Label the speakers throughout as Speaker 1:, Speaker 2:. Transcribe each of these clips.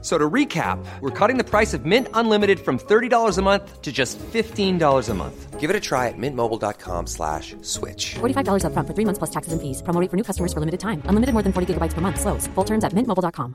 Speaker 1: So to recap, we're cutting the price of Mint Unlimited from $30 a month to just $15 a month. Give it a try at mintmobile.com slash switch.
Speaker 2: $45 upfront for three months plus taxes and fees. Promo rate for new customers for limited time. Unlimited more than 40 gigabytes per month. Slows. Full terms at mintmobile.com.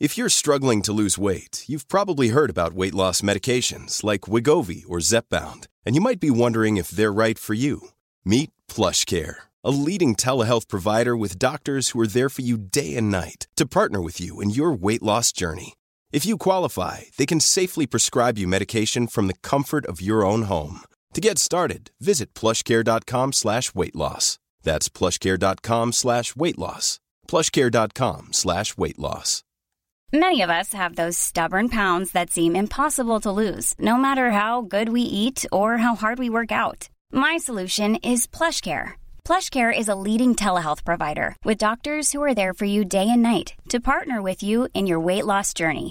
Speaker 3: If you're struggling to lose weight, you've probably heard about weight loss medications like Wigovi or Zepbound, and you might be wondering if they're right for you. Meet PlushCare, a leading telehealth provider with doctors who are there for you day and night to partner with you in your weight loss journey. If you qualify, they can safely prescribe you medication from the comfort of your own home. To get started, visit plushcare.com slash weight loss. That's plushcare.com slash weight loss. plushcare.com slash weight loss.
Speaker 4: Many of us have those stubborn pounds that seem impossible to lose, no matter how good we eat or how hard we work out. My solution is PlushCare. PlushCare is a leading telehealth provider with doctors who are there for you day and night to partner with you in your weight loss journey.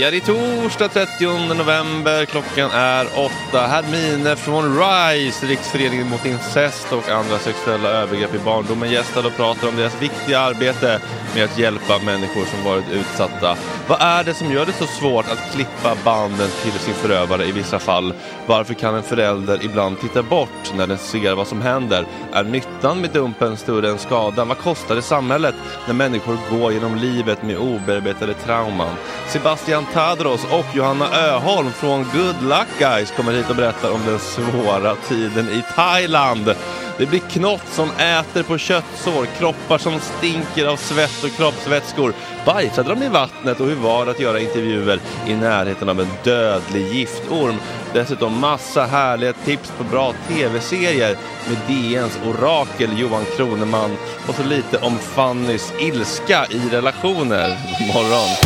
Speaker 5: Ja, det är torsdag 30 november. Klockan är åtta. Hermine från RISE, Riksföreningen mot incest och andra sexuella övergrepp i barndomen gästar och pratar om deras viktiga arbete med att hjälpa människor som varit utsatta. Vad är det som gör det så svårt att klippa banden till sin förövare i vissa fall? Varför kan en förälder ibland titta bort när den ser vad som händer? Är nyttan med dumpen större än skadan? Vad kostar det samhället när människor går genom livet med obearbetade trauman? Sebastian Tadros och Johanna Öholm från Good Luck Guys kommer hit och berättar om den svåra tiden i Thailand. Det blir knott som äter på köttsår, kroppar som stinker av svett och kroppsvätskor. Bajsade de i vattnet och hur var det att göra intervjuer i närheten av en dödlig giftorm? Dessutom massa härliga tips på bra tv-serier med DNs orakel Johan Kroneman och så lite om Fannys ilska i relationer. God morgon!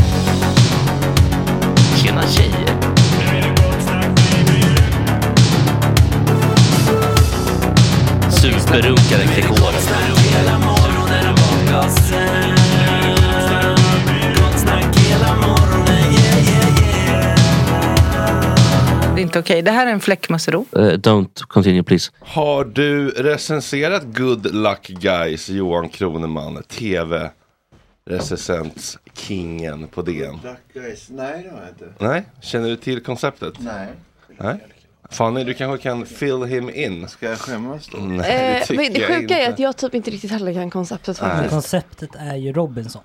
Speaker 6: Tjena tjejer! Superrunkare Gregoren.
Speaker 7: Det är inte okej. Det här är en fläckmussero.
Speaker 6: Uh,
Speaker 5: Eh,
Speaker 6: don't continue please.
Speaker 5: Har du recenserat Good Luck Guys, Johan Kroneman, tv recensentskingen på DN?
Speaker 8: Guys. Nej, det har jag inte.
Speaker 5: Nej, känner du till konceptet?
Speaker 8: Nej.
Speaker 5: Nej? Fanny, du kanske kan fill him in?
Speaker 8: Ska jag skämmas då?
Speaker 5: Nej,
Speaker 9: Eh,
Speaker 5: det
Speaker 9: men
Speaker 5: tycker
Speaker 9: det
Speaker 5: jag
Speaker 9: sjuka är
Speaker 5: inte.
Speaker 9: att jag typ inte riktigt heller kan konceptet faktiskt. Ja,
Speaker 10: Alltså, Konceptet är ju Robinson.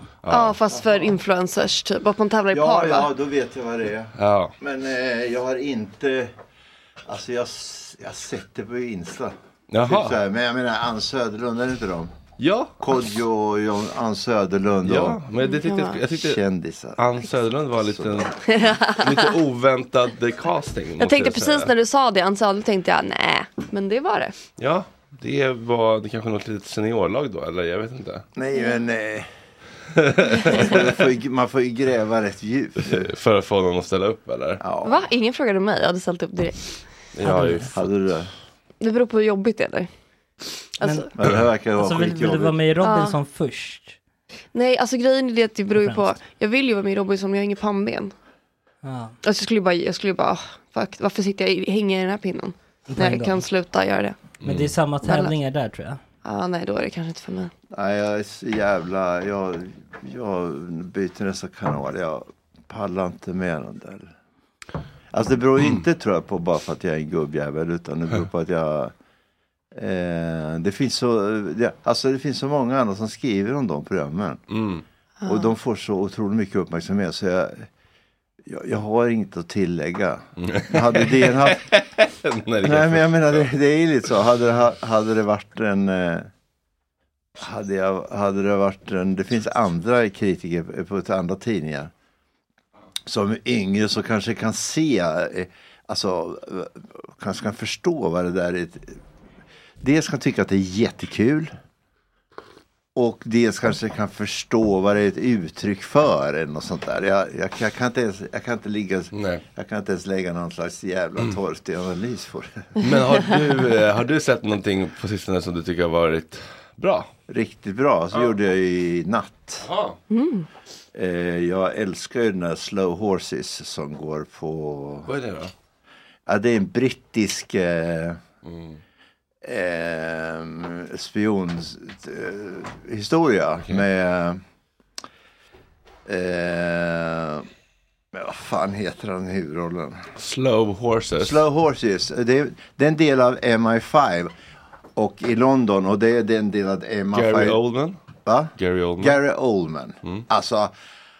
Speaker 9: fast för influencers typ. Att man tävlar i
Speaker 8: Ja,
Speaker 9: par
Speaker 8: ja,
Speaker 9: va?
Speaker 8: då vet jag vad det är.
Speaker 5: Ja.
Speaker 8: Men eh, jag har inte... Alltså jag, s- jag har sett det på Insta.
Speaker 5: Jaha.
Speaker 8: Typ så här. Men jag menar Ann Söderlund, är det inte dem?
Speaker 5: Ja,
Speaker 8: Kodjo och John, Ann Söderlund
Speaker 5: ja, men det tyckte, jag
Speaker 8: och
Speaker 5: tyckte
Speaker 8: kändisar.
Speaker 5: Ann Söderlund var en liten, lite oväntad eh, casting. måste
Speaker 9: Jag tänkte
Speaker 5: säga.
Speaker 9: precis när du sa det, Anselm, då tänkte jag nej, men det var det.
Speaker 5: Ja, det var det kanske något litet seniorlag då, eller jag vet inte.
Speaker 8: Nej, men... Eh, man, får ju, man får ju gräva rätt djupt.
Speaker 5: För att få någon att ställa upp eller?
Speaker 8: Ja.
Speaker 9: Va? Ingen frågade mig, jag hade ställt upp direkt.
Speaker 5: Jag har ju
Speaker 8: Hade du det?
Speaker 9: Det beror på hur jobbigt det är. eller? Alltså,
Speaker 8: Men det här verkar vara
Speaker 10: Alltså vill, vill du
Speaker 8: skitjobbigt.
Speaker 10: vara med i Robinson först?
Speaker 9: nej, alltså grejen är det att det beror ju på,
Speaker 10: Främst.
Speaker 9: jag vill ju vara med i Robinson men jag har inget pannben.
Speaker 10: Ja.
Speaker 9: Alltså jag skulle ju bara, jag skulle ju bara, "Ah, fuck, varför sitter jag, i- hänger i den här pinnen? När jag
Speaker 10: då.
Speaker 9: kan sluta göra det.
Speaker 10: Men
Speaker 5: Mm.
Speaker 10: det är samma tävlingar där tror jag.
Speaker 9: Ah, nej, då är det kanske inte för mig.
Speaker 8: Nej, jag är så jävla... Jag, jag byter nästa kanal. Jag pallar inte med den där. Alltså det beror ju inte tror jag på bara för att jag är en gubbjävel utan det beror på att jag... Eh, det, finns så, det, alltså det finns så många andra som skriver om de programmen. Och de får så otroligt mycket uppmärksamhet så jag, jag, jag har inget att tillägga. Hade DN haft,
Speaker 5: Nej, det
Speaker 8: Nej men
Speaker 5: kanske-
Speaker 8: jag menar det, det är ju lite så. Hade det, ha- hade det varit en... eh, Hade, jag, hade det varit en... Det finns andra kritiker på- på andra tidningar. Som är yngre så kanske kan se eh, alltså, eh, kanske kan förstå vad det där är. Dels kan tycka att det är jättekul. Och dels kanske kan förstå vad det är ett uttryck för. Eller något sånt där. Jag, jag, jag, kan inte ens, jag, kan inte ligga, jag kan inte ens lägga någon slags jävla
Speaker 5: Mm.
Speaker 8: torftig analys på det.
Speaker 5: Men har du, eh, har du sett någonting på sistone som du tycker har varit bra?
Speaker 8: Riktigt bra. Så gjorde jag i natt.
Speaker 5: Mm.
Speaker 8: Eh, jag älskar ju den här Slow Horses som går på...
Speaker 5: Vad är det då?
Speaker 8: Ja, det är en brittisk eh,
Speaker 5: Mm.
Speaker 8: ehm, spionhistoria med... Eh, men vad fan heter han i huvudrollen?
Speaker 5: Slow Horses.
Speaker 8: Slow Horses. Det är, det är en del av MI5 och i London och det är den del av MI5.
Speaker 5: Gary Oldman?
Speaker 8: Va?
Speaker 5: Gary Oldman.
Speaker 8: Gary Oldman.
Speaker 5: Mm.
Speaker 8: Alltså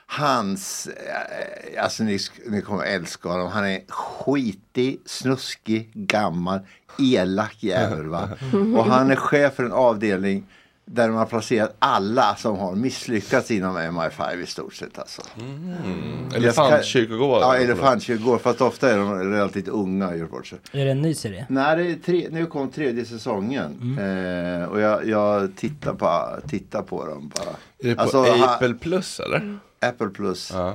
Speaker 8: hans, eh, alltså ni, sk- ni kommer älska honom. Han är skitig, snuskig, gammal, elak jävel va. Och han är chef för en avdelning där de har placerat alla som har misslyckats inom MI5 i stort sett alltså.
Speaker 5: Mm.
Speaker 8: Jag ska-
Speaker 5: Elefantkyrkogård.
Speaker 8: Ja, elefantkyrkogård. Fast ofta är de relativt unga och gör bort sig.
Speaker 10: Är det en ny serie?
Speaker 8: Nej, det är tre, nu kom tredje säsongen.
Speaker 5: Mm.
Speaker 8: Eh, och jag, jag tittar, på, tittar på dem bara. Alltså,
Speaker 5: Är det på
Speaker 8: ha-
Speaker 5: Apple Plus eller?
Speaker 8: Apple Plus. Och,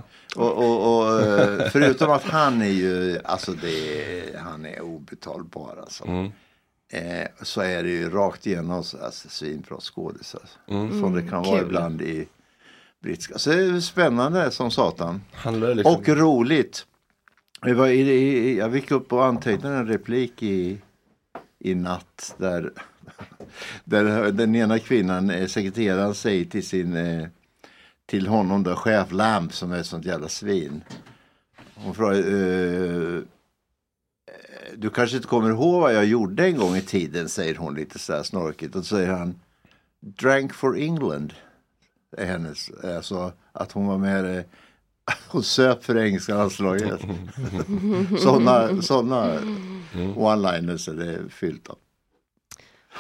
Speaker 8: och, och, eh, förutom att han är ju, alltså det är, han är obetalbar alltså.
Speaker 5: Mm.
Speaker 8: Eh, så är det ju rakt igenom så- alltså, svinbra skådisar.
Speaker 5: Mm.
Speaker 8: Som det kan
Speaker 5: Mm,
Speaker 8: vara
Speaker 5: kul.
Speaker 8: ibland i brittiska. Så det är spännande som satan.
Speaker 5: Handlar det liksom-
Speaker 8: Och roligt. Det var i, i, jag gick upp och antecknade en replik i, i natt där, där den ena kvinnan, eh, sekreteraren, säger till sin eh, till honom då, chef Lamp som är ett sånt jävla svin. Hon frågar, eh, du kanske inte kommer ihåg vad jag gjorde en gång i tiden, säger hon lite så här snorkigt. Och så säger han, drank for England. Är hennes, alltså att hon var med, eh, hon söp för engelska landslaget. sådana sådana one-liners är det fyllt av.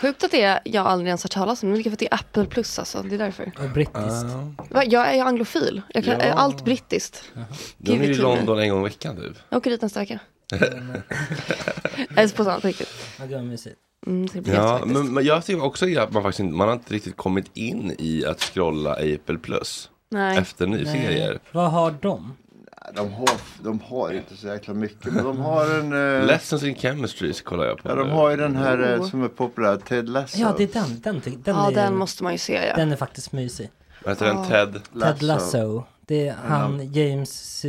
Speaker 9: Sjukt att det är jag aldrig ens har talat om. Det är mycket för att det är Apple plus alltså. Det är därför.
Speaker 10: Och brittiskt.
Speaker 9: Va, Jag är ju anglofil. Jag kan,
Speaker 5: Ja.
Speaker 9: är Allt brittiskt.
Speaker 5: De är
Speaker 9: Gud,
Speaker 5: i
Speaker 9: vad kul.
Speaker 5: London en gång i veckan typ.
Speaker 9: Jag åker dit nästa vecka. Eller på sånt på riktigt.
Speaker 10: Ja, det var mysigt.
Speaker 9: Mm, det blir
Speaker 5: Ja,
Speaker 9: jättefaktiskt.
Speaker 5: men men jag tycker också att man faktiskt inte, man har inte riktigt kommit in i att scrolla Apple Plus.
Speaker 9: Nej.
Speaker 5: Efter
Speaker 10: Nej.
Speaker 5: nyserier.
Speaker 10: Vad har de?
Speaker 8: De har, de har inte så jäkla mycket, men de har en... eh,
Speaker 5: Lessons in Chemistry kollar jag på.
Speaker 8: Ja,
Speaker 5: nu.
Speaker 8: de har ju den här eh,
Speaker 9: Jo.
Speaker 8: som är populär, Ted Lasso.
Speaker 10: Oh. Ja, det är den. Den, den, den,
Speaker 9: Ja,
Speaker 10: är,
Speaker 9: den måste man ju se ja.
Speaker 10: den är faktiskt mysig.
Speaker 5: Vad heter den? Ted?
Speaker 10: Ted Lasso. Det är han, James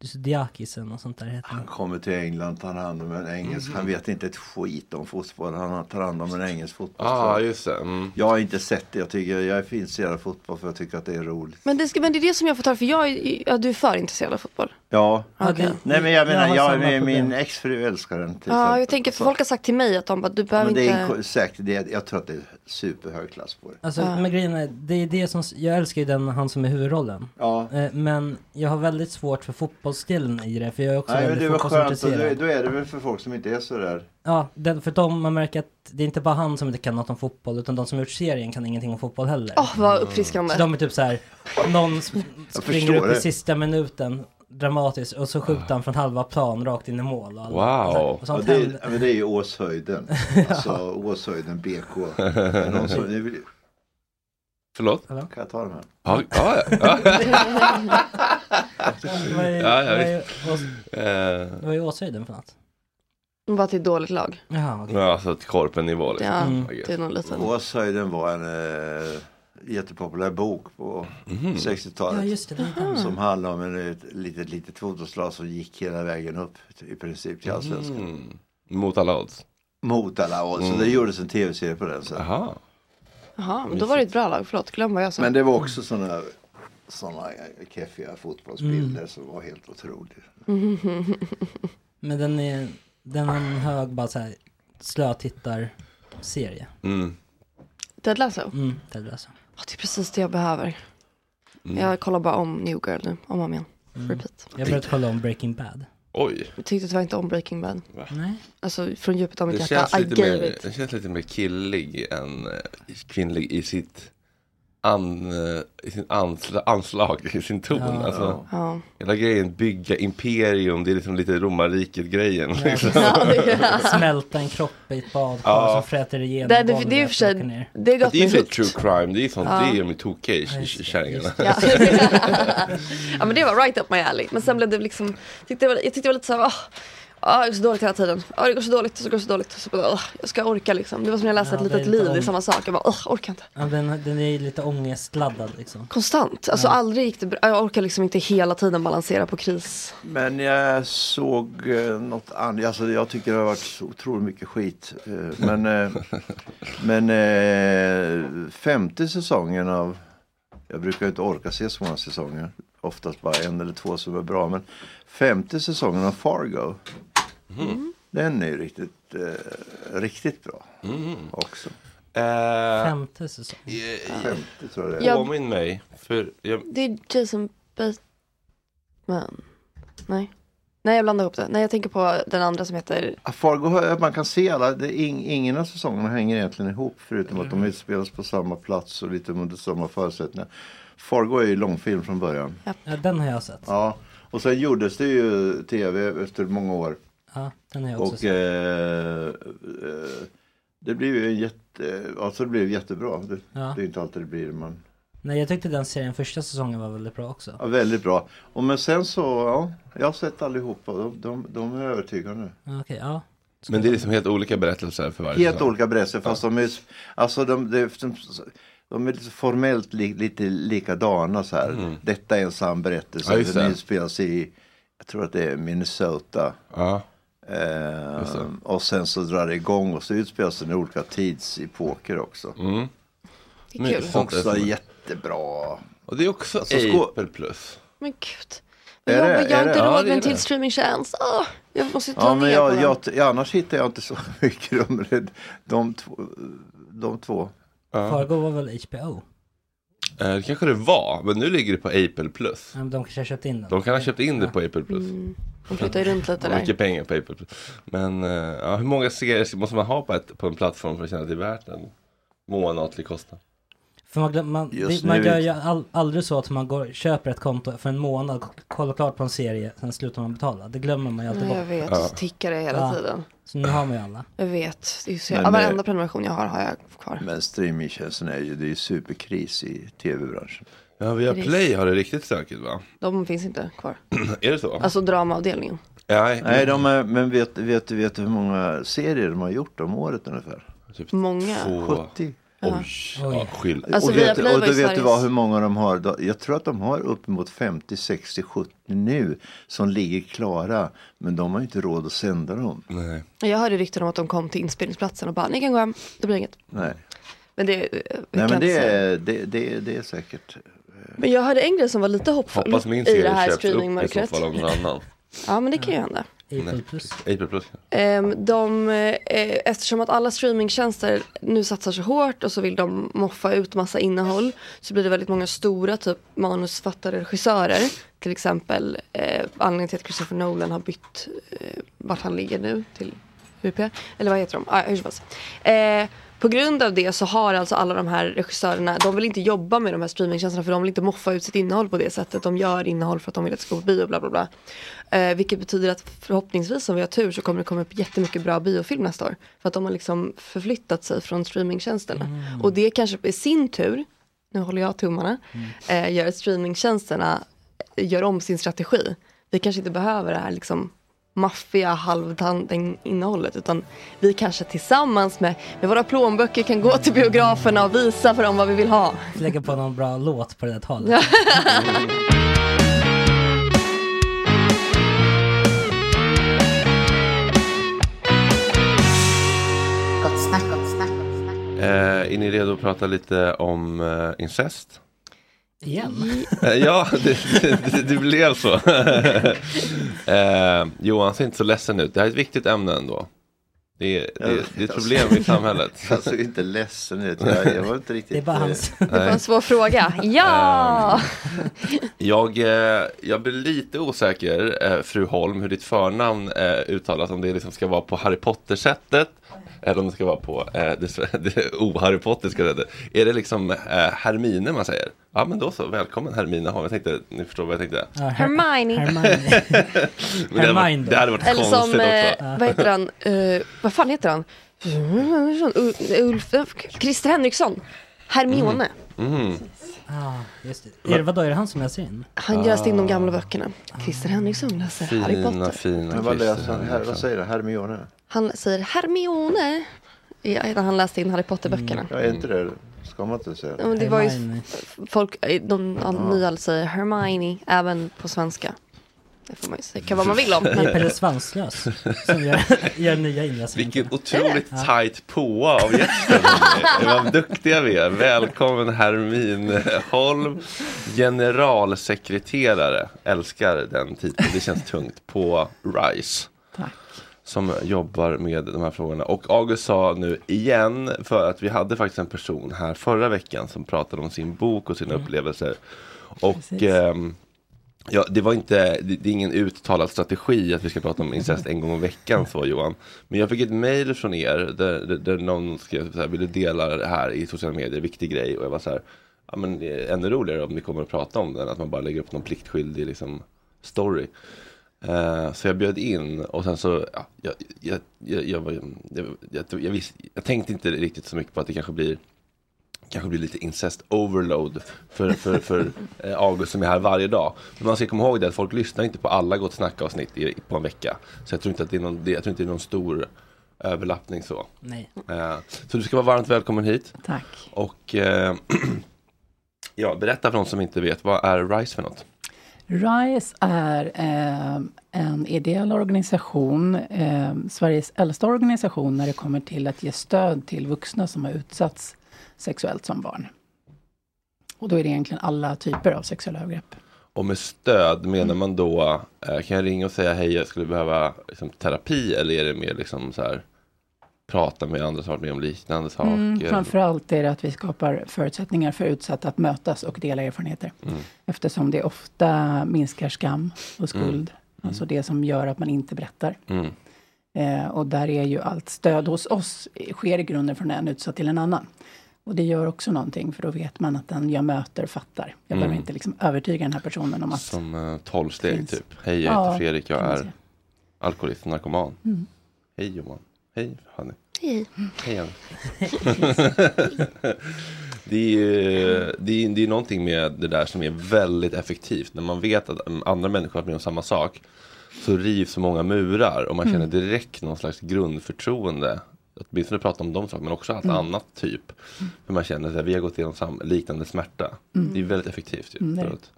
Speaker 10: Sudeakis eller något sånt där heter
Speaker 8: Han
Speaker 10: han.
Speaker 8: kommer till England, tar hand om en engelsk.
Speaker 5: Mhm.
Speaker 8: Han vet inte ett skit om fotboll. Han tar hand om en engelsk fotboll.
Speaker 5: Ja, just det. Mm.
Speaker 8: Jag har inte sett det. Jag, tycker, jag är intresserad av fotboll för jag tycker att det är roligt.
Speaker 9: Men det, ska, men det är det som jag får ta för jag är, ja, du är för intresserad av fotboll.
Speaker 8: Ja.
Speaker 10: Ja,
Speaker 9: Okej.
Speaker 10: det-
Speaker 8: Nej men jag menar,
Speaker 10: har
Speaker 8: jag
Speaker 10: samma
Speaker 8: min,
Speaker 10: problem.
Speaker 8: min exfru älskar den. till
Speaker 9: Ja, jag
Speaker 8: exempel.
Speaker 9: tänker för
Speaker 8: Så-
Speaker 9: folk har sagt till mig att de bara, du behöver
Speaker 8: men det är
Speaker 9: inte.
Speaker 8: en- säkert, det är, jag tror att det är superhög klass på det.
Speaker 10: Alltså,
Speaker 9: Ja.
Speaker 10: men grejen är, det är det som, jag älskar ju den, han som är huvudrollen.
Speaker 8: Ja.
Speaker 10: Eh, Men jag har väldigt svårt för fotbollsdelen i det, för jag är liksom också
Speaker 8: Nej men det
Speaker 10: väldigt
Speaker 8: var skönt. Och då,
Speaker 10: fotbollsintresserad.
Speaker 8: då är det väl för folk som inte är så där.
Speaker 10: Ja, den, för de, man märker att det är inte bara han som inte kan något om fotboll, utan de som gjort serien kan ingenting om fotboll heller.
Speaker 9: Åh, vad uppfriskande.
Speaker 10: Så de är typ så här, någon sp- springer
Speaker 8: förstår
Speaker 10: upp i
Speaker 8: det.
Speaker 10: sista minuten dramatiskt och så skjuter han från halva plan rakt in i mål. Och alla-
Speaker 5: Wow.
Speaker 10: så här, Och
Speaker 8: Ja,
Speaker 10: sånt
Speaker 8: det,
Speaker 10: händer.
Speaker 8: är- ja, men det är ju Åshöjden. Alltså Åshöjden BK. Är någon som, nu vill,
Speaker 5: Förlåt?
Speaker 8: kan jag ta de här?
Speaker 5: Ja, ja, ja.
Speaker 10: Vad är-
Speaker 5: Ja, ja,
Speaker 10: vad är Ås-
Speaker 5: Eh,
Speaker 10: vad är Åshöjden för något?
Speaker 9: Bara till ett dåligt lag.
Speaker 10: Jaha, okej.
Speaker 5: ja, alltså till korpen-nivå liksom.
Speaker 9: Ja,
Speaker 10: Mm.
Speaker 9: det är nog lite.
Speaker 8: Åshöjden var en eh, jättepopulär bok på
Speaker 5: Mhm.
Speaker 8: 60-talet.
Speaker 10: Ja, just det. det är inte han.
Speaker 8: Som handlar om en, ett litet, litet fotbollslag som gick hela vägen upp i princip till allsvenskan.
Speaker 5: Mm. Mot alla odds.
Speaker 8: Mot alla odds. Så
Speaker 5: Mm.
Speaker 8: det gjordes en tv-serie på den sen.
Speaker 5: Jaha.
Speaker 9: Jaha, men då var det ett bra lag. Förlåt, glöm vad jag sa.
Speaker 8: Men det var också sådana såna keffiga fotbollsbilder som var helt otroliga.
Speaker 10: Men den är, den har en hög bara såhär slötittarserie.
Speaker 5: Mm.
Speaker 9: Ted Lasso?
Speaker 10: Mm, Ted Lasso.
Speaker 9: Ja, det är precis det jag behöver.
Speaker 8: Mm.
Speaker 9: Jag kollar bara om New Girl nu, om och om igen. Repeat.
Speaker 10: Mm. Jag började kolla om Breaking Bad.
Speaker 5: Oj.
Speaker 9: Jag tyckte tyvärr inte om Breaking Bad.
Speaker 10: Nej.
Speaker 9: Alltså från djupet av mitt
Speaker 5: Det
Speaker 9: hjärta,
Speaker 5: känns,
Speaker 9: I
Speaker 5: lite
Speaker 9: gave
Speaker 5: mer,
Speaker 9: it.
Speaker 5: det känns lite mer killig än eh, kvinnlig i sitt an, eh, i sin ansla, anslag, i sin ton.
Speaker 9: Ja.
Speaker 5: Alltså,
Speaker 9: Ja.
Speaker 5: Hela grejen, bygga imperium, det är liksom lite romarriket-grejen. liksom.
Speaker 10: Smälta en kropp i ett badkar
Speaker 5: Ja.
Speaker 10: som fräter igenom
Speaker 9: Det, det, det, är i
Speaker 10: golvet
Speaker 9: och för sig,
Speaker 10: och åker ner.
Speaker 9: det är gott
Speaker 5: Det är ju
Speaker 9: med
Speaker 5: för sig
Speaker 9: hook.
Speaker 5: true crime, det är ju sånt,
Speaker 9: Ja.
Speaker 5: det är de ju tokiga i- i- kärringarna.
Speaker 9: Ja. ja men det var right up my alley. Men sen blev det liksom, tyckte jag, var- jag tyckte det var lite såhär, åh, åh, det går så dåligt hela tiden. Åh, det går så dåligt, så går det så dåligt. Så bara, åh, jag ska orka liksom. Det var som när jag läste
Speaker 10: Ja,
Speaker 9: ett
Speaker 10: det är
Speaker 9: litet liv,
Speaker 10: lite
Speaker 9: det är
Speaker 10: ång-
Speaker 9: samma sak. Jag bara, åh, orkar inte.
Speaker 10: Ja, den, den är lite ångestladdad liksom.
Speaker 9: Konstant, alltså
Speaker 10: Ja.
Speaker 9: aldrig gick det bra. Jag orkar liksom inte hela tiden balansera på kris.
Speaker 8: Men jag såg eh, något annat. Alltså, jag tycker det har varit så otroligt mycket skit. Eh, men eh, men eh, femte säsongen av... Jag brukar ju inte orka se så många säsonger. Oftast bara en eller två som är bra. Men femte säsongen av Fargo. Den är ju riktigt, eh, riktigt bra också.
Speaker 10: Femte säsong.
Speaker 8: Femte tror jag det är.
Speaker 9: Jag-
Speaker 5: Påminn mig, för jag,
Speaker 9: Det är Jason Bateman. Nej. Nej jag blandar ihop det. Nej jag tänker på den andra som heter
Speaker 8: Ja, Fargo, har- man kan se alla, det, är ing, ingen av säsongerna hänger egentligen ihop förutom att de
Speaker 10: Mm.
Speaker 8: utspelas på samma plats och lite under samma förutsättningar. Fargo är ju långfilm från början.
Speaker 10: Ja, den har jag sett.
Speaker 8: Ja, och sen gjordes det ju tv efter många år.
Speaker 10: Ja, den har jag också
Speaker 8: Och
Speaker 10: sett.
Speaker 8: eh, eh, det blev ju en jätte, alltså det blev jättebra. Det,
Speaker 10: Ja.
Speaker 8: det är inte alltid det blir men
Speaker 10: Nej, jag tyckte den serien första säsongen var väldigt bra också.
Speaker 8: ja, väldigt bra. Och men sen så, ja, jag har sett allihopa. De, de, de är övertygande.
Speaker 10: Ja, Okej, ja.
Speaker 5: men det är liksom helt olika berättelser för varje
Speaker 8: Helt
Speaker 5: säsong.
Speaker 8: olika berättelser fast de är, alltså de, de, de, de är lite formellt li, lite likadana så här. Detta är en sann berättelse.
Speaker 5: Mm. Ja,
Speaker 8: Ja,
Speaker 5: just det.
Speaker 8: den utspelas i, jag tror att det är Minnesota.
Speaker 5: Ja.
Speaker 8: Eh,
Speaker 5: Just det.
Speaker 8: och sen så drar det igång och så utspelas den i olika tidsepoker också.
Speaker 5: Mm.
Speaker 9: Det är kul.
Speaker 5: sånt
Speaker 8: Också
Speaker 5: är-
Speaker 8: jättebra.
Speaker 5: Och det är också
Speaker 8: Alltså,
Speaker 5: Apple
Speaker 8: skå-
Speaker 5: Plus.
Speaker 9: Men gud.
Speaker 8: Är
Speaker 9: Men jag,
Speaker 8: det-
Speaker 9: jag, har
Speaker 8: är
Speaker 9: inte
Speaker 8: det?
Speaker 5: Ja,
Speaker 9: råd
Speaker 5: det är
Speaker 9: med en till
Speaker 5: det.
Speaker 9: streamingtjänst. Åh, jag måste ju dra
Speaker 8: Ja,
Speaker 9: ner
Speaker 8: men jag,
Speaker 9: på
Speaker 8: jag,
Speaker 9: den.
Speaker 8: annars hittar jag inte så mycket rum. De, de, två- de två.
Speaker 10: Fargo var väl HBO?
Speaker 5: Eh, Det kanske det var, men nu ligger det på Apple Plus.
Speaker 10: Ja, men de kanske har köpt in den.
Speaker 5: De kan ha köpt in det på Apple Plus.
Speaker 9: Mm, de flyttar ju runt lite
Speaker 5: Och
Speaker 9: där.
Speaker 5: mycket pengar på Apple Plus. Men eh, ja, hur många serier måste man ha på, ett, på en plattform för att känna att det är värt en månatlig kostnad?
Speaker 10: För man, glöm- man,
Speaker 8: Just
Speaker 10: det, man
Speaker 8: nu
Speaker 10: gör
Speaker 8: vet-
Speaker 10: ju all, aldrig så att man går, köper ett konto för en månad, k- kollar klart på en serie, sen slutar man betala. Det glömmer man ju alltid
Speaker 9: Nej, jag
Speaker 10: bort.
Speaker 9: vet,
Speaker 5: Ja.
Speaker 9: så tickar det hela
Speaker 10: Ja.
Speaker 9: tiden.
Speaker 10: Så nu har man ju alla.
Speaker 9: Jag vet, det är ju så
Speaker 8: Men,
Speaker 9: jävla,
Speaker 8: eh,
Speaker 9: varenda prenumeration jag har har jag kvar.
Speaker 8: Men streamingtjänsten är ju, det är ju superkris i tv-branschen.
Speaker 5: Ja, via Play har det riktigt stökigt va?
Speaker 9: De finns inte kvar.
Speaker 5: Är det så?
Speaker 9: Alltså dramaavdelningen.
Speaker 5: Nej,
Speaker 8: Nej, de är, men vet, vet, vet du hur många serier de har gjort om året ungefär?
Speaker 5: typ
Speaker 9: Många.
Speaker 5: Två...
Speaker 8: 70.
Speaker 5: Oj, ja, skyll.
Speaker 9: Alltså,
Speaker 8: och vet,
Speaker 9: Viaplay
Speaker 8: och
Speaker 9: var
Speaker 8: då
Speaker 9: ju
Speaker 8: vet du
Speaker 9: Sveriges-
Speaker 8: vad, hur många de har? Då- Jag tror att de har uppemot 50, 60, 70 nu som ligger klara. Men de har ju inte råd att sända dem.
Speaker 5: Nej.
Speaker 9: Jag hörde rykten om att de kom till inspelningsplatsen och bara, ni kan gå hem, det blir inget.
Speaker 8: Nej,
Speaker 9: Men det, eh, vi
Speaker 8: Nej
Speaker 9: kan
Speaker 8: men det
Speaker 9: inte säga.
Speaker 8: är, det, det, det är säkert.
Speaker 9: men jag hörde en grej som var lite hoppfull
Speaker 5: Hoppas min
Speaker 9: i det
Speaker 5: serie
Speaker 9: här
Speaker 5: köps upp i så
Speaker 9: streamingmörkret.
Speaker 5: fall av någon annan.
Speaker 9: Ja men det kan ju hända.
Speaker 10: Apple Plus.
Speaker 5: April Plus.
Speaker 9: Ehm, de, eh, eftersom att alla streamingtjänster nu satsar så hårt och så vill de moffa ut massa innehåll så blir det väldigt många stora typ manusförfattare och regissörer. Till exempel eh, anledningen till att Christopher Nolan har bytt eh, vart han ligger nu till UP. Eller vad heter de? Ah, hur som helst. eh, på grund av det så har alltså alla de här regissörerna, de vill inte jobba med de här streamingtjänsterna för de vill inte moffa ut sitt innehåll på det sättet. De gör innehåll för att de vill att det ska gå på bio bla bla bla. Eh, vilket betyder att förhoppningsvis om vi har tur så kommer det komma upp jättemycket bra biofilm nästa år. För att de har liksom förflyttat sig från streamingtjänsterna. Och det kanske i sin tur, nu håller jag tummarna, eh, gör att streamingtjänsterna gör om sin strategi. Vi kanske inte behöver det här liksom maffiga halvdanden innehållet utan vi kanske tillsammans med, med våra plånböcker kan gå till biograferna och visa för dem vad vi vill ha.
Speaker 10: Lägga på någon bra låt på det där talet.
Speaker 11: Gott snack, gott snack.
Speaker 5: Eh, är ni redo att prata lite om eh, incest?
Speaker 10: Igen?
Speaker 5: Eh, ja, det, det, det blev så. eh, Johan ser inte så ledsen ut. Det här är ett viktigt ämne ändå. Det är, det, det är ett problem i samhället.
Speaker 8: Jag såg inte ledsen ut. Jag, jag var inte riktigt... eh,
Speaker 10: Det är bara hans.
Speaker 9: Det var en svår fråga. Ja!
Speaker 5: Jag, eh, jag blir lite osäker, eh, fru Holm, hur ditt förnamn eh, uttalas. Om det liksom ska vara på Harry Potter-sättet Eller om det ska vara på eh, det, sve- det o-Harry Potterska sättet. Är det liksom eh, Hermine man säger? Ja men då så, välkommen Hermine Hagen. Jag tänkte, ni förstår vad jag tänkte.
Speaker 9: Hermione.
Speaker 5: Men det, hade varit, det hade varit
Speaker 9: Eller
Speaker 5: konstigt
Speaker 9: som,
Speaker 5: också.
Speaker 9: eh, vad heter han, Eh, vad fan heter han? U- Ulf, Christer Henriksson. Hermione.
Speaker 5: Mm.
Speaker 10: Ah, just det. Är det, vadå, är det han som läser in?
Speaker 9: Han
Speaker 5: Ah.
Speaker 9: läste in de gamla böckerna. Christer Henriksson läser Harry Potter.
Speaker 5: fina liksom.
Speaker 8: Men vad
Speaker 5: Christer
Speaker 8: läser han? Her- Vad säger du? Hermione?
Speaker 9: Han säger Hermione. Ja, när han läste in Harry Potter-böckerna.
Speaker 8: Ja, Mm, är inte det? Ska man inte säga
Speaker 9: Ja, men det var ju f- folk, eh, de ja. nya säger Hermione, även på svenska. Det får man ju säga, kan vad man vill om.
Speaker 10: Det är Pelle Svanslös som gör, gör nya inläsningar.
Speaker 5: Vilken otroligt tight påa av gästen. Eh, Vad duktiga vi är. Välkommen Hermin Holm, generalsekreterare. Älskar den titeln. Det känns tungt. På RISE.
Speaker 12: Tack.
Speaker 5: Som jobbar med de här frågorna. Och August sa nu igen, för att vi hade faktiskt en person här förra veckan som pratade om sin bok och sina
Speaker 12: Mm.
Speaker 5: upplevelser. Och
Speaker 12: Precis.
Speaker 5: ehm, Ja, det var inte, det, det är ingen uttalad strategi att vi ska prata om incest en gång i veckan så Johan. Men jag fick ett mejl från er där, där, där någon skrev så här, vill du dela det här i sociala medier, viktig grej. Och jag var så här, ja men det är ännu roligare om ni kommer att prata om den, att man bara lägger upp någon pliktskyldig liksom, story. Eh, så jag bjöd in och sen så, ja, jag, jag, jag, jag, var- jag, jag, jag, visste, jag tänkte inte riktigt så mycket på att det kanske blir kanske blir lite incest overload för, för, för eh, August som är här varje dag. Men man ska komma ihåg det att folk lyssnar inte på alla Gott Snack-avsnitt i- på en vecka. Så jag tror inte att det är någon, det- jag tror inte det är någon stor överlappning så.
Speaker 10: Nej.
Speaker 5: Eh, Så du ska vara varmt välkommen hit.
Speaker 12: Tack.
Speaker 5: Och eh, ja, berätta för de som inte vet, vad är RISE för något?
Speaker 12: RISE är eh, en ideell organisation, eh, Sveriges äldsta organisation när det kommer till att ge stöd till vuxna som har utsatts sexuellt som barn. Och då är det egentligen alla typer av sexuella övergrepp.
Speaker 5: Och med stöd menar man då, eh, kan jag ringa och säga hej jag skulle behöva liksom, terapi eller är det mer liksom så här prata med andra som har varit med om liknande saker?
Speaker 12: Mm, framförallt är det att vi skapar förutsättningar för utsatta att mötas och dela erfarenheter.
Speaker 5: Mm.
Speaker 12: Eftersom det ofta minskar skam och skuld. Alltså det som gör att man inte berättar.
Speaker 5: Mm.
Speaker 12: Eh, och där är ju allt stöd hos oss eh, sker i grunden från en utsatt till en annan. Och det gör också någonting, för då vet man att den jag möter fattar. Jag
Speaker 5: Mm.
Speaker 12: behöver inte liksom övertyga den här personen om att...
Speaker 5: Som eh, 12 steg
Speaker 12: finns.
Speaker 5: typ. Hej, jag
Speaker 12: Ja,
Speaker 5: heter Fredrik, jag
Speaker 12: kan man
Speaker 5: är
Speaker 12: säga.
Speaker 5: alkoholist och narkoman.
Speaker 12: Mm.
Speaker 5: Hej Johan. Hej Hanni.
Speaker 9: Hej.
Speaker 5: Hej Hanni. det är ju det är, det är någonting med det där som är väldigt effektivt. När man vet att mm, andra människor har varit med om samma sak så rivs många murar och man
Speaker 12: Mm.
Speaker 5: känner direkt någon slags grundförtroende. Åtminstone prata om de sakerna men också allt
Speaker 12: Mm.
Speaker 5: annat typ. För man känner att vi har gått igenom sam- liknande smärta.
Speaker 12: Mm.
Speaker 5: Det är väldigt effektivt ju.
Speaker 12: Mm, det är
Speaker 5: för
Speaker 12: det.
Speaker 5: att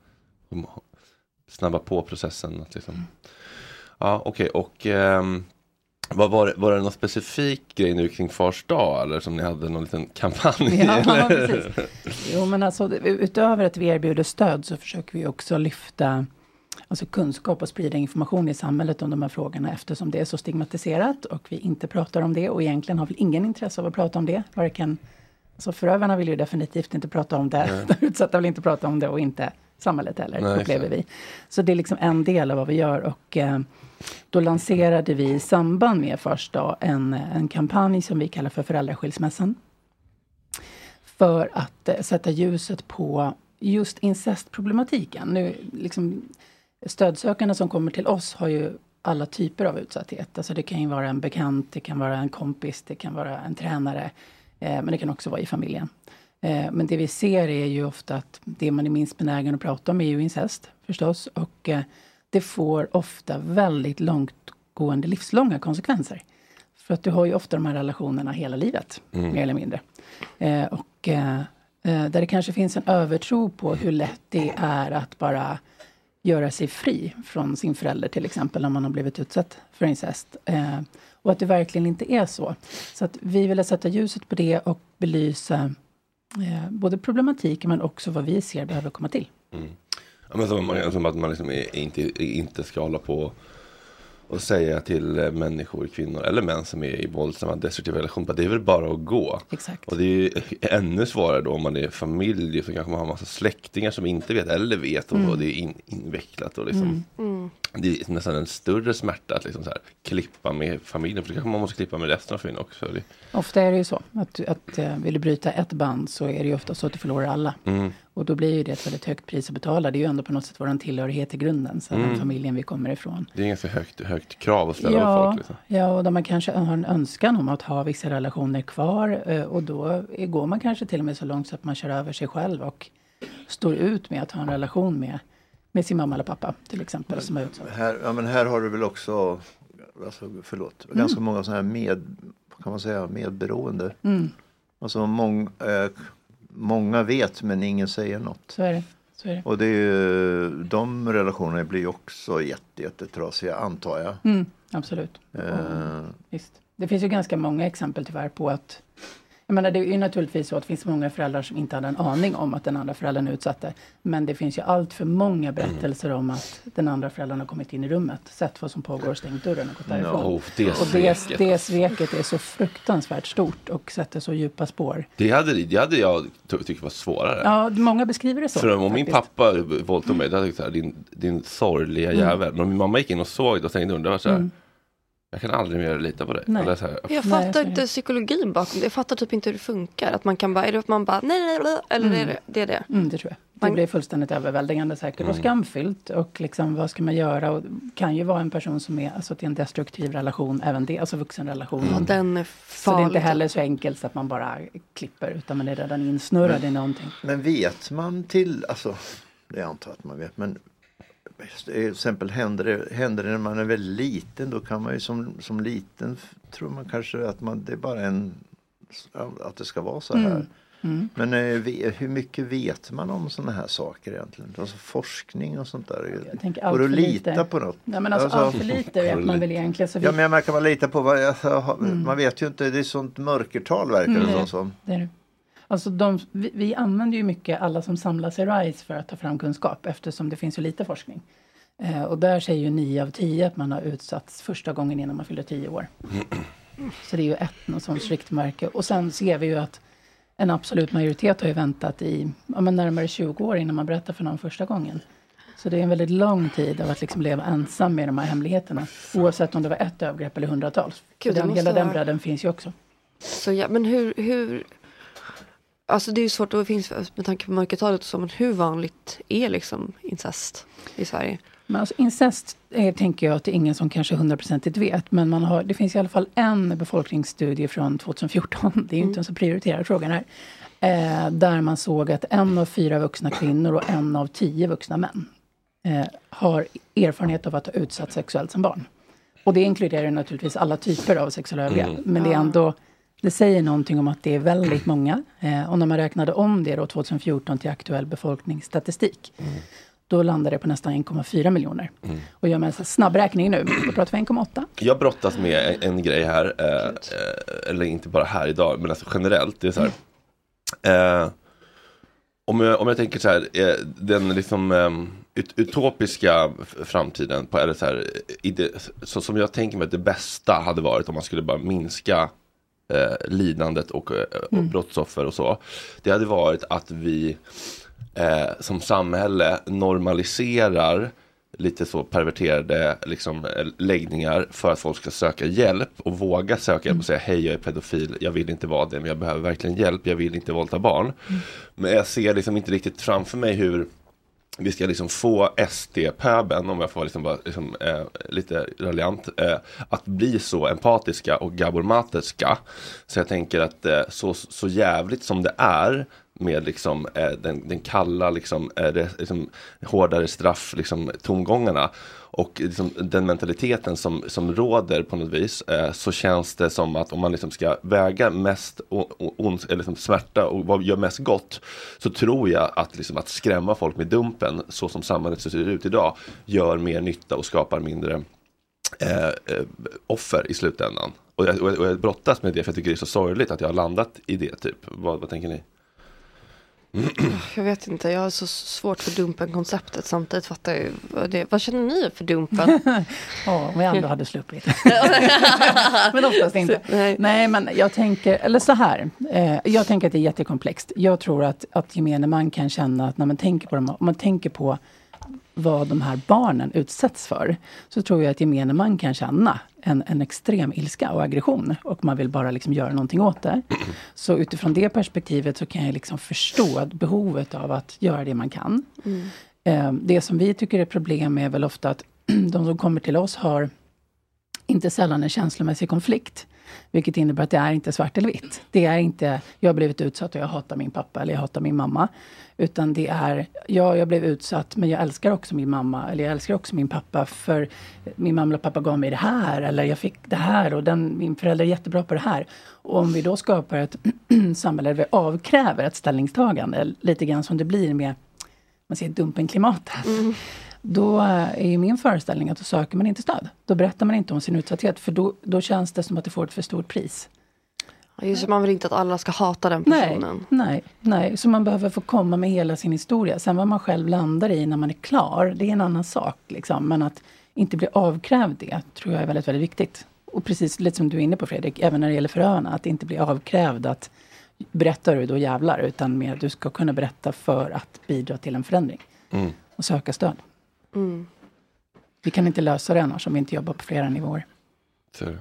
Speaker 5: komma- snabba på processen. Att
Speaker 12: Mm.
Speaker 5: liksom. Ja, okej. Och ehm, vad var, det, var det någon specifik grej nu kring Fars dag? Eller som ni hade någon liten kampanj?
Speaker 12: Ja,
Speaker 5: eller?
Speaker 12: precis. Jo, men alltså, utöver att vi erbjuder stöd så försöker vi också lyfta alltså kunskap och sprida information i samhället om de här frågorna eftersom det är så stigmatiserat och vi inte pratar om det och egentligen har väl ingen intresse av att prata om det. Varken, alltså förövarna vill ju definitivt inte prata om det,
Speaker 13: Nej.
Speaker 12: de utsatta vill inte prata om det och inte samhället heller,
Speaker 13: Nej,
Speaker 12: upplever vi.
Speaker 13: exakt.
Speaker 12: Så det är liksom en del av vad vi gör och eh, då lanserade vi i samband med Fars dag en, en kampanj som vi kallar för Föräldraskilsmässan för att eh, sätta ljuset på just incestproblematiken. Nu, liksom, stödsökande som kommer till oss har ju alla typer av utsatthet. Alltså det kan ju vara en bekant, det kan vara en kompis, det kan vara en tränare, eh, men det kan också vara i familjen. Eh, men det vi ser är ju ofta att det man är minst benägen att prata om är ju incest förstås. Och eh, det får ofta väldigt långtgående livslånga konsekvenser. För att du har ju ofta de här relationerna hela livet,
Speaker 13: Mm.
Speaker 12: mer eller mindre. Eh, och eh, eh, där det kanske finns en övertro på hur lätt det är att bara göra sig fri från sin förälder till exempel, om man har blivit utsatt för incest. Eh, och att det verkligen inte är så. Så att vi ville sätta ljuset på det och belysa eh, både problematiken men också vad vi ser behöver komma till.
Speaker 5: Mm. Ja, men som, man- som att man liksom är, inte, inte ska hålla på och säga till eh, människor, kvinnor eller män som är i våldsamma destruktiva relationer, att det är väl bara att gå.
Speaker 12: Exakt.
Speaker 5: Och det är ju ännu svårare då om man är familj, så kanske man har massa släktingar som inte vet eller vet och,
Speaker 12: Mm.
Speaker 5: och det är in, invecklat. Och liksom.
Speaker 12: Mm.
Speaker 9: Mm.
Speaker 5: det är nästan en större smärta att liksom så här, klippa med familjen. För det kanske man måste klippa med resten av familjen också. Det-
Speaker 12: Ofta är det ju så att, du- att eh, vill du bryta ett band så är det ju ofta så att du förlorar alla.
Speaker 5: Mm.
Speaker 12: Och då blir ju det ett väldigt högt pris att betala. Det är ju ändå på något sätt vår tillhörighet i grunden, så
Speaker 5: Mm.
Speaker 12: den familjen vi kommer ifrån.
Speaker 5: Det är ett ganska högt, högt krav att ställa på folk. Liksom.
Speaker 12: ja, och där man kanske har en önskan om att ha vissa relationer kvar. eh, Och då är- går man kanske till och med så långt så att man kör över sig själv och står ut med att ha en relation med, med sin mamma eller pappa till exempel. Som är utsatt.
Speaker 8: Här, ja, men här har du väl också, alltså, förlåt, ganska många sådana här med, kan man säga, medberoende.
Speaker 12: Mm.
Speaker 8: Alltså mång, eh, många vet men ingen säger något.
Speaker 12: Så är det. Så är det.
Speaker 8: Och det är ju, de relationerna blir ju också jätte, jättetrasiga antar jag.
Speaker 12: Mm, absolut.
Speaker 8: Eh,
Speaker 12: Visst. Det finns ju ganska många exempel tyvärr på att jag menar, det är ju naturligtvis så att det finns många föräldrar som inte hade en aning om att den andra föräldern utsatte. Men det finns ju allt för många berättelser om att den andra föräldern har kommit in i rummet, sett vad som pågår, stängt dörren och gått
Speaker 5: Ja,
Speaker 12: därifrån.
Speaker 5: oh, det
Speaker 12: och det,
Speaker 5: sveket. alltså.
Speaker 12: det sveket är så fruktansvärt stort och sätter så djupa spår.
Speaker 5: Det hade, det hade jag ty- tyckt var svårare.
Speaker 12: Ja, många beskriver det så.
Speaker 5: Äh. För om min
Speaker 12: faktiskt.
Speaker 5: pappa våldtog mig, då hade jag sagt så här, din, din sorgliga
Speaker 12: Mm.
Speaker 5: jävel. Men om min mamma gick in och såg det och tänkte, undrar så här,
Speaker 9: Mm.
Speaker 5: jag kan aldrig mer lita på dig.
Speaker 9: Nej.
Speaker 5: Eller så här,
Speaker 9: Jag fattar inte psykologin bakom det. Jag fattar typ inte hur det funkar. Att man kan bara, är det att man bara, nej, nej, nej, eller
Speaker 12: Mm.
Speaker 9: är det det? Är det?
Speaker 12: Mm, det tror jag. Det blir fullständigt överväldigande säkert och
Speaker 9: Mm.
Speaker 12: skamfyllt. Och liksom, vad ska man göra? Och det kan ju vara en person som är, alltså att det är en destruktiv relation, även det, alltså vuxenrelationen.
Speaker 8: Mm.
Speaker 9: Ja, den är
Speaker 12: Så det är inte
Speaker 9: farlig.
Speaker 12: heller så enkelt så att man bara klipper, utan man är redan insnurrad
Speaker 8: Mm.
Speaker 12: i någonting.
Speaker 8: Men vet man till, alltså, det antar jag att man vet, men till exempel händer det, händer det när man är väldigt liten, då kan man ju som, som liten f- tror man kanske att man, det är bara en, att det ska vara så här.
Speaker 12: Mm. Mm.
Speaker 8: Men eh, ve- hur mycket vet man om sådana här saker egentligen? Alltså forskning och sånt där.
Speaker 12: Jag tänker
Speaker 8: Går
Speaker 12: allt
Speaker 8: det att
Speaker 12: för lite.
Speaker 8: lita på något?
Speaker 12: Nej, men alltså, allt för lite vet man väl egentligen. Så vi,
Speaker 8: Ja men jag märker man litar på vad, alltså, ha-
Speaker 12: Mm.
Speaker 8: man vet ju inte, det är sånt mörkertal verkar
Speaker 12: Mm.
Speaker 8: det som, som.
Speaker 12: det är det. Alltså de, vi, vi använder ju mycket alla som samlas i RISE för att ta fram kunskap eftersom det finns så lite forskning. Eh, och där säger ju 9 av 10 att man har utsatts första gången innan man fyller 10 år. Så det är ju ett något sånt riktmärke. Och sen ser vi ju att en absolut majoritet har ju väntat i ja, men närmare 20 år innan man berättar för någon första gången. Så det är en väldigt lång tid av att liksom leva ensam med de här hemligheterna. Oavsett om det var ett övergrepp eller hundratals.
Speaker 9: Gud,
Speaker 12: Så
Speaker 9: det
Speaker 12: den,
Speaker 9: måste
Speaker 12: hela den
Speaker 9: vara-
Speaker 12: bredden finns ju också.
Speaker 9: Så ja, men hur, hur, alltså det är ju svårt att det finns med tanke på mörkertalet och så, men hur vanligt är liksom incest i Sverige?
Speaker 12: Men alltså incest eh, tänker jag att det är ingen som kanske hundraprocentigt vet. Men man har, det finns i alla fall en befolkningsstudie från 2014. Det är ju inte en så prioriterad fråga här. Eh, där man såg att en av fyra vuxna kvinnor och en av tio vuxna män eh, har erfarenhet av att ha utsatts sexuellt som barn. Och det inkluderar ju naturligtvis alla typer av sexuella övergrepp.
Speaker 13: Mm.
Speaker 12: Men liksom, det är ändå, det säger någonting om att det är väldigt många. Eh, och när man räknade om det då 2014 till aktuell befolkningsstatistik, då landade det på nästan 1,4 miljoner.
Speaker 5: Mm.
Speaker 12: Och gör man en sån här snabbräkning nu, då pratar vi 1,8.
Speaker 5: Jag brottas med en, en grej här, eh, eh, eller inte bara här idag, men alltså generellt. Det är så här, eh, om, jag, om jag tänker så här, eh, den liksom ehm, ut, utopiska f- framtiden, på, eller så här, eh, ide, så, som jag tänker mig att det bästa hade varit om man skulle bara minska eh, lidandet och, eh, och
Speaker 14: Mm.
Speaker 5: brottsoffer och så. Det hade varit att vi eh, som samhälle normaliserar lite så perverterade liksom, eh, läggningar för att folk ska söka hjälp och våga söka hjälp och säga hej jag är pedofil, jag vill inte vara det men jag behöver verkligen hjälp, jag vill inte våldta barn. Men jag ser liksom inte riktigt framför mig hur vi ska liksom få SD-pöben, om jag får vara liksom bara, liksom, eh, lite raljant, eh, att bli så empatiska och gabormatiska. Så jag tänker att eh, så, så jävligt som det är med liksom, eh, den, den kalla, liksom, eh, det, liksom, hårdare straff, liksom, tomgångarna och liksom, den mentaliteten som, som råder på något vis eh, så känns det som att om man liksom ska väga mest o- o- ons, eller liksom smärta och vad gör mest gott så tror jag att, liksom, att skrämma folk med dumpen så som samhället ser ut idag gör mer nytta och skapar mindre eh, eh, offer i slutändan. Och jag, och, jag, och jag brottas med det för jag tycker det är så sorgligt att jag har landat i det typ. Vad, vad tänker ni?
Speaker 9: Jag vet inte, jag har så svårt för Dumpen-konceptet samtidigt fattar jag ju vad det, vad känner ni för Dumpen?
Speaker 12: Ja, om vi ändå hade sluppit. men oftast inte. Nej. men jag tänker, eller så här. Eh, jag tänker att det är jättekomplext. Jag tror att, att gemene man kan känna att när man tänker på dem, om man tänker på vad de här barnen utsätts för, så tror jag att gemene man kan känna en, en extrem ilska och aggression och man vill bara liksom göra någonting åt det. Så utifrån det perspektivet så kan jag liksom förstå att behovet av att göra det man kan.
Speaker 13: Mm.
Speaker 12: Eh, Det som vi tycker är problem är väl ofta att de som kommer till oss har inte sällan en känslomässig konflikt. Vilket innebär att det är inte svart eller vitt. Det är inte, jag har blivit utsatt och jag hatar min pappa eller jag hatar min mamma. Utan det är, ja, jag blev utsatt men jag älskar också min mamma eller jag älskar också min pappa för min mamma och pappa gav mig det här eller jag fick det här och den, min förälder är jättebra på det här. Och om vi då skapar ett samhälle där vi avkräver ett ställningstagande, lite grann som det blir med man säger Dumpenklimatet.
Speaker 9: Mm.
Speaker 12: Då eh, är ju min föreställning att då söker man inte stöd. Då berättar man inte om sin utsatthet för då, då känns det som att det får ett för stort pris.
Speaker 9: Ja, Just det, man vill inte att alla ska hata den personen.
Speaker 12: Nej, nej, så man behöver få komma med hela sin historia. Sen vad man själv landar i när man är klar, det är en annan sak. Liksom. Men att inte bli avkrävd det tror jag är väldigt, väldigt viktigt. Och precis lite som du är inne på Fredrik, även när det gäller förövarna, att inte bli avkrävd att berättar du, då jävlar. Utan mer att du ska kunna berätta för att bidra till en förändring
Speaker 5: Mm.
Speaker 12: och söka stöd. Vi kan inte lösa det annars om vi inte jobbar på flera nivåer.
Speaker 5: Så är det.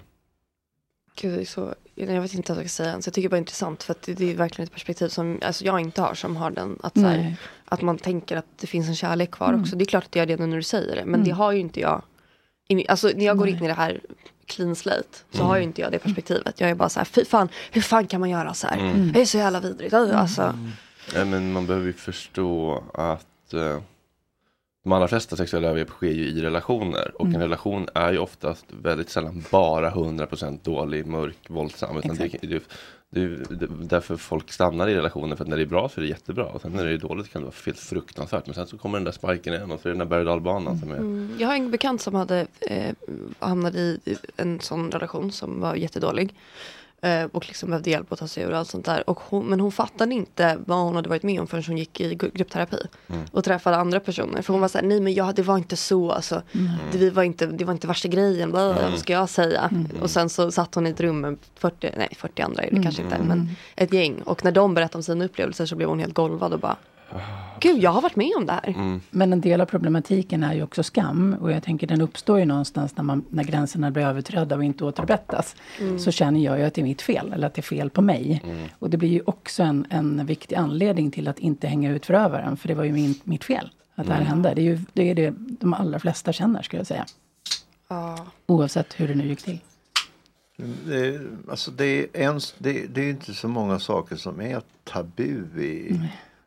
Speaker 9: Gud, det är så, jag vet inte vad jag ska säga ens. Jag tycker bara det är intressant för att det, det är verkligen ett perspektiv som alltså jag inte har som har den. Att, så här,
Speaker 12: Nej.
Speaker 9: att man tänker att det finns en kärlek kvar
Speaker 12: Mm.
Speaker 9: också. Det är klart att jag gör det nu när du säger det. Men
Speaker 12: Mm.
Speaker 9: det har ju inte jag. i min- Alltså när jag går in
Speaker 12: Nej.
Speaker 9: i det här clean slate så har ju inte jag det perspektivet. Jag är bara så här, fy fan, hur fan kan man göra så här?
Speaker 5: Mm.
Speaker 9: Det är så jävla vidrigt. Alltså,
Speaker 5: Nej, men man behöver ju förstå att eh, de allra flesta sexuella övergrepp sker ju i relationer. Och en
Speaker 14: Mm.
Speaker 5: relation är ju oftast väldigt sällan bara 100% dålig, mörk, våldsam. Utan det, det, det, det, därför folk stannar i relationer. För att när det är bra så är det jättebra. Och sen när det är dåligt kan det vara helt fruktansvärt. Men sen så kommer den där spiken igen och så är det den där berg och dalbanan som är...
Speaker 9: Mm. Jag har en bekant som hade eh, hamnade i en sån relation som var jättedålig. Eh, och liksom behövde hjälp att ta sig ur och allt sånt där. Och hon, men hon fattade inte vad hon hade varit med om förrän hon gick i gru- gruppterapi.
Speaker 13: Mm.
Speaker 9: Och träffade andra personer. För hon var såhär, nej men jag, det var inte så. Alltså, det, vi var inte, det var inte värsta grejen. Blah,
Speaker 13: Mm.
Speaker 9: Vad ska jag säga? Och sen så satt hon i ett rum med 40, nej 40 andra är det
Speaker 13: Mm.
Speaker 9: kanske inte.
Speaker 13: Mm.
Speaker 9: Men ett gäng. Och när de berättade om sina upplevelser så blev hon helt golvad och bara, gud jag har varit med om det här.
Speaker 12: Men en del av problematiken är ju också skam. Och jag tänker den uppstår ju någonstans när, man, när gränserna blir överträdda och inte återberättas.
Speaker 13: Mm.
Speaker 12: Så känner jag ju att det är mitt fel, eller att det är fel på mig. Och det blir ju också en, en viktig anledning till att inte hänga ut förövaren. För det var ju min, mitt fel att det här
Speaker 13: Mm.
Speaker 12: hände. Det är ju det, är det de allra flesta känner skulle jag säga.
Speaker 9: Ja.
Speaker 12: Oavsett hur det nu gick till.
Speaker 8: Det är, alltså det, är en, det, det är inte så många saker som är tabu i,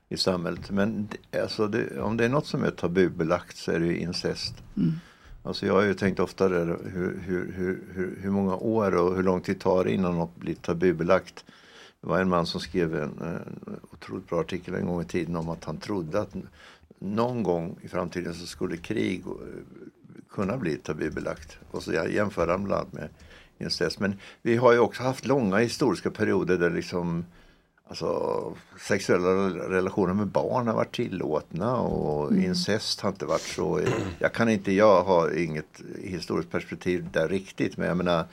Speaker 8: i samhället. Men det, alltså det, om det är något som är tabubelagt så är det ju incest.
Speaker 13: Mm.
Speaker 8: Alltså jag har ju tänkt ofta där hur, hur, hur, hur, hur många år och hur lång tid tar det innan något blir tabubelagt. Det var en man som skrev en, en otroligt bra artikel en gång i tiden om att han trodde att någon gång i framtiden så skulle krig eh, kunna bli tabubelagt. Och så jag jämför han bland annat med incest. Men vi har ju också haft långa historiska perioder där liksom alltså, sexuella rel- relationer med barn har varit tillåtna och
Speaker 13: Mm.
Speaker 8: incest har inte varit så. Jag kan inte, jag har inget historiskt perspektiv där riktigt men jag menar.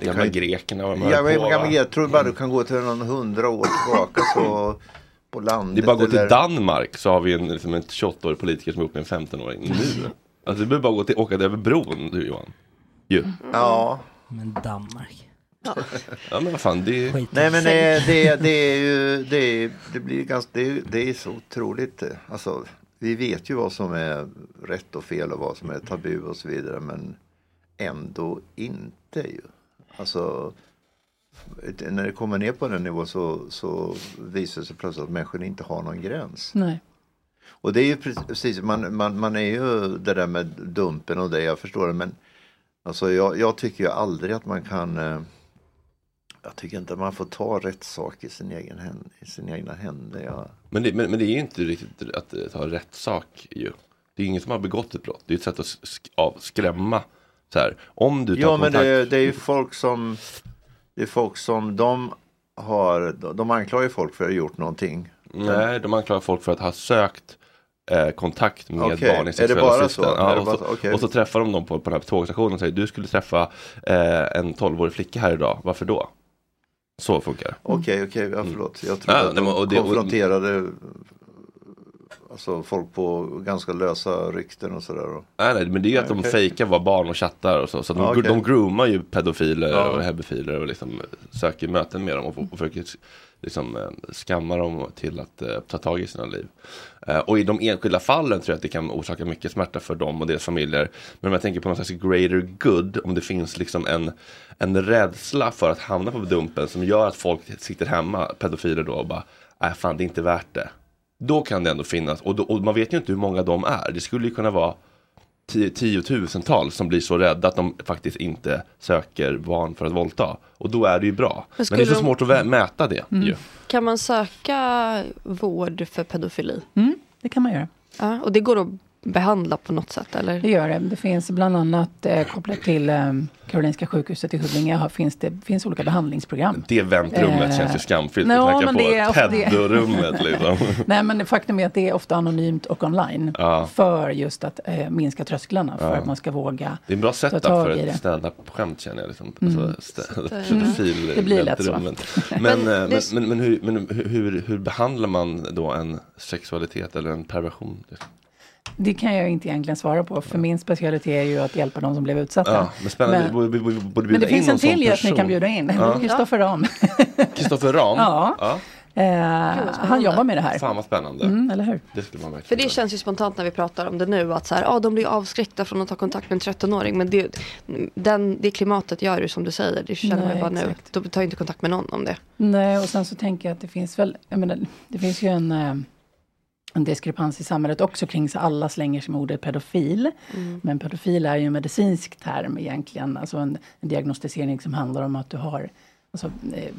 Speaker 8: det
Speaker 5: gamla
Speaker 8: ju-
Speaker 5: grekerna
Speaker 8: Ja,
Speaker 5: var med
Speaker 8: men
Speaker 5: på, va?
Speaker 8: gamla greker, jag tror bara du kan gå till någon hundra år tillbaka så på landet.
Speaker 5: Det är bara att gå
Speaker 8: eller-
Speaker 5: till Danmark så har vi en, liksom en 28-årig politiker som är ihop med en 15-åring nu. Alltså du behöver bara gå till, åka över bron du Johan. Ju.
Speaker 8: Ja.
Speaker 10: Men Danmark.
Speaker 5: Ja men vad fan det är...
Speaker 8: Nej men det, det, det är ju, det, är, det blir ganska, det, är- det är så otroligt, eh, alltså vi vet ju vad som är rätt och fel och vad som är tabu och så vidare men ändå inte ju. Alltså det- när det kommer ner på den nivån så, så visar det sig plötsligt att människan inte har någon gräns.
Speaker 12: Nej.
Speaker 8: Och det är ju precis, man, man, man är ju det där med dumpen och det, jag förstår det men alltså jag, jag tycker ju aldrig att man kan eh, jag tycker inte man får ta rätt sak i sin egen hän- i sina egna händer. Jag,
Speaker 5: Men det, men, men det är ju inte riktigt att eh, ta rätt sak ju. Det är ingen som har begått ett brott. Det är ett sätt att sk- av, skrämma. Så här, om du tar
Speaker 8: ja, men
Speaker 5: kontakt.
Speaker 8: det, är- det är ju folk som det är folk som de har, de anklagar ju folk för att ha gjort någonting.
Speaker 5: Nej, de anklagar folk för att ha sökt eh, kontakt med
Speaker 8: Okej,
Speaker 5: barn i
Speaker 8: är det
Speaker 5: sexuella
Speaker 8: bara så?
Speaker 5: syften.
Speaker 8: Är
Speaker 5: Ja,
Speaker 8: det
Speaker 5: och,
Speaker 8: bara
Speaker 5: så,
Speaker 8: så? Okej.
Speaker 5: och så träffar de dem på, på den här tågstationen och säger du skulle träffa eh, en 12-årig flicka här idag, varför då? Så funkar det.
Speaker 8: Okej, okej, ja, förlåt. Jag
Speaker 5: Mm. Ja,
Speaker 8: tror att
Speaker 5: nej, men-
Speaker 8: de
Speaker 5: och det- och-
Speaker 8: konfronterade Alltså folk på ganska lösa rykten och sådär. och-
Speaker 5: Nej, nej, men det är ju att de
Speaker 8: Okej.
Speaker 5: fejkar var barn och chattar och så. Så att de,
Speaker 8: Ja, okej.
Speaker 5: de groomar ju pedofiler
Speaker 8: Ja.
Speaker 5: och hebefiler och liksom söker möten med dem och, och försöker liksom eh, skamma dem till att eh, ta tag i sina liv. Eh, och i de enskilda fallen tror jag att det kan orsaka mycket smärta för dem och deras familjer. Men om jag tänker på någon slags greater good, om det finns liksom en, en rädsla för att hamna på dumpen som gör att folk sitter hemma, pedofiler då, och bara, nej fan det är inte värt det. Då kan det ändå finnas, och, då, och man vet ju inte hur många de är. Det skulle ju kunna vara tio- tiotusentals som blir så rädda att de faktiskt inte söker barn för att våldta. Och då är det ju bra.
Speaker 9: Men
Speaker 5: Men, det är så
Speaker 9: skulle de-
Speaker 5: svårt att vä- mäta det.
Speaker 9: Mm.
Speaker 5: Ju.
Speaker 9: Kan man söka vård för pedofili?
Speaker 12: Det kan man göra.
Speaker 9: Ja, och det går
Speaker 12: Eh,
Speaker 9: att behandla på något sätt eller?
Speaker 12: Det gör det. Det finns bland annat eh, kopplat till eh, Karolinska sjukhuset i Huddinge har- finns det finns olika behandlingsprogram.
Speaker 5: Det väntrummet
Speaker 12: Eh,
Speaker 5: känns ju skamfyllt.
Speaker 12: nå,
Speaker 5: att
Speaker 12: men
Speaker 5: knacka
Speaker 12: det är
Speaker 5: på
Speaker 12: ofta det.
Speaker 5: Ted-rummet liksom.
Speaker 12: Nej, men faktum är att det är ofta anonymt och online
Speaker 5: Ja.
Speaker 12: för just att eh, minska trösklarna för
Speaker 5: Ja.
Speaker 12: att man ska våga
Speaker 5: Det är en bra setup
Speaker 12: tag
Speaker 5: för
Speaker 12: i det.
Speaker 5: ett standup-skämt känner jag. Liksom.
Speaker 12: Mm.
Speaker 5: Alltså, stä-
Speaker 12: Så att, eh,
Speaker 5: pedofil
Speaker 12: det blir lätt så.
Speaker 5: väntrummet.
Speaker 12: Men
Speaker 5: Men,
Speaker 12: det-
Speaker 5: eh, men, men, men, hur, men hur- hur, hur behandlar man då en sexualitet eller en perversion? liksom?
Speaker 12: Det kan jag inte egentligen svara på, för min specialitet är ju att hjälpa de som blev utsatta.
Speaker 5: Ja, men spännande,
Speaker 12: Men-
Speaker 5: vi borde, vi borde bjuda
Speaker 12: Men det
Speaker 5: in
Speaker 12: finns en
Speaker 5: någon sån
Speaker 12: till gäst ni
Speaker 5: person.
Speaker 12: kan bjuda in,
Speaker 5: Ja.
Speaker 12: Kristoffer Ram.
Speaker 5: Kristoffer Ram?
Speaker 12: Ja. Eh, han jobbar med det här.
Speaker 5: Fan vad spännande.
Speaker 12: Mm, eller hur?
Speaker 5: Det skulle man verkligen
Speaker 9: För det känns ju spontant när vi pratar om det nu att så här, ah, de blir ju avskräckta från att ta kontakt med en 13-åring. Men det, den, det klimatet gör ju som du säger, det känner man
Speaker 12: Nej,
Speaker 9: ju bara nu.
Speaker 12: exakt.
Speaker 9: Då tar jag inte kontakt med någon om det.
Speaker 12: Nej, och sen så tänker jag att det finns väl, jag menar, det finns ju en, eh, en diskrepans i samhället också kring så alla slänger sig med ordet pedofil.
Speaker 9: Mm.
Speaker 12: Men pedofil är ju en medicinsk term egentligen, alltså en, en diagnostisering som handlar om att du har alltså, eh,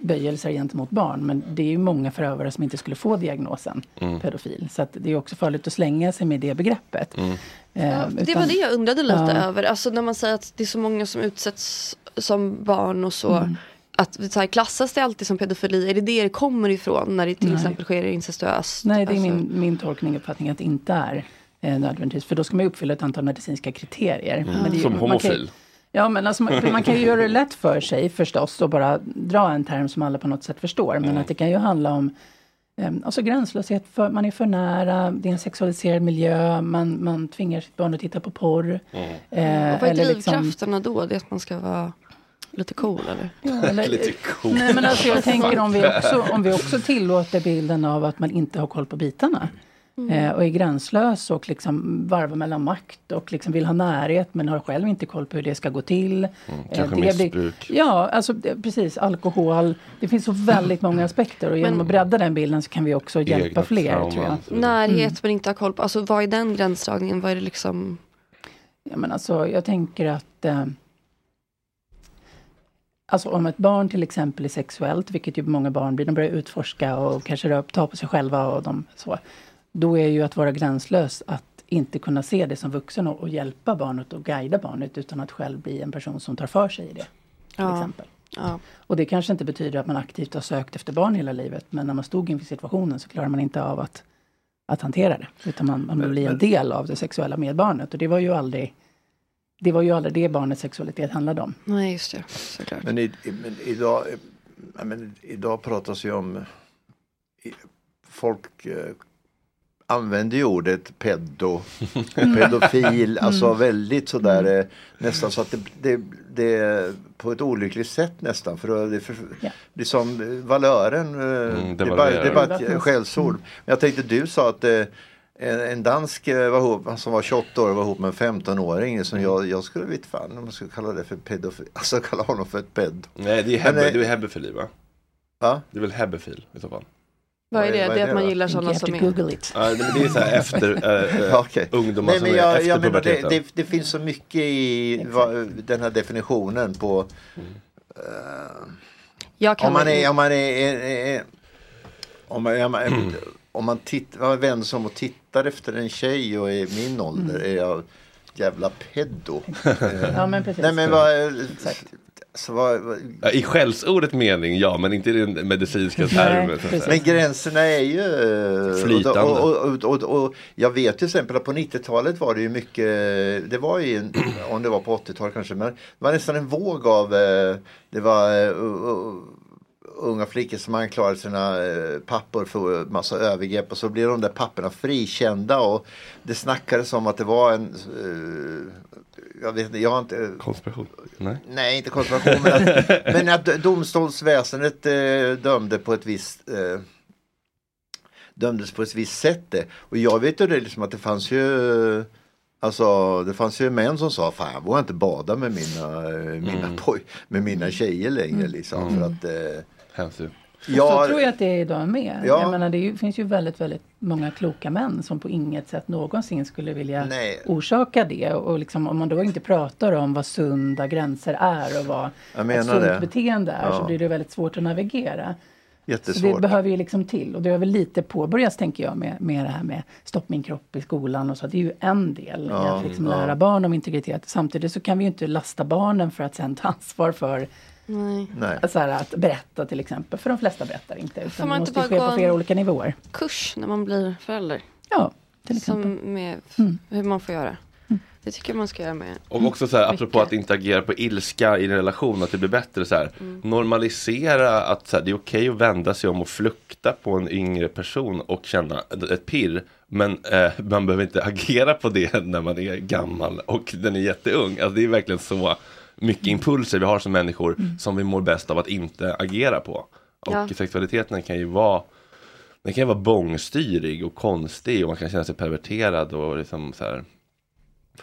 Speaker 12: böjelser gentemot barn. Men det är ju många förövare som inte skulle få diagnosen
Speaker 9: Mm.
Speaker 12: pedofil. Så att det är ju också farligt att slänga sig med det begreppet. Eh,
Speaker 9: det var
Speaker 12: utan-
Speaker 9: det jag undrade lite
Speaker 12: Ja.
Speaker 9: över. Alltså när man säger att det är så många som utsätts som barn och så.
Speaker 12: Mm.
Speaker 9: Att så här, klassas det alltid som pedofili? Är det det det kommer ifrån när det till
Speaker 12: Nej.
Speaker 9: exempel sker incestuöst?
Speaker 12: Nej, det är
Speaker 9: Alltså-
Speaker 12: min, min tolkning och uppfattning att det inte är eh, nödvändigtvis. För då ska man ju uppfylla ett antal medicinska kriterier.
Speaker 5: Mm.
Speaker 12: Men det är ju-
Speaker 5: Som
Speaker 12: man kan ju-
Speaker 5: homofil.
Speaker 12: Ja, men alltså, man, för man kan ju göra det lätt för sig förstås och bara dra en term som alla på något sätt förstår. Men
Speaker 9: Mm.
Speaker 12: att det kan ju handla om eh, alltså gränslöshet, för, man är för nära, det är en sexualiserad miljö, man, man tvingar sitt barn att titta på porr.
Speaker 5: Mm.
Speaker 12: Eh,
Speaker 9: och vad är
Speaker 12: eller liksom-
Speaker 9: drivkrafterna då? Det är att man ska vara lite cool eller?
Speaker 12: Ja, eller-
Speaker 5: Lite cool.
Speaker 12: Nej, men alltså, jag tänker om vi,
Speaker 5: Fuck.
Speaker 12: också, om vi också tillåter bilden av att man inte har koll på bitarna.
Speaker 9: Mm.
Speaker 12: Eh, och är gränslös och liksom varvar mellan makt och liksom vill ha närhet men har själv inte koll på hur det ska gå till.
Speaker 5: Mm,
Speaker 12: Eh,
Speaker 5: kanske
Speaker 12: det blir-
Speaker 5: missbruk.
Speaker 12: ja, alltså det, precis. Alkohol. Det finns så väldigt många aspekter och genom
Speaker 9: Men-
Speaker 12: att bredda den bilden så kan vi också hjälpa
Speaker 5: Egna
Speaker 12: fler
Speaker 5: trauman.
Speaker 12: tror jag.
Speaker 9: Närhet men inte ha koll på, alltså vad är den gränsdragningen? Vad är det liksom?
Speaker 12: Ja, men alltså, jag tänker att eh, Alltså om ett barn till exempel är sexuellt, vilket ju många barn blir, de börjar utforska och kanske rör- ta på sig själva och de, så. Då är ju att vara gränslös att inte kunna se det som vuxen och, och hjälpa barnet och guida barnet utan att själv bli en person som tar för sig i det. Till
Speaker 9: Ja.
Speaker 12: exempel.
Speaker 9: Ja.
Speaker 12: Och det kanske inte betyder att man aktivt har sökt efter barn hela livet, men när man stod inför situationen så klarar man inte av att, att hantera det, utan man, man blir en del av det sexuella med barnet. Och det var ju aldrig det var ju aldrig det barnets sexualitet handlade om.
Speaker 9: Nej just det, såklart.
Speaker 8: Men, i, i- men idag, ja, men idag pratas ju om i- folk eh, använder ju ordet pedo, pedofil, alltså väldigt sådär eh, nästan så att det, det, det är på ett olyckligt sätt nästan för då är det för, liksom eh, valören, eh,
Speaker 5: Mm,
Speaker 8: det, är bara,
Speaker 5: devalverar.
Speaker 8: det är bara
Speaker 5: Vattnas.
Speaker 8: ett skällsord.
Speaker 5: Mm.
Speaker 8: Men jag tänkte du sa att eh, en en dansk eh, var ihop, som var 28 år var ihop med en 15-åring.
Speaker 5: Mm.
Speaker 8: Som jag, jag skulle veta fan om man skulle kalla det för pedofil. Alltså kalla honom för ett pedo.
Speaker 5: Nej, det
Speaker 8: Men,
Speaker 5: är, hebbe,
Speaker 8: eh,
Speaker 5: det är hebefili va?
Speaker 8: Va?
Speaker 5: Det är väl hebefil i så fall.
Speaker 9: Vad är
Speaker 8: vad
Speaker 9: det?
Speaker 8: är
Speaker 9: det är
Speaker 8: det
Speaker 9: att man
Speaker 8: då?
Speaker 9: gillar
Speaker 12: You
Speaker 9: sådana
Speaker 12: have to
Speaker 9: som
Speaker 12: google it.
Speaker 5: Ja, nej, men det är så här efter eh, eh,
Speaker 8: Okej.
Speaker 5: ungdomar
Speaker 8: Nej,
Speaker 5: som
Speaker 8: men
Speaker 5: är
Speaker 8: jag,
Speaker 5: efter
Speaker 8: jag menar, det,
Speaker 5: puberteten.
Speaker 8: det, det finns så mycket i va, den här definitionen på eh,
Speaker 9: Jag kan
Speaker 8: om man
Speaker 9: väl-
Speaker 8: är, om man är, är, är, är om man, om
Speaker 5: Mm.
Speaker 8: man, om man, titt, om man vänder sig om och tittar efter en tjej och är min ålder är jag jävla pedo.
Speaker 12: Mm. Ja, men precis.
Speaker 8: Nej men vad,
Speaker 12: Exakt.
Speaker 8: så vad, vad
Speaker 5: Ja, I skällsordet mening ja, men inte i den medicinska termen. så att säga.
Speaker 8: Men gränserna är ju eh,
Speaker 5: Flytande.
Speaker 8: Och, och, och, och, och jag vet till exempel att på 90-talet var det ju mycket, det var ju, en, om det var på 80-talet kanske, men det var nästan en våg av, eh, det var eh, u- u- unga flickor som anklagar sina eh, pappor för massa övergrepp och så blir de där papporna frikända och det snackades om att det var en eh, jag vet inte, jag har inte
Speaker 5: Konspiration? Nej.
Speaker 8: Nej, inte konspiration. Men att, men att domstolsväsendet eh, dömde på ett visst eh, dömdes på ett visst sätt. Det. Och jag vet ju det liksom att det fanns ju Alltså det fanns ju män som sa fan jag vågar inte bada med mina, eh, mina, poj- med mina tjejer längre liksom. För att, eh,
Speaker 5: Hemskt ju.
Speaker 12: Så tror jag att det är idag med.
Speaker 8: Ja.
Speaker 12: Jag menar, det är ju- finns ju väldigt, väldigt många kloka män som på inget sätt någonsin skulle vilja orsaka det. Och liksom, om man då inte pratar om vad sunda gränser är och vad
Speaker 8: Jag menar
Speaker 12: ett sunt
Speaker 8: det.
Speaker 12: beteende är så
Speaker 8: Ja.
Speaker 12: blir det väldigt svårt att navigera. Så det
Speaker 8: jättesvårt.
Speaker 12: behöver ju liksom till. Och det har väl lite påbörjats tänker jag med, med det här med stopp min kropp i skolan och så. Det är ju en del i
Speaker 8: Ja,
Speaker 12: att liksom
Speaker 8: ja.
Speaker 12: lära barn om integritet. Samtidigt så kan vi ju inte lasta barnen för att sen ta ansvar för
Speaker 9: Nej.
Speaker 12: Så här, att berätta till exempel. För de flesta berättar inte.
Speaker 9: Får
Speaker 12: Utan
Speaker 9: man
Speaker 12: det
Speaker 9: inte
Speaker 12: måste
Speaker 9: bara
Speaker 12: ju ske
Speaker 9: gå
Speaker 12: på flera
Speaker 9: en-
Speaker 12: olika nivåer.
Speaker 9: Kurs när man blir förälder.
Speaker 12: Ja, Mm.
Speaker 9: till exempel. Som med hur man får göra. Det tycker jag man ska göra med.
Speaker 5: Och också så här, apropå att inte agera på ilska i en relation, att det blir bättre så här. Normalisera att så här, det är okej att vända sig om och flukta på en yngre person och känna ett- ett pirr. Men eh, man behöver inte agera på det när man är gammal och den är jätteung. Alltså, det är verkligen så mycket impulser vi har som människor som vi mår bäst av att inte agera på. Och
Speaker 1: Ja.
Speaker 5: sexualiteten kan ju vara den kan ju vara bångstyrig och konstig och man kan känna sig perverterad och liksom så här.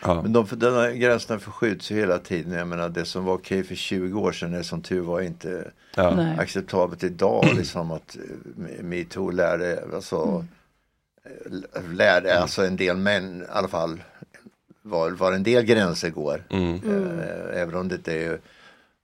Speaker 5: Ja.
Speaker 8: Men de, för den här gränserna förskjuts ju hela tiden. Jag menar det som var okej för 20 år sedan är som tur var inte
Speaker 5: Ja. Nej.
Speaker 8: acceptabelt idag. Liksom att eh, me- metoo lärde, alltså, eh, lärde alltså en del män i alla fall var, var en del gränser går.
Speaker 5: Mm.
Speaker 8: Eh, Även om det inte är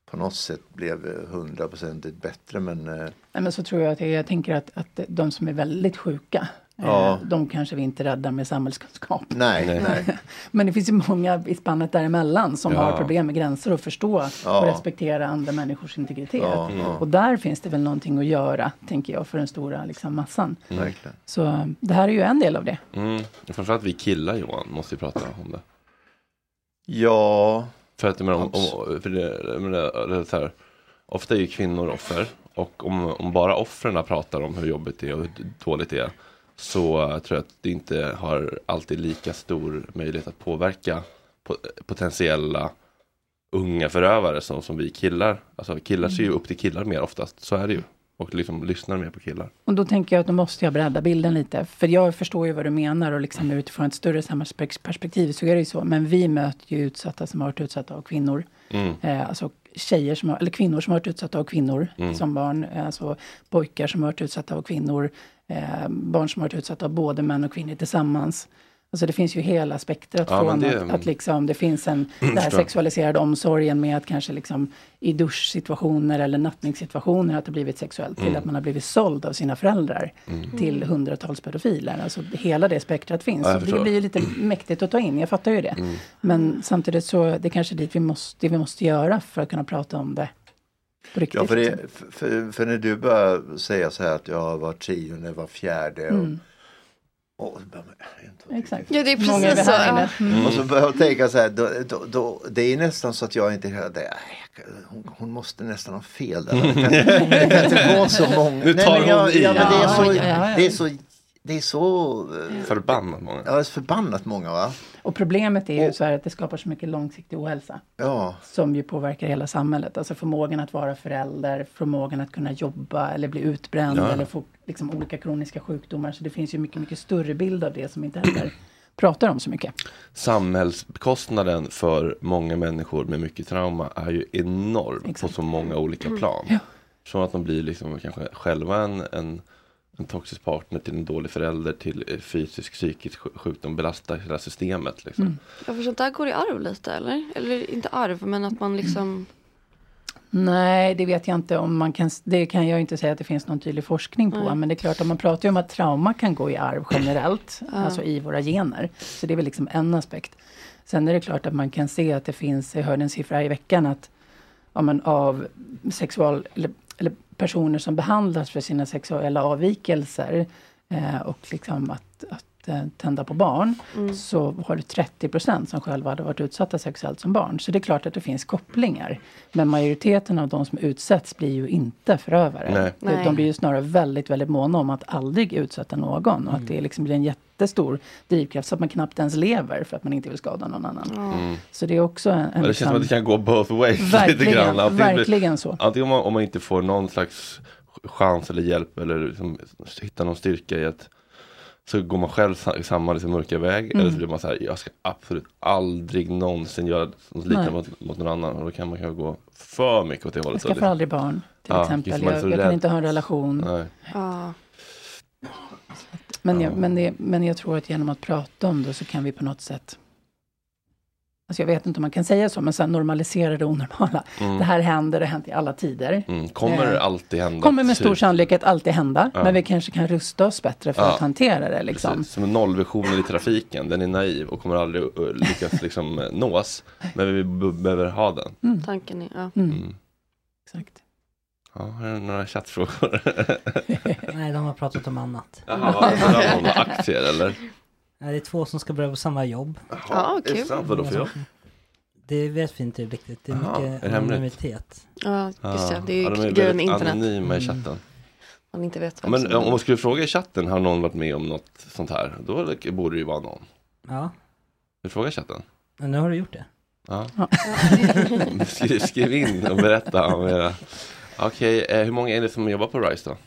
Speaker 8: på något sätt blev hundraprocentigt bättre. Men, eh,
Speaker 12: Nej, men så tror jag att det är. jag tänker att, att de som är väldigt sjuka. eh,
Speaker 8: Ja.
Speaker 12: De kanske vi inte räddar med samhällskunskap.
Speaker 8: nej, nej. nej.
Speaker 12: Men det finns ju många i spannet däremellan som
Speaker 8: Ja.
Speaker 12: har problem med gränser och förstå
Speaker 8: Ja.
Speaker 12: och respektera andra människors integritet.
Speaker 8: Ja, ja.
Speaker 12: Och där finns det väl någonting att göra, tänker jag, för den stora liksom, massan.
Speaker 8: Mm.
Speaker 5: Verkligen.
Speaker 12: Så eh, det här är ju en del av det.
Speaker 5: Mm. Framförallt vi killar Johan måste ju prata om det.
Speaker 8: Ja.
Speaker 5: För att men, om, om, för det, men det, det, så här, ofta är ju kvinnor offer. Och om, om bara offren pratar om hur jobbigt det är och hur dåligt det är. Så eh, tror jag att det inte har alltid lika stor möjlighet att påverka po- potentiella unga förövare som, som vi killar. Alltså killar ser ju upp till killar mer oftast. Så är det ju. Och liksom lyssnar mer på killar.
Speaker 12: Och då tänker jag att då måste jag bredda bilden lite. För jag förstår ju vad du menar och liksom utifrån ett större samhällsperspektiv så är det ju så. Men vi möter ju utsatta som har varit utsatta av kvinnor.
Speaker 6: Mm.
Speaker 12: Eh, alltså tjejer som har, eller kvinnor som har varit utsatta av kvinnor
Speaker 6: Mm.
Speaker 12: som barn. Eh, Alltså pojkar som har varit utsatta av kvinnor. Eh, barn som har varit utsatta av både män och kvinnor tillsammans. Alltså det finns ju hela spektrat
Speaker 6: Ja, men
Speaker 12: från
Speaker 6: det-
Speaker 12: att, att liksom det finns en, den här
Speaker 6: Förstår.
Speaker 12: sexualiserade omsorgen med att kanske liksom i duschsituationer eller nattningssituationer att det blivit sexuellt till
Speaker 6: Mm.
Speaker 12: att man har blivit såld av sina föräldrar
Speaker 6: Mm.
Speaker 12: till hundratals pedofiler. Alltså hela det spektrat finns.
Speaker 6: Ja, jag
Speaker 12: så det
Speaker 6: förstår.
Speaker 12: blir ju lite mäktigt att ta in, jag fattar ju det.
Speaker 6: Mm.
Speaker 12: Men samtidigt så det är kanske dit vi måste, det vi måste göra för att kunna prata om det på riktigt.
Speaker 8: Ja, för, det, för, för när du börjar säga så här att jag var tionde, var fjärde. Och,
Speaker 12: Mm.
Speaker 8: och,
Speaker 12: Exakt.
Speaker 9: Ja, det är
Speaker 12: Många är
Speaker 9: precis
Speaker 12: vi
Speaker 9: så.
Speaker 12: här inne.
Speaker 9: Ja.
Speaker 12: Mm.
Speaker 8: och så börjar jag tänka så här, då, då, då, det är nästan så att jag inte hör det. "Aj, Hon, hon måste nästan ha fel där. Det kan, det kan inte vara så många.
Speaker 5: Nu tar
Speaker 8: men jag,
Speaker 5: hon i.
Speaker 8: Ja, men det, är så,
Speaker 5: Ja, ja, ja.
Speaker 8: det är så, det är så eh,
Speaker 5: Förbannat många.
Speaker 8: ja, förbannat många va?
Speaker 12: Och problemet är ju så här att det skapar så mycket långsiktig ohälsa.
Speaker 8: Ja.
Speaker 12: Som ju påverkar hela samhället. Alltså förmågan att vara förälder, förmågan att kunna jobba eller bli utbränd
Speaker 6: Ja.
Speaker 12: eller få liksom, olika kroniska sjukdomar. Så det finns ju mycket, mycket större bild av det som inte heller pratar om så mycket.
Speaker 5: samhällskostnaden för många människor med mycket trauma är ju enorm på så många olika
Speaker 12: Mm.
Speaker 5: plan.
Speaker 12: Ja.
Speaker 5: Från att de blir liksom kanske själva en, en, en toxisk partner till en dålig förälder till eh, fysisk, psykisk sj- sjukdom belastar hela systemet. Liksom.
Speaker 9: Jag förstår, det här går i arv lite eller? Eller inte arv men att man liksom.
Speaker 12: Nej, det vet jag inte om man kan, det kan jag inte säga att det finns någon tydlig forskning på.
Speaker 9: Nej.
Speaker 12: Men det är klart, att man pratar ju om att trauma kan gå i arv generellt,
Speaker 9: Ja.
Speaker 12: alltså i våra gener. Så det är väl liksom en aspekt. Sen är det klart att man kan se att det finns, jag hörde en siffra här i veckan att ja, men av sexual, eller, eller personer som behandlas för sina sexuella avvikelser eh, och liksom att, att att eh, tända på barn
Speaker 9: Mm.
Speaker 12: så har du 30 procent som själva hade varit utsatta sexuellt som barn. Så det är klart att det finns kopplingar. Men majoriteten av de som utsätts blir ju inte förövare.
Speaker 5: Nej.
Speaker 12: De-
Speaker 5: Nej.
Speaker 12: De blir ju snarare väldigt, väldigt måna om att aldrig utsätta någon
Speaker 5: Mm.
Speaker 12: och att det liksom blir en jättestor drivkraft så att man knappt ens lever för att man inte vill skada någon annan.
Speaker 5: Mm.
Speaker 12: Så det är också en... en
Speaker 5: Ja, det känns som att det kan gå both ways. lite
Speaker 12: Verkligen,
Speaker 5: grann. blir-
Speaker 12: verkligen så.
Speaker 5: Antingen om man, om man inte får någon slags chans eller hjälp eller liksom, hittar någon styrka i att så går man själv sa- samma liksom, mörka väg
Speaker 12: Mm.
Speaker 5: eller så blir man så här, jag ska absolut aldrig någonsin göra något liknande
Speaker 12: Nej.
Speaker 5: mot, mot någon annan och då kan man kanske gå för mycket åt det hållet.
Speaker 12: Jag
Speaker 5: då,
Speaker 12: skaffar aldrig barn till
Speaker 5: Ja,
Speaker 12: exempel.
Speaker 5: just, man är så
Speaker 12: Jag, jag
Speaker 5: rädd.
Speaker 12: kan inte ha en relation.
Speaker 5: Nej.
Speaker 9: Ja.
Speaker 12: Men, jag, men, det, men jag tror att genom att prata om det så kan vi på något sätt Alltså jag vet inte om man kan säga så, men sen normalisera det onormala.
Speaker 5: Mm.
Speaker 12: Det här händer, det har hänt i alla tider.
Speaker 5: Mm. Kommer
Speaker 12: Eh,
Speaker 5: alltid hända.
Speaker 12: Kommer med stor
Speaker 5: typ.
Speaker 12: sannolikhet alltid hända,
Speaker 5: Ja.
Speaker 12: men vi kanske kan rusta oss bättre för
Speaker 5: Ja,
Speaker 12: att hantera det. Liksom.
Speaker 5: Precis, Som en nollvision i trafiken, den är naiv och kommer aldrig uh, lyckas liksom, eh, nås. Men vi b- behöver ha den.
Speaker 12: Mm.
Speaker 9: Tanken är, ja.
Speaker 5: Mm.
Speaker 12: Exakt.
Speaker 5: Ja, har du några chattfrågor?
Speaker 10: Nej, de har pratat om annat.
Speaker 5: Jaha, vad handlar det om? Aktier, eller?
Speaker 10: Nej, det är två som ska börja på samma jobb.
Speaker 5: Ja, är det kul. sant? Vadå för jobb?
Speaker 10: Det vet vi inte riktigt. Det är
Speaker 5: Jaha, är
Speaker 10: mycket
Speaker 5: det hemligt?
Speaker 10: anonymitet.
Speaker 9: Ja, just det. Det är ju
Speaker 5: Ah, Ja, de
Speaker 9: grejen
Speaker 5: väldigt
Speaker 9: med internet.
Speaker 5: anonyma i
Speaker 9: Mm.
Speaker 5: chatten.
Speaker 9: Man inte vet
Speaker 5: Ja,
Speaker 9: vem
Speaker 5: Men
Speaker 9: som-
Speaker 5: om man skulle fråga i chatten, har någon varit med om något sånt här? Då borde det ju vara någon.
Speaker 10: Ja,
Speaker 5: Du frågar chatten?
Speaker 10: men nu har du gjort det.
Speaker 5: Ja. skriv, skriv in och berätta om era... Okej, eh, hur många är det som jobbar på RISE då?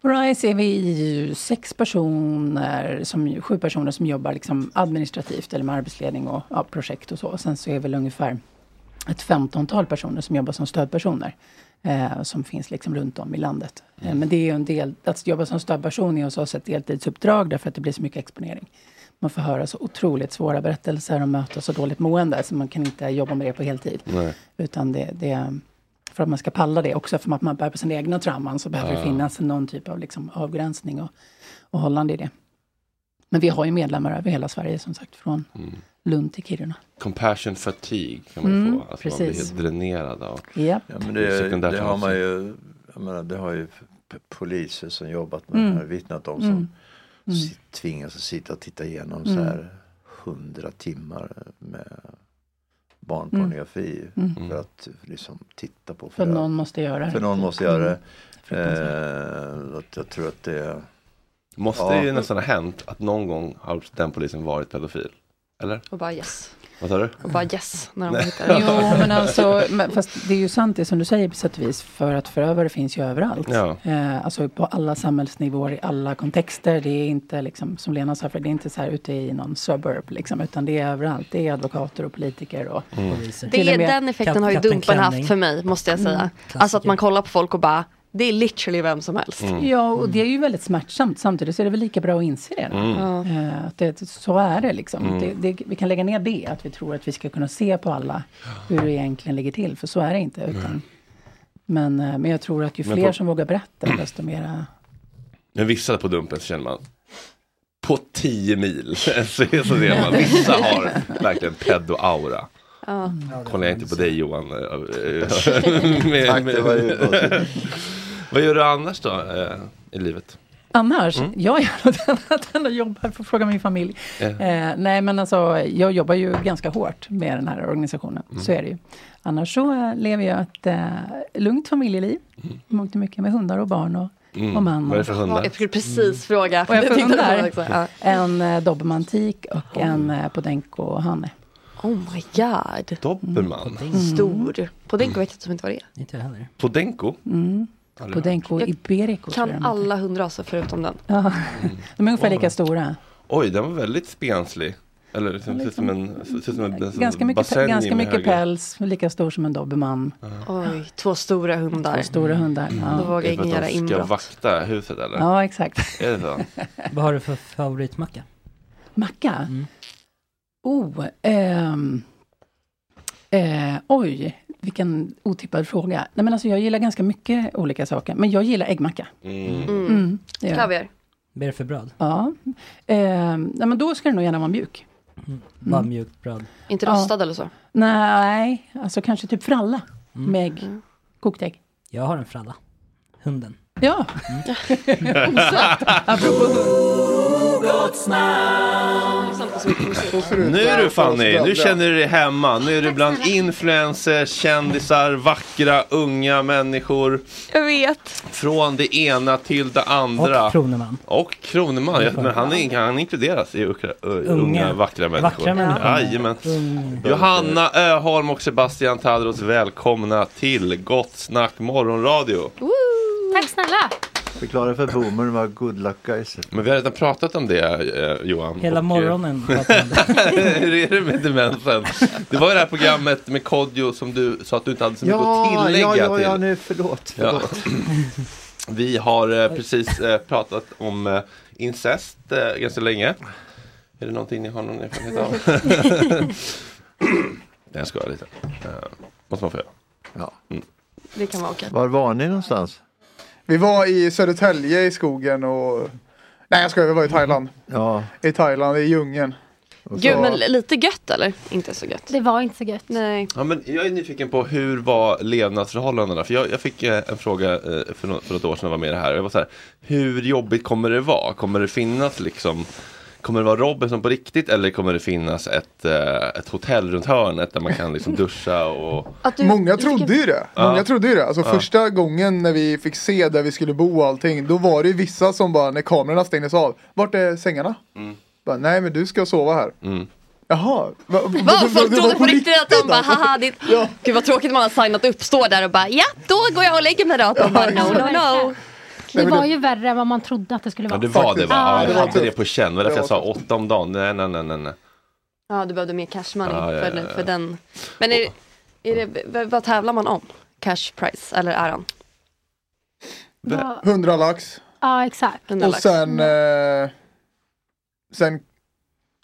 Speaker 12: På RISE är vi ju sex personer, som, sju personer som jobbar liksom administrativt eller med arbetsledning och ja, projekt och så. Och sen så är väl ungefär ett femtontal personer som jobbar som stödpersoner. Eh, som finns liksom runt om i landet. Eh, men det är ju en del, att jobba som stödperson är hos oss ett deltidsuppdrag därför att det blir så mycket exponering. Man får höra så otroligt svåra berättelser och möta så dåligt mående så man kan inte jobba med det på heltid.
Speaker 5: Nej.
Speaker 12: Utan det, det, för att man ska palla det också, för att man bär på sina egna trauman, så behöver
Speaker 5: Ja.
Speaker 12: det finnas någon typ av liksom avgränsning och, och hållande i det. Men vi har ju medlemmar över hela Sverige, som sagt, från
Speaker 5: Mm.
Speaker 12: Lund till Kiruna.
Speaker 5: Compassion fatigue kan man ju
Speaker 12: Mm,
Speaker 5: få. Alltså man blir
Speaker 12: precis.
Speaker 5: helt dränerad av
Speaker 12: Japp.
Speaker 8: Ja, men det,
Speaker 5: sekundärt
Speaker 8: det har man
Speaker 5: vansinne.
Speaker 8: ju, jag menar, det har ju p- poliser som jobbat med
Speaker 12: Mm.
Speaker 8: det här vittnat om
Speaker 12: Mm.
Speaker 8: som
Speaker 12: Mm.
Speaker 8: si- tvingas att sitta och titta igenom så
Speaker 12: Mm.
Speaker 8: här hundra timmar med barnpornografi
Speaker 12: Mm.
Speaker 8: för att liksom titta på
Speaker 12: För att
Speaker 8: förö-
Speaker 12: någon måste göra det.
Speaker 8: För någon måste göra det.
Speaker 12: Mm.
Speaker 8: Eh, att jag tror att det
Speaker 5: Måste
Speaker 8: Ja.
Speaker 5: ju nästan ha hänt att någon gång har den polisen varit pedofil? Eller?
Speaker 9: Och bara yes.
Speaker 5: Vad sa du?
Speaker 9: Och bara yes när de
Speaker 5: Nej.
Speaker 9: hittar det.
Speaker 12: Jo, Mm. men alltså, men, fast det är ju sant det som du säger på sätt och vis, för att förövare finns ju överallt.
Speaker 5: Ja.
Speaker 12: Eh, alltså på alla samhällsnivåer, i alla kontexter. Det är inte, liksom, som Lena sa, för det är inte så här ute i någon suburb, liksom, utan det är överallt. Det är advokater och politiker och
Speaker 5: Mm.
Speaker 12: Till
Speaker 9: Det,
Speaker 12: och med-
Speaker 9: den effekten har ju
Speaker 12: Kapten
Speaker 9: Dumpen haft
Speaker 12: Klänning.
Speaker 9: för mig, måste jag säga.
Speaker 12: Mm,
Speaker 9: alltså att man kollar på folk och bara, det är literally vem som helst.
Speaker 12: Ja, och det är ju väldigt smärtsamt. Samtidigt så är det väl lika bra att inse det. då.
Speaker 9: Mm. Ja.
Speaker 12: Eh, Att det så är det liksom.
Speaker 9: Mm.
Speaker 12: Det, det, vi kan lägga ner det, att vi tror att vi ska kunna se på alla hur det egentligen ligger till, för så är det inte. Utan, men, eh, men jag tror att ju
Speaker 5: Men
Speaker 12: fler
Speaker 5: på-
Speaker 12: som vågar berätta, desto mera...
Speaker 5: Men vissa på dumpen så känner man på 10 mil så är så det man. Vissa har verkligen pedo-aura.
Speaker 9: Ja.
Speaker 5: Kollar jag inte på dig Johan. eh, eh,
Speaker 8: Tack, det var ju gott.
Speaker 5: Vad gör du annars då eh, i livet?
Speaker 12: Annars,
Speaker 5: Mm.
Speaker 12: jag gör något annat än att jobba, får fråga min familj.
Speaker 5: Ja.
Speaker 12: Eh, nej men alltså, jag jobbar ju ganska hårt med den här organisationen,
Speaker 5: Mm.
Speaker 12: så är det ju. Annars så eh, lever jag ett eh, lugnt familjeliv, mm. mångt och mycket med hundar och barn och,
Speaker 5: Mm.
Speaker 12: och man.
Speaker 5: Vad är det för hundar?
Speaker 9: Jag skulle precis fråga.
Speaker 12: Och jag
Speaker 9: Jag
Speaker 12: får
Speaker 9: tänkte på det
Speaker 12: hundar.
Speaker 9: också, ja.
Speaker 12: En eh, dobermantik och en
Speaker 5: Oh.
Speaker 12: eh, podenco-hanne.
Speaker 9: Oh my god. Mm.
Speaker 5: Dobermann?
Speaker 9: Stor. Podenco vet jag typ inte vad det är.
Speaker 10: Inte jag heller.
Speaker 5: Podenco?
Speaker 12: Mm.
Speaker 5: Aldrig hört.
Speaker 12: Podenco iberico tror jag
Speaker 9: Kan
Speaker 12: de heter.
Speaker 9: alla hundraser förutom den.
Speaker 12: Ja. De är ungefär lika stora.
Speaker 5: Oj, den var väldigt spenslig. Eller liksom, ser ut som en, ser ut som en, en sån
Speaker 12: Ganska mycket,
Speaker 5: bassäng
Speaker 12: pe- ganska
Speaker 5: med
Speaker 12: mycket
Speaker 5: höga-
Speaker 12: päls, lika stor som en dobermann.
Speaker 9: Oj, två stora hundar.
Speaker 12: Två stora hundar. Ja.
Speaker 9: Då vågar
Speaker 5: Är Mm. det för
Speaker 9: ingen
Speaker 5: att
Speaker 9: göra
Speaker 5: de
Speaker 9: inbrott.
Speaker 5: Ska vakta huset eller?
Speaker 12: Ja, exakt.
Speaker 5: Är det så?
Speaker 10: Vad har du för favoritmacka?
Speaker 12: Macka? Oh, ehm, eh, oj, vilken otippad fråga. Nej, men alltså, jag gillar ganska mycket olika saker, men jag gillar äggmacka.
Speaker 10: Mm.
Speaker 12: det gör jag.
Speaker 9: Kaviar.
Speaker 10: Vad är det för bröd?
Speaker 12: Ja. Ehm, nej, men då ska det nog gärna vara mjuk.
Speaker 10: Bara mjukt bröd.
Speaker 9: Inte
Speaker 12: Ja.
Speaker 9: rostad eller så?
Speaker 12: Nej, alltså kanske typ fralla med ägg.
Speaker 9: Mm.
Speaker 12: Kokt ägg.
Speaker 10: Jag har en fralla. Hunden.
Speaker 12: Ja. Osökt. Apropå hund.
Speaker 6: något snack.
Speaker 5: Nu är du Fanny, nu känner du dig hemma. Nu är du bland influencers, kändisar, vackra, unga människor.
Speaker 9: Jag vet.
Speaker 5: Från det ena till det andra.
Speaker 10: Och Kroneman.
Speaker 5: Och Kroneman, ja, men han, är, han inkluderas i Ukra, ö, unga, vackra människor.
Speaker 10: Vackra människor.
Speaker 5: Jajamän. Johanna Öholm och Sebastian Tadros, välkomna till Gott Snack Morgonradio.
Speaker 15: Tack snälla.
Speaker 8: Eh,
Speaker 5: Förklara för boomern vad good luck guys är. Men vi har redan pratat om det eh, Johan.
Speaker 10: Hela
Speaker 5: Och, eh,
Speaker 10: morgonen.
Speaker 5: Hur är det med demensen? Det var ju det här programmet med Kodjo som du sa att du inte hade så mycket att
Speaker 8: Ja,
Speaker 5: tillägga
Speaker 8: ja, ja, ja,
Speaker 5: till.
Speaker 8: nu förlåt.
Speaker 5: Ja.
Speaker 8: förlåt.
Speaker 5: Vi har eh, precis eh, pratat om eh, incest eh, ganska länge. Är det någonting ni har någon erfarenhet av? Nej, jag skojar lite. Eh, måste man få göra.
Speaker 8: Ja.
Speaker 5: Mm.
Speaker 9: Det kan vara okej.
Speaker 8: Var var ni någonstans?
Speaker 16: Vi var i Södertälje i skogen och... Nej jag skojar, vi var i Thailand.
Speaker 8: Ja.
Speaker 16: I Thailand, i djungeln.
Speaker 9: Gud, men lite gött eller? Inte så gött.
Speaker 15: Det var inte så gött.
Speaker 9: Nej.
Speaker 5: Ja, men jag är nyfiken på hur var levnadsförhållandena? För jag, jag fick eh, en fråga eh, för, nå- för något år sedan jag var med i det här. Och jag var så här. Hur jobbigt kommer det vara? Kommer det finnas liksom Kommer det vara Robinson på riktigt eller kommer det finnas ett, eh, ett hotell runt hörnet där man kan liksom duscha och
Speaker 16: Många trodde ju det.
Speaker 5: Ja.
Speaker 16: Många trodde ju det. Alltså
Speaker 5: Ja.
Speaker 16: första gången när vi fick se där vi skulle bo och allting. Då var det ju vissa som bara, när kamerorna stängdes av. Vart är sängarna? Bara, Nej men du ska sova här.
Speaker 5: Mm.
Speaker 16: Jaha. Va, va,
Speaker 9: Va, folk trodde på riktigt att de bara
Speaker 16: alltså.
Speaker 9: haha, det... Gud vad tråkigt man har signat upp, står där och bara ja, då går jag och lägger mig då. Att de bara no, no, no.
Speaker 15: Det
Speaker 5: men
Speaker 15: var
Speaker 5: det-
Speaker 15: ju värre än vad man trodde att det skulle
Speaker 5: Ja
Speaker 15: vara.
Speaker 5: det var det va?
Speaker 15: Ja,
Speaker 5: Ja, jag
Speaker 15: det var
Speaker 5: hade det
Speaker 15: tufft.
Speaker 5: på känn. Det var därför
Speaker 15: Det
Speaker 5: jag sa åtta om dagen. Nej nej nej nej. nej.
Speaker 9: Ja, du behövde mer cash money
Speaker 5: Ja, ja,
Speaker 9: för,
Speaker 5: ja, ja.
Speaker 9: för den. Men är, det- är det, v- vad tävlar man om? Cash price eller äran?
Speaker 15: Ja.
Speaker 16: 100 lax.
Speaker 15: Ja exakt.
Speaker 16: Och sen, eh, sen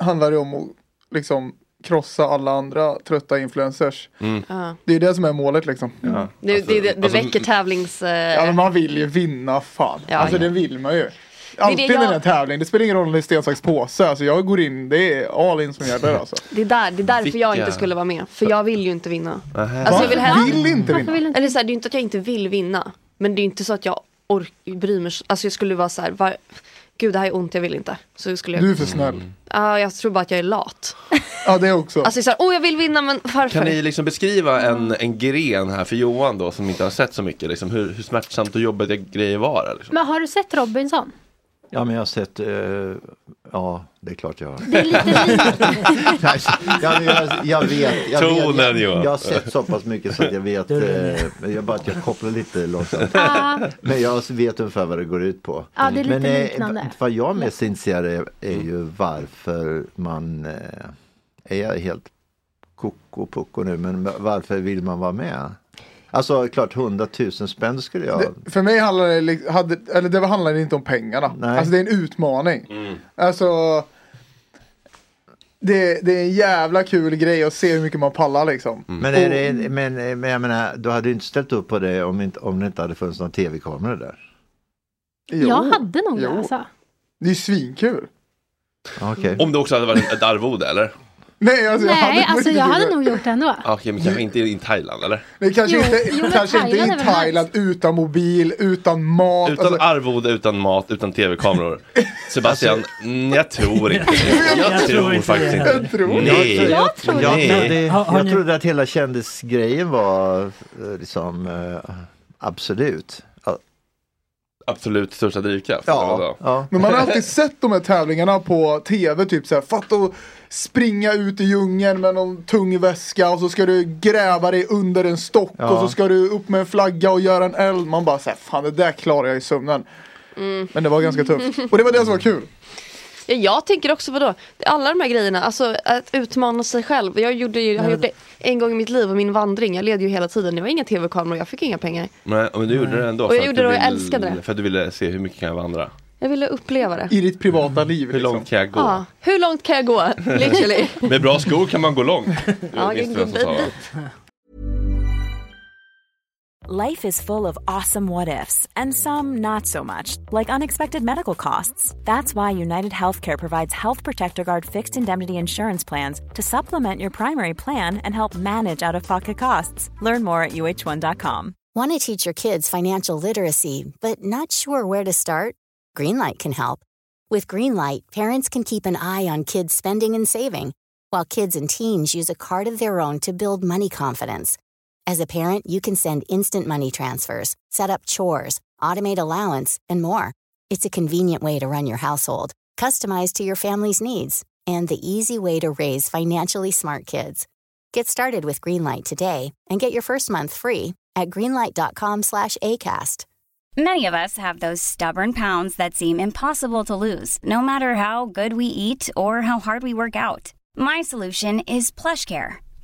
Speaker 16: handlar det om att liksom krossa alla andra trötta influencers.
Speaker 9: Ja.
Speaker 16: Det är det som är målet liksom.
Speaker 5: Ja.
Speaker 9: Det, det, det, det
Speaker 16: alltså-
Speaker 9: väcker tävlings... eh,
Speaker 16: men man vill ju vinna fan.
Speaker 9: Ja,
Speaker 16: alltså
Speaker 9: ja.
Speaker 16: det vill man ju.
Speaker 9: det
Speaker 16: Alltid
Speaker 9: jag-
Speaker 16: när det är en tävling, det spelar ingen roll om det är sten, sax, påse. Alltså jag går in, det är all in som gäller alltså.
Speaker 9: Det är, där, det är därför jag
Speaker 16: Vilka-
Speaker 9: inte skulle vara med. För jag vill ju inte vinna.
Speaker 16: Va?
Speaker 9: Alltså jag vill, hellre...
Speaker 16: Vill inte vinna?
Speaker 9: Eller så här, det är inte att jag inte vill vinna. Men det är inte så att jag ork... bryr mig. så- Alltså jag skulle vara så här, var... gud det här är ont, jag vill inte. Så skulle jag...
Speaker 16: Du är för
Speaker 15: Mm.
Speaker 16: snäll.
Speaker 5: Mm.
Speaker 9: Ja, jag tror bara att jag är lat.
Speaker 16: Ja det också.
Speaker 9: Alltså så här, åh jag vill vinna men varför?
Speaker 5: Kan ni liksom beskriva
Speaker 15: Mm.
Speaker 5: en, en gren här för Johan då som inte har sett så mycket. Liksom, hur, hur smärtsamt och jobbigt det grejer var? liksom? eller?
Speaker 15: Men har du sett Robinson?
Speaker 8: Ja, men jag har sett, eh, ja, det är klart jag har.
Speaker 15: Det är lite
Speaker 8: jag, jag, jag vet, jag,
Speaker 5: Tonen,
Speaker 8: vet jag,
Speaker 5: Johan.
Speaker 8: jag har sett så pass mycket så att jag vet, eh, men jag bara att jag kopplar lite långsamt.
Speaker 15: Ja.
Speaker 8: Men jag vet ungefär vad det går ut på.
Speaker 15: Ja, det är lite
Speaker 8: men eh,
Speaker 15: liknande.
Speaker 8: va- vad jag är mest intresserad av är ju varför man, eh, är jag helt koko pucko nu, men varför vill man vara med? Alltså klart 100 000 spänn skulle jag
Speaker 16: Det, för mig handlar det, li- hade, eller det handlar inte om pengarna. Alltså det är en utmaning. Alltså det, det är en jävla kul grej att se hur mycket man pallar liksom.
Speaker 5: Mm.
Speaker 8: Mm. Men, är
Speaker 16: Och-
Speaker 8: det,
Speaker 15: Oh.
Speaker 8: men, men jag menar, du hade ju inte ställt upp på det om, inte, om det inte hade funnits någon tv-kamera där.
Speaker 15: Jag hade nog det
Speaker 16: Jo.
Speaker 15: alltså.
Speaker 16: Det är ju svinkul.
Speaker 5: Om det också hade varit ett arvode eller?
Speaker 16: Nej, alltså, jag hade
Speaker 15: Nej,
Speaker 16: på
Speaker 15: alltså
Speaker 16: riktigt
Speaker 15: jag
Speaker 16: gjort
Speaker 15: hade
Speaker 16: det.
Speaker 15: nog gjort det ändå.
Speaker 5: Ah, Okej, men kanske inte i Thailand eller?
Speaker 16: Nej, kanske
Speaker 15: Jo,
Speaker 16: inte,
Speaker 15: jo, men
Speaker 16: kanske inte
Speaker 15: Thailand är
Speaker 16: i
Speaker 15: väl
Speaker 16: Thailand utan mobil, utan mat. alltså.
Speaker 5: Utan arvode, utan mat, utan tv-kameror. Sebastian, mm, jag tror inte det. Jag tror faktiskt inte det. Nej.
Speaker 8: jag,
Speaker 5: Nej.
Speaker 8: trodde,
Speaker 5: Har- har
Speaker 8: jag
Speaker 5: ni-
Speaker 8: trodde att hela kändisgrejen var eh, liksom eh, absolut. Ja.
Speaker 5: Absolut största drivkraft.
Speaker 8: Ja, ja.
Speaker 16: Men man har alltid sett de här tävlingarna på tv, typ såhär, fatta att springa ut i djungeln med någon tung väska och så ska du gräva dig under en stock
Speaker 8: Ja.
Speaker 16: och så ska du upp med en flagga och göra en eld. Man bara såhär, fan det där klarar jag i sömnen.
Speaker 5: Mm.
Speaker 16: Men det var ganska tufft. Och det var det som var kul.
Speaker 9: Mm. Ja, jag tänker också vadå? Alla de här grejerna, alltså att utmana sig själv. Jag, gjorde ju, jag har gjort det en gång i mitt liv och min vandring. Jag led ju hela tiden. Det var inga tv-kameror, jag fick inga pengar.
Speaker 5: Men, men du gjorde det ändå.
Speaker 9: Och
Speaker 5: för
Speaker 9: jag
Speaker 5: att
Speaker 9: gjorde
Speaker 5: du
Speaker 9: det och jag
Speaker 5: vill-
Speaker 9: älskade det.
Speaker 5: För att du ville se hur mycket kan jag vandra.
Speaker 9: Jag ville uppleva det.
Speaker 16: I ditt privata liv.
Speaker 5: Hur långt kan jag gå?
Speaker 9: Ja, hur långt kan jag gå? Literally.
Speaker 5: Med bra skor kan man gå långt.
Speaker 9: Ja,
Speaker 5: Visste vem som sa det.
Speaker 17: Life is full of awesome what ifs, and some not so much, like unexpected medical costs. That's why United Healthcare provides Health Protector Guard fixed indemnity insurance plans to supplement your primary plan and help manage out of pocket costs. Learn more at uh1.com.
Speaker 18: Want to teach your kids financial literacy, but not sure where to start? Greenlight can help. With Greenlight, parents can keep an eye on kids' spending and saving, while kids and teens use a card of their own to build money confidence. As a parent, you can send instant money transfers, set up chores, automate allowance, and more. It's a convenient way to run your household, customized to your family's needs, and the easy way to raise financially smart kids. Get started with Greenlight today and get your first month free at greenlight.com/acast.
Speaker 4: Many of us have those stubborn pounds that seem impossible to lose, no matter how good we eat or how hard we work out. My solution is PlushCare.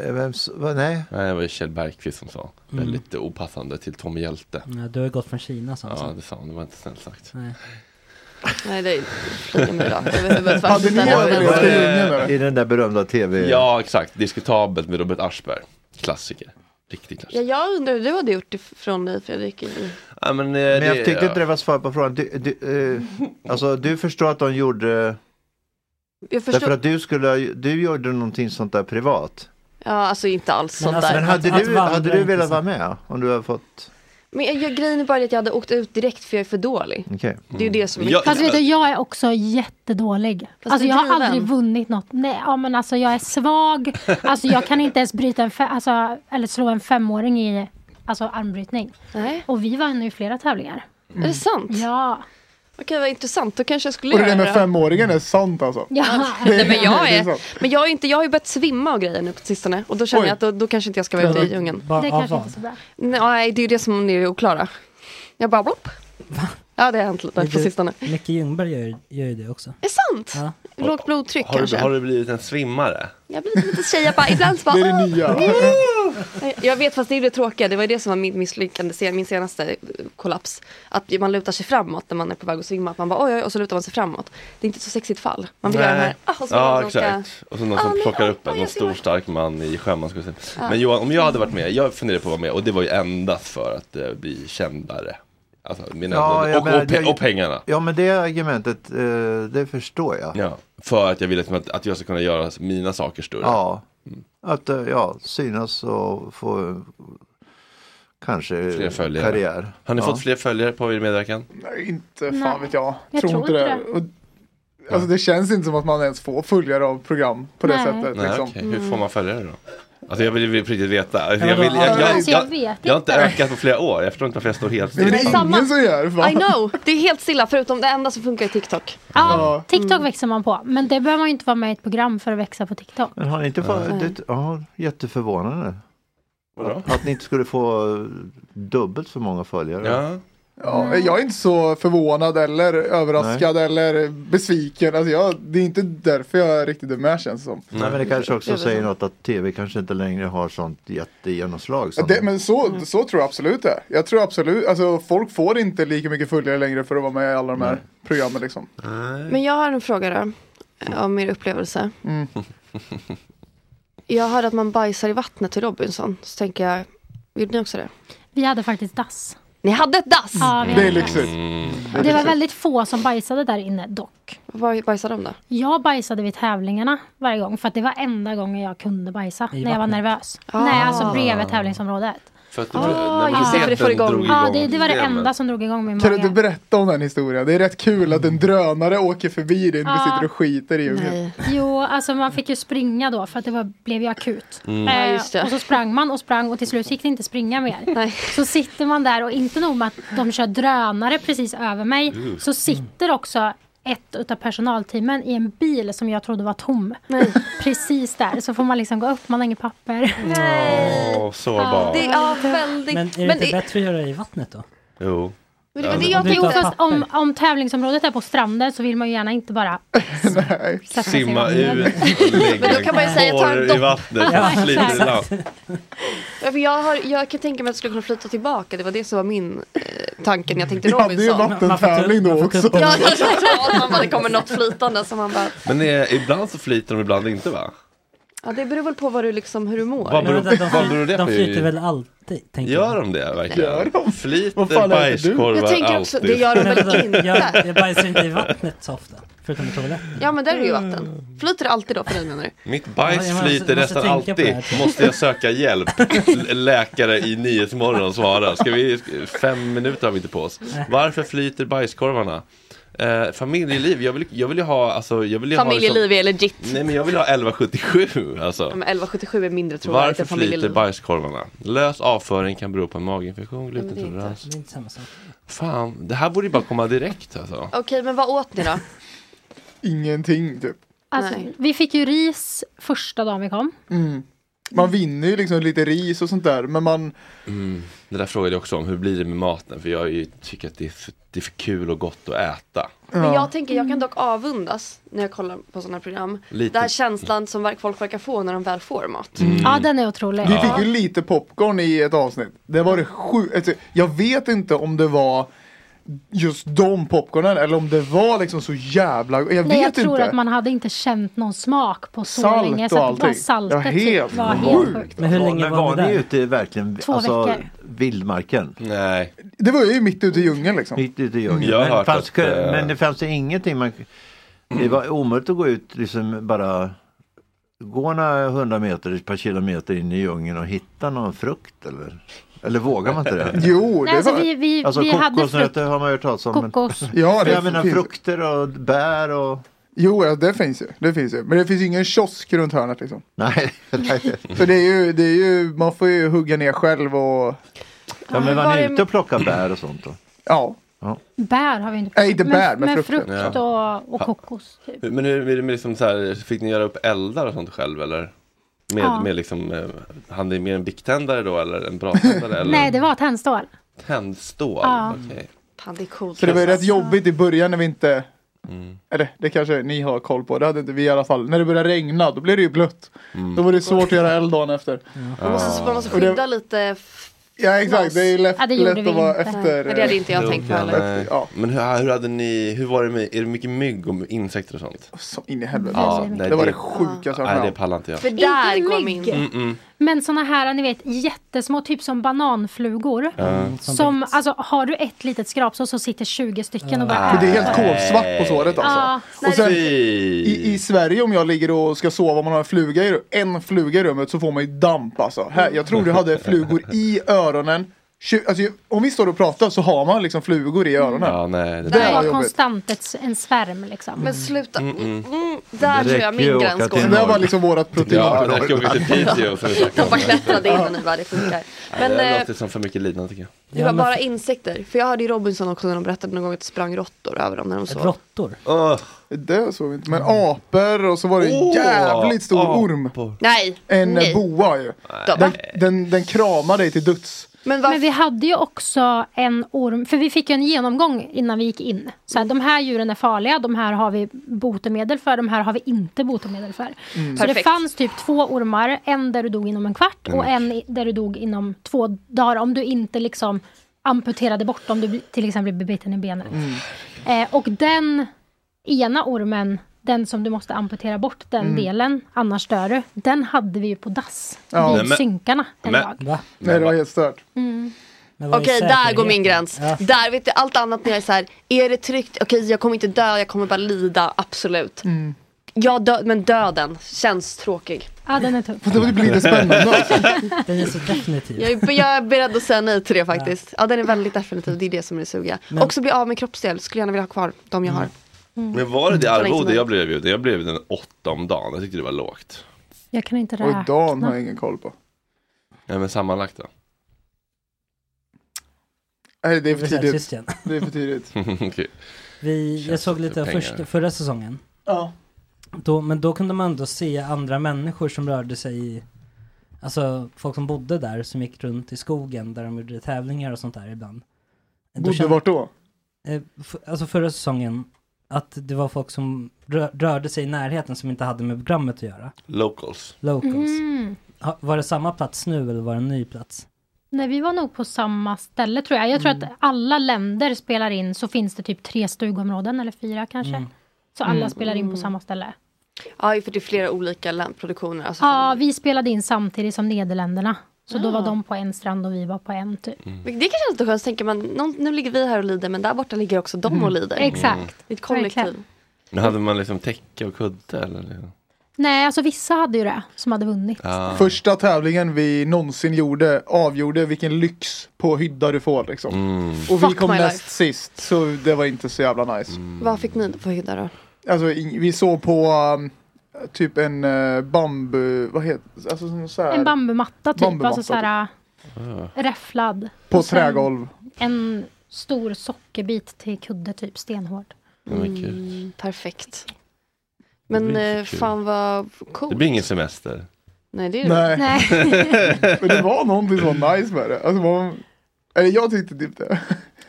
Speaker 8: Eh, Vem, s- vad, nej.
Speaker 5: Nej, det var ju Kjell Bergqvist som sa.
Speaker 10: Mm.
Speaker 5: Väldigt opassande till Tommy Hjälte.
Speaker 8: Mm.
Speaker 10: Ja, du har ju gått från Kina sa
Speaker 5: Ja,
Speaker 10: han.
Speaker 5: det sa han. Det var inte snällt sagt.
Speaker 10: Nej.
Speaker 9: Nej, det är flyger mig rakt över huvudet. Fast det där var
Speaker 8: Var
Speaker 9: väl-
Speaker 8: det- I den där berömda tv...
Speaker 5: Ja, exakt. Diskutabelt med Robert Aschberg. Klassiker. Riktig klassiker.
Speaker 9: Ja, jag undrar hur du hade gjort ifrån dig Fredrik. i-
Speaker 5: Ja, men, eh,
Speaker 8: Men jag
Speaker 5: det-
Speaker 8: tyckte inte det var svar på frågan. Du, du, eh, alltså, du förstår att de gjorde...
Speaker 9: Jag
Speaker 8: Därför
Speaker 9: förstår.
Speaker 8: att du, skulle, du gjorde någonting sånt där privat.
Speaker 9: Ja, alltså inte alls sånt där.
Speaker 8: men hade, du, hade du velat vara med? Om du hade fått...
Speaker 9: Men jag, jag, grejen är bara att jag hade åkt ut direkt för jag är för dålig.
Speaker 8: Okej.
Speaker 9: Det är ju det som
Speaker 5: Mm.
Speaker 9: är
Speaker 8: Jag-
Speaker 15: Fast vet du, jag är också jättedålig.
Speaker 9: Fast
Speaker 15: alltså
Speaker 9: du är
Speaker 15: jag har
Speaker 9: driven.
Speaker 15: aldrig vunnit något. Nej, ja, men alltså jag är svag. Alltså jag kan inte ens bryta en fe- alltså, eller slå en femåring i alltså, armbrytning. Och vi vann ju flera tävlingar.
Speaker 9: Är det sant?
Speaker 15: Ja.
Speaker 9: Okej, vad intressant. Då kanske jag skulle
Speaker 16: Och det
Speaker 9: göra
Speaker 16: där
Speaker 9: det.
Speaker 16: med femåringen är sant alltså.
Speaker 15: Ja.
Speaker 9: Nej, men jag
Speaker 16: Det är
Speaker 9: är,
Speaker 16: sant.
Speaker 9: men jag är inte, jag har ju börjat svimma och grejer nu på sistone. Och då känner jag att då, då kanske inte jag ska vara ute i djungeln.
Speaker 10: Bara Det av kanske vad? inte är så
Speaker 15: bra.
Speaker 9: Nej, det är ju det som är det oklara. Jag bara blopp. Ja, det har hänt lite
Speaker 10: Men
Speaker 9: på
Speaker 10: du,
Speaker 9: sistone.
Speaker 10: Micke Ljungberg gör, ju- gör ju det också.
Speaker 9: Är det sant?
Speaker 10: Ja.
Speaker 9: Lågt blodtryck
Speaker 5: Har du,
Speaker 9: kanske.
Speaker 5: har du blivit en svimmare?
Speaker 9: Jag blir lite tjej, jag bara, ibland så bara...
Speaker 5: Det är det
Speaker 9: "Åh,
Speaker 5: nya."
Speaker 9: åh." jag vet, fast det är det tråkiga. Det var ju det som var min misslyckande, sen- min senaste eh, kollaps. Att man lutar sig framåt när man är på väg att svimma. Att man bara oj, oj, och så lutar man sig framåt. Det är inte ett så sexigt fall. Man vill göra den här, ah, och så
Speaker 5: ja,
Speaker 9: vill man åka-
Speaker 5: exakt. Och så någon
Speaker 9: Ah,
Speaker 5: som
Speaker 9: nej,
Speaker 5: plockar
Speaker 9: åh,
Speaker 5: upp en,
Speaker 9: oj,
Speaker 5: någon
Speaker 9: jag Ah.
Speaker 5: stor
Speaker 9: svimmar.
Speaker 5: stark man i sjöman. Ska jag säga.
Speaker 9: Ja.
Speaker 5: Men Johan, om jag hade varit med, jag funderade på att vara med och det var ju endast för att eh, bli kändare. Alltså, mina
Speaker 8: Ja, jag
Speaker 5: och,
Speaker 8: menar,
Speaker 5: och, pe-
Speaker 8: jag-
Speaker 5: och pengarna.
Speaker 8: Ja, men det argumentet, eh, det förstår jag.
Speaker 5: Ja, för att jag ville liksom att, att jag ska kunna göra mina saker större.
Speaker 8: Ja, att eh, ja, synas och få eh, kanske
Speaker 5: Fler följare.
Speaker 8: karriär.
Speaker 5: Har ni
Speaker 8: ja.
Speaker 5: fått fler följare på er medverkan?
Speaker 16: Nej, inte fan vet jag.
Speaker 15: jag
Speaker 16: tror,
Speaker 15: tror
Speaker 16: inte det.
Speaker 15: inte det.
Speaker 16: Och, alltså det känns inte som att man ens får följare av program på det
Speaker 15: Nej.
Speaker 16: sättet.
Speaker 5: Nej,
Speaker 16: liksom.
Speaker 5: okej.
Speaker 9: Mm.
Speaker 5: Hur får man följare då? Alltså jag vill ju på riktigt veta.
Speaker 16: Ja,
Speaker 5: Alltså, jag,
Speaker 16: men
Speaker 5: vill,
Speaker 16: vad-
Speaker 5: jag, jag,
Speaker 16: Alltså,
Speaker 9: jag
Speaker 5: jag,
Speaker 9: vet
Speaker 5: jag har inte
Speaker 9: inte.
Speaker 5: ökat på flera år. Jag förstår inte varför jag står helt
Speaker 16: Nej, men det är
Speaker 5: still.
Speaker 16: ingen som gör det. fan.
Speaker 9: I know, det är helt stilla förutom det enda som funkar är TikTok.
Speaker 15: Ja, TikTok växer man på. Men det behöver man ju inte vara med i ett program för att växa på TikTok. Eh,
Speaker 8: Men har ni inte fått, det, ja, jätteförvånande. Att, att ni inte skulle få eh, dubbelt så många följare.
Speaker 5: Ja.
Speaker 16: Ja,
Speaker 8: Mm.
Speaker 16: jag är inte så förvånad eller överraskad eller besviken. Alltså jag, det är inte därför jag riktigt är med känns det som.
Speaker 8: Nej, men det
Speaker 15: Mm.
Speaker 8: kanske
Speaker 16: Det
Speaker 8: också
Speaker 16: är
Speaker 9: Mm.
Speaker 16: väl
Speaker 8: säger
Speaker 16: så.
Speaker 8: något att tv kanske inte längre har sånt jättegenomslag.
Speaker 16: Ja,
Speaker 8: Som
Speaker 16: Det, men så,
Speaker 9: Mm.
Speaker 16: så tror jag absolut det är. Jag tror absolut, alltså folk får inte lika mycket följare längre för att vara med i alla de här programmen liksom.
Speaker 9: Men jag har en fråga då, eh, om er upplevelse.
Speaker 12: Mm.
Speaker 5: Mm.
Speaker 9: Jag hörde att man bajsar i vattnet i Robinson, så tänker jag, gjorde ni också det?
Speaker 15: Vi hade faktiskt dass.
Speaker 9: Ni hade ett dass?
Speaker 15: Ja, vi hade dass.
Speaker 5: Mm.
Speaker 16: är
Speaker 15: Det var
Speaker 16: lyxigt.
Speaker 15: väldigt få som bajsade där inne dock.
Speaker 9: Vad bajsade de då?
Speaker 15: Jag bajsade vid tävlingarna varje gång för att det var enda gången jag kunde bajsa när jag var
Speaker 9: vattnet?
Speaker 15: nervös.
Speaker 9: Ah.
Speaker 15: Nej, alltså bredvid tävlingsområdet.
Speaker 5: För att
Speaker 19: Ah.
Speaker 15: just det, för det får igång.
Speaker 5: drog
Speaker 15: Ja,
Speaker 5: igång
Speaker 15: det, det var det
Speaker 5: problemet.
Speaker 15: enda som drog igång min
Speaker 16: Kan du inte
Speaker 15: mage.
Speaker 16: berätta om den historien? Det är rätt kul att
Speaker 8: Mm.
Speaker 16: en drönare åker förbi dig när du
Speaker 15: Ja.
Speaker 16: sitter och skiter i djungeln.
Speaker 15: Jo, alltså man fick ju springa då för att det var, blev ju akut.
Speaker 16: Mm.
Speaker 15: Eh,
Speaker 16: Ja, just det.
Speaker 15: och så sprang man och sprang och till slut gick det inte springa mer. Så sitter man där och inte nog med att de kör drönare precis över mig
Speaker 19: Uh.
Speaker 15: så sitter också ett utav personalteamen i en bil som jag trodde var tom. Precis där så får man liksom gå upp, man har inget papper.
Speaker 5: Åh, sårbar.
Speaker 9: Det, ja, väldigt.
Speaker 10: Men är det inte bättre att göra det i vattnet då?
Speaker 5: Jo.
Speaker 9: Men
Speaker 10: det var det jag
Speaker 15: Jo,
Speaker 10: tänkte.
Speaker 15: fast om, om tävlingsområdet är på stranden så vill man ju gärna inte bara sätta sig i
Speaker 5: Simma
Speaker 15: vattnet.
Speaker 5: ut och lägga
Speaker 9: Men då kan man ju säga, ta en
Speaker 5: porr i
Speaker 9: dopp.
Speaker 5: vattnet.
Speaker 9: Ja,
Speaker 5: som flyter i land.
Speaker 9: exakt. Ja, för jag, har, jag kan tänka mig att det skulle kunna flyta tillbaka, det var det som var min eh, tanke när jag tänkte
Speaker 16: Vi hade ju
Speaker 9: Robinson.
Speaker 16: vattentävling då också.
Speaker 9: Ja, jag sa att man bara, det kommer något flytande som man bara,
Speaker 5: Men eh, ibland så flyter de, ibland inte va?
Speaker 9: Ja, det beror väl på vad du liksom, hur du mår.
Speaker 5: Vad beror,
Speaker 10: Men vänta, de
Speaker 5: vad beror det
Speaker 10: de
Speaker 5: på?
Speaker 10: flyter väl alltid? tänker
Speaker 5: Gör de det verkligen?
Speaker 10: Gör Vad
Speaker 5: Flyter
Speaker 10: fan är det du?
Speaker 5: bajskorvar
Speaker 9: Jag tänker också,
Speaker 5: alltid?
Speaker 9: det gör de väl inte?
Speaker 10: Jag, jag bajsar inte i vattnet så ofta, förutom i toaletten.
Speaker 9: Ja, men där är det ju vatten. Flyter det alltid då för dig menar du?
Speaker 5: Mitt bajs
Speaker 10: Mm. Ja, jag måste-
Speaker 5: flyter
Speaker 10: måste
Speaker 5: nästan
Speaker 10: tänka på det
Speaker 5: alltid.
Speaker 10: här.
Speaker 5: Måste jag söka hjälp? L- Läkare i Nyhetsmorgon svarar. Ska vi, fem minuter har vi inte på oss. Varför flyter bajskorvarna? Eh, familjeliv, jag vill, jag vill ju ha, alltså, jag vill ju ha
Speaker 9: Familjeliv är legit.
Speaker 5: liksom, Nej men jag vill ha 1177
Speaker 9: Ja,
Speaker 5: alltså.
Speaker 9: men 1177 är mindre trovärdigt
Speaker 5: Varför
Speaker 9: än
Speaker 5: flyter
Speaker 9: familjeliv.
Speaker 5: bajskorvarna? Lös avföring kan bero på en maginfektion,
Speaker 9: men det är inte-
Speaker 5: glutenintolerans.
Speaker 10: Det är inte samma sak.
Speaker 5: Fan, det här borde ju bara komma direkt alltså.
Speaker 9: Okej, men vad åt ni då?
Speaker 16: Ingenting typ.
Speaker 15: Alltså, vi fick ju ris första dagen vi kom.
Speaker 16: Mm. Man vinner ju liksom lite ris och sånt där men man
Speaker 5: Mm. Det där frågade jag också om, hur blir det med maten? För jag är ju- tycker att det är, för, det är för kul och gott att äta.
Speaker 9: Men jag tänker, jag kan dock avundas när jag kollar på sådana här program.
Speaker 5: Lite. Mm.
Speaker 9: Den här känslan som verk- folk verkar få när de väl får mat.
Speaker 15: Ja, den är otrolig.
Speaker 16: Vi fick ju lite popcorn i ett avsnitt. Det var det sju... Alltså, jag vet inte om det var just de popcornen eller om det var liksom så jävla... Jag
Speaker 15: Nej, jag
Speaker 16: vet
Speaker 15: tror
Speaker 16: inte.
Speaker 15: att man hade inte känt någon smak på så
Speaker 16: Salt
Speaker 15: länge.
Speaker 16: och
Speaker 15: Så att bara
Speaker 16: allting.
Speaker 15: saltet
Speaker 16: Ja,
Speaker 15: typ
Speaker 16: helt
Speaker 15: var helt sjukt.
Speaker 16: Men hur länge
Speaker 13: men
Speaker 16: var
Speaker 13: var
Speaker 16: ni
Speaker 13: ni
Speaker 16: där?
Speaker 13: ute i verkligen
Speaker 15: Två
Speaker 13: alltså,
Speaker 15: veckor.
Speaker 13: vildmarken?
Speaker 5: Nej.
Speaker 16: Det var ju mitt ute i djungeln liksom.
Speaker 13: Mitt ute i
Speaker 16: Mm.
Speaker 13: djungeln.
Speaker 16: Jag har
Speaker 13: Men,
Speaker 16: hört
Speaker 13: det fanns,
Speaker 16: att, eh,
Speaker 13: men det fanns ju ingenting man... Det var omöjligt att gå ut liksom bara gå några hundra meter, ett par kilometer in i djungeln och hitta någon frukt eller? Eller vågar man inte det?
Speaker 16: Jo,
Speaker 15: Nej, det alltså, var- vi- vi-
Speaker 13: alltså,
Speaker 15: vi hade
Speaker 13: kokosnötter
Speaker 15: frukt.
Speaker 13: har man ju hört talas om. men-
Speaker 15: Kokos.
Speaker 16: Ja, det
Speaker 13: jag menar
Speaker 16: finns-
Speaker 13: frukter och bär och...
Speaker 16: Jo, ja, det finns ju. Det finns ju. Men det finns ju ingen kiosk runt hörnet liksom.
Speaker 13: Nej. nej.
Speaker 16: Så det är ju, det är ju, man får ju hugga ner själv och...
Speaker 13: Ja, men var ni ute och plockade bär och sånt då?
Speaker 16: Ja.
Speaker 15: Bär har vi inte.
Speaker 16: Nej, inte bär, men frukten.
Speaker 15: frukt och, och kokos. Typ.
Speaker 5: Men hur är det med liksom så här, fick ni göra upp eldar och sånt själv eller? Med,
Speaker 15: Ja.
Speaker 5: med liksom, eh, hade ni med en biktändare då eller en braständare eller
Speaker 15: Nej, det var tändstål.
Speaker 5: tändstål?
Speaker 15: Ja.
Speaker 5: Okej.
Speaker 9: Fan, det är coolt.
Speaker 16: För det var ju rätt
Speaker 9: Alltså.
Speaker 16: jobbigt i början när vi inte... Eller det kanske ni har koll på. Det hade inte vi i alla fall. När det började regna då blev det ju blött. Då var det svårt att göra eld dagen efter.
Speaker 9: Man måste, man måste
Speaker 16: Och det-
Speaker 9: skydda lite. f-
Speaker 16: Ja exakt, det är ju lätt,
Speaker 9: Ja, det gjorde
Speaker 16: lätt
Speaker 9: vi
Speaker 16: att vara
Speaker 9: inte.
Speaker 16: efter.
Speaker 9: Men det hade inte jag
Speaker 16: eh,
Speaker 9: tänkt på heller.
Speaker 5: Nej. Men hur, hur hade ni, hur var det med, är det mycket mygg och insekter och sånt?
Speaker 16: Så in i helvete.
Speaker 5: Ja,
Speaker 16: alltså.
Speaker 5: nej,
Speaker 16: det var
Speaker 5: det-
Speaker 16: det sjukaste jag
Speaker 5: Nej,
Speaker 16: hört.
Speaker 5: det pallar inte jag. Mm,
Speaker 9: För där
Speaker 15: Inte
Speaker 9: går
Speaker 15: mygg.
Speaker 9: min...
Speaker 5: Mm-mm.
Speaker 15: Men såna här, ni vet, jättesmå, typ som bananflugor.
Speaker 16: Mm,
Speaker 5: Ja. Mm.
Speaker 15: Som, alltså, har du ett litet skrapsår så sitter 20 stycken och bara
Speaker 16: För det är helt kolsvart på såret
Speaker 15: Ja.
Speaker 16: alltså.
Speaker 15: Nej,
Speaker 16: Och sen,
Speaker 15: det-
Speaker 16: i, I Sverige om jag ligger och ska sova om man har en fluga i, ru- en fluga i rummet så får man ju damp alltså. Här, jag tror du hade flugor i öronen. Tju- Alltså, om vi står och pratar så har man liksom flugor i öronen.
Speaker 5: Ja, nej,
Speaker 15: Det
Speaker 16: Det
Speaker 15: där
Speaker 16: var
Speaker 15: var
Speaker 16: jobbigt.
Speaker 15: konstant ett, en svärm liksom.
Speaker 9: Men sluta.
Speaker 5: Mm.
Speaker 9: Mm, där tror jag min gräns går.
Speaker 16: Så det var liksom vårat protein.
Speaker 5: Ja, det ska åka till Piteå för att snacka om
Speaker 9: Toppa
Speaker 5: det.
Speaker 9: klättrade in nu, vad det funkar. Men
Speaker 5: Men, det
Speaker 9: eh,
Speaker 5: låter som för mycket lidande tycker jag.
Speaker 9: det var bara insekter. För jag hörde ju Robinson också när de berättade någon gång att det sprang råttor över dem när de sov.
Speaker 10: Råttor?
Speaker 16: Det såg vi inte. Men apor och så var det en jävligt stor orm.
Speaker 9: Nej,
Speaker 16: En
Speaker 9: nej.
Speaker 16: boa ju. Den, den, den kramade dig till döds.
Speaker 15: Men, vi hade ju också en orm, för vi fick ju en genomgång innan vi gick in. Så här, de här djuren är farliga, de här har vi botemedel för, de här har vi inte botemedel för.
Speaker 9: Mm.
Speaker 15: Så
Speaker 9: Perfekt.
Speaker 15: det fanns typ två ormar, en där du dog inom en kvart och
Speaker 5: Mm.
Speaker 15: en i- där du dog inom två dagar om du inte liksom amputerade bort, om du bli- till exempel blev biten i benet.
Speaker 6: Mm.
Speaker 16: Mm.
Speaker 15: Eh, och den ena ormen, den som du måste amputera bort den
Speaker 16: Mm.
Speaker 15: delen, annars dör du. Den hade vi ju på dass,
Speaker 16: Ja.
Speaker 15: vid
Speaker 16: Nej, men-
Speaker 15: synkarna en
Speaker 16: men-
Speaker 15: dag.
Speaker 16: Nej det var helt stört.
Speaker 15: Mm.
Speaker 9: Okej, där går min gräns. Där, vet du, allt annat när jag är så här, är det tryggt? Okej, jag kommer inte dö, jag kommer bara lida, absolut. Jag dö- men döden känns tråkig.
Speaker 15: Ja, den är tuff.
Speaker 16: Det blir lite spännande.
Speaker 10: Den är så definitiv.
Speaker 9: Jag är, jag är beredd att säga nej till det faktiskt. Ja, den är väldigt definitiv, det är det som är det suga.
Speaker 10: Men-
Speaker 9: Också bli av med kroppsdel, skulle gärna vilja ha kvar de jag har.
Speaker 15: Mm.
Speaker 5: Men var det det
Speaker 9: Så länge
Speaker 5: arvode
Speaker 9: som
Speaker 5: jag
Speaker 9: möjligt.
Speaker 5: blev erbjuden? Jag blev erbjuden åtta om dagen. Jag tyckte det var lågt.
Speaker 15: Jag kan inte
Speaker 16: Och Dan har
Speaker 15: räkna.
Speaker 16: jag ingen koll på.
Speaker 5: Nej men sammanlagt då?
Speaker 16: Nej det är för
Speaker 10: Det är
Speaker 16: tidigt.
Speaker 10: tyst igen.
Speaker 16: Det är för tidigt.
Speaker 5: Okej.
Speaker 10: Vi, jag
Speaker 5: Känns
Speaker 10: såg
Speaker 5: lite
Speaker 10: lite av
Speaker 5: pengar.
Speaker 10: först, förra säsongen.
Speaker 16: Ja.
Speaker 10: Då, men då kunde man ändå se andra människor som rörde sig i, alltså folk som bodde där som gick runt i skogen där de gjorde tävlingar och sånt där ibland.
Speaker 16: Bodde vart då?
Speaker 10: Eh, f- Alltså förra säsongen, att det var folk som rö- rörde sig i närheten som inte hade med programmet att göra.
Speaker 5: Locals.
Speaker 15: Mm.
Speaker 10: Locals. Ha, var det samma plats nu eller var det en ny plats?
Speaker 15: Nej, vi var nog på samma ställe tror jag. Jag tror att alla länder spelar in så finns det typ tre stugområden eller fyra kanske.
Speaker 10: Mm.
Speaker 15: Så alla
Speaker 10: Mm.
Speaker 15: spelar in på samma ställe.
Speaker 9: Ja, för det är flera olika län- produktioner. Alltså
Speaker 15: Ja, vi spelade in samtidigt som Nederländerna. Så då var de på en strand och vi var på en typ.
Speaker 9: Det kanske är lite skönt, så tänker man någon, nu ligger vi här och lider men där borta ligger också de och lider.
Speaker 15: Mm. Exakt.
Speaker 9: I ett kollektiv.
Speaker 15: Verkligen.
Speaker 5: Men hade man liksom täcke och kudde eller? liksom?
Speaker 15: Nej, alltså vissa hade ju det som hade vunnit.
Speaker 16: Första tävlingen vi någonsin gjorde avgjorde vilken lyx på hydda du får liksom. Och vi
Speaker 9: Mm. Fuck
Speaker 16: kom
Speaker 9: my
Speaker 16: näst
Speaker 9: life.
Speaker 16: sist så det var inte så jävla nice.
Speaker 13: Mm.
Speaker 9: Vad fick ni på hydda då?
Speaker 16: Alltså i- vi såg på um, typ en uh, bambu, vad heter alltså, som så här,
Speaker 15: En bambumatta typ,
Speaker 16: Bambumatta,
Speaker 15: alltså såhär
Speaker 9: Ah.
Speaker 16: typ.
Speaker 15: äh, räfflad.
Speaker 16: På
Speaker 15: Och sen
Speaker 16: trägolv.
Speaker 15: En stor sockerbit till kudde typ, stenhård.
Speaker 9: Mm, perfekt. Men
Speaker 5: blir
Speaker 9: eh,
Speaker 5: så kul.
Speaker 9: fan vad coolt.
Speaker 5: Det blir ingen semester.
Speaker 9: Nej, det är det.
Speaker 16: Nej. Men det var någonting som var nice med det. Alltså, man, eller jag tyckte typ det.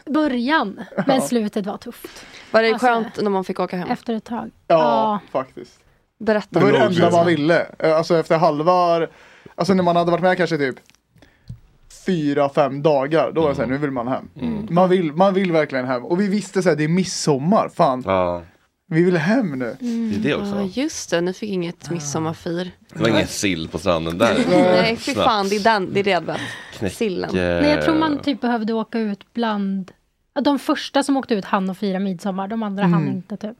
Speaker 15: Början, men slutet var tufft. Alltså,
Speaker 9: Var det skönt när man fick åka hem?
Speaker 15: Efter ett tag.
Speaker 16: Ja, faktiskt.
Speaker 9: Berätta. Mm.
Speaker 16: Det var det enda man ville. Eh, Alltså efter halva, alltså när man hade varit med kanske typ fyra, fem dagar. Då var det såhär, nu vill man hem.
Speaker 5: Mm.
Speaker 16: Man, vill, man vill verkligen hem. Och vi visste såhär, det är midsommar. Fan, vi vill hem nu.
Speaker 9: Mm.
Speaker 5: Det är det också.
Speaker 9: Ja, just det. Ni fick inget midsommarfir.
Speaker 5: Det var ingen sill på stranden där.
Speaker 9: Nej, fy
Speaker 5: Snabbt.
Speaker 9: fan. Det är, den, det, är det jag vet.
Speaker 5: Knäcke.
Speaker 9: Sillen.
Speaker 5: Eh,
Speaker 15: Nej, jag tror man typ behövde åka ut bland ja, de första som åkte ut hann och fira midsommar, de andra hann
Speaker 9: Mm.
Speaker 15: inte typ.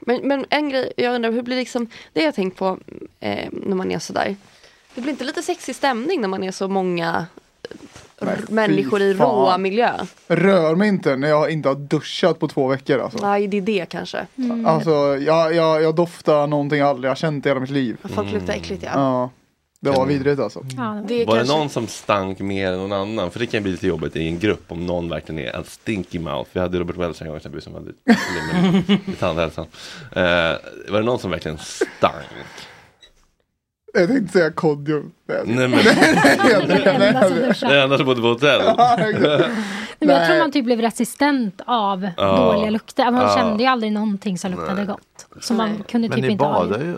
Speaker 9: Men, men en grej, jag undrar hur blir liksom, det jag tänkt på eh, när man är sådär. Det blir inte lite sexig stämning när man är så många eh,
Speaker 16: Nej,
Speaker 9: r-
Speaker 16: fy
Speaker 9: människor i
Speaker 16: fan. Alltså.
Speaker 9: råa miljö?
Speaker 16: Rör mig inte när jag inte har duschat på två veckor alltså.
Speaker 9: Nej, det är det kanske.
Speaker 16: Alltså jag, jag, jag doftar någonting jag aldrig har känt i hela mitt liv.
Speaker 9: Folk luktar äckligt ja.
Speaker 16: Ja, det
Speaker 5: Mm.
Speaker 16: var vidrigt alltså.
Speaker 9: Det är
Speaker 5: Var
Speaker 9: kanske-
Speaker 5: det någon som stank mer än någon annan? För det kan ju bli lite jobbigt i en grupp om någon verkligen är en stinky mouth. Vi hade Robert Welch en gång exempelvis som hade problem med- med tandhälsan. Eh, var det någon som verkligen stank?
Speaker 16: Jag tänkte säga kodium.
Speaker 5: Nej, men- alltså. Den enda som bodde på hotell.
Speaker 15: Nej, men jag tror man typ blev resistent av
Speaker 5: Ja.
Speaker 15: dåliga lukter. Man
Speaker 5: Ja.
Speaker 15: kände ju aldrig någonting som luktade
Speaker 5: Nej.
Speaker 15: gott. Så man kunde
Speaker 16: Men
Speaker 15: typ
Speaker 16: ni
Speaker 15: inte
Speaker 16: badar
Speaker 15: avgöra.
Speaker 16: ju.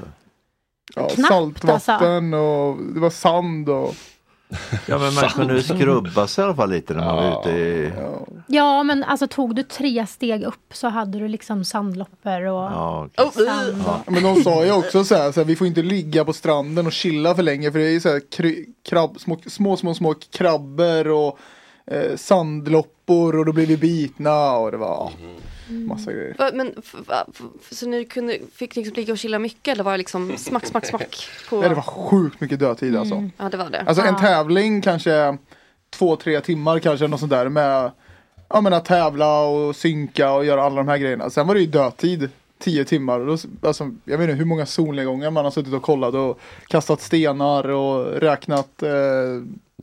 Speaker 16: Ja,
Speaker 15: Knappt,
Speaker 16: saltvatten och det var sand och...
Speaker 13: Ja men man kunde ju skrubba sig i alla fall lite när man var ute i...
Speaker 15: Ja, men alltså tog du tre steg upp så hade du liksom sandloppor och sand.
Speaker 16: Ja, Men de sa ju också så här, så här, vi får inte ligga på stranden och chilla för länge för det är ju så här kry- krabb, små, små, små, små krabbor och eh, sandloppor och då blir vi bitna och det var
Speaker 5: Mm.
Speaker 16: massa grejer.
Speaker 9: Va, men, f, va, f, så ni kunde, fick liksom ligga och chilla mycket eller var det liksom smack, smack, smack? På... Mm.
Speaker 16: Nej, det var sjukt mycket dödtid alltså.
Speaker 9: Ja, det var det.
Speaker 16: Alltså en
Speaker 9: Ja.
Speaker 16: tävling kanske två, tre timmar kanske något sånt där med ja, men att tävla och synka och göra alla de här grejerna. Sen var det ju dödtid tio timmar. Och då, alltså, jag vet inte hur många solnedgångar man har suttit och kollat och kastat stenar och räknat. Eh,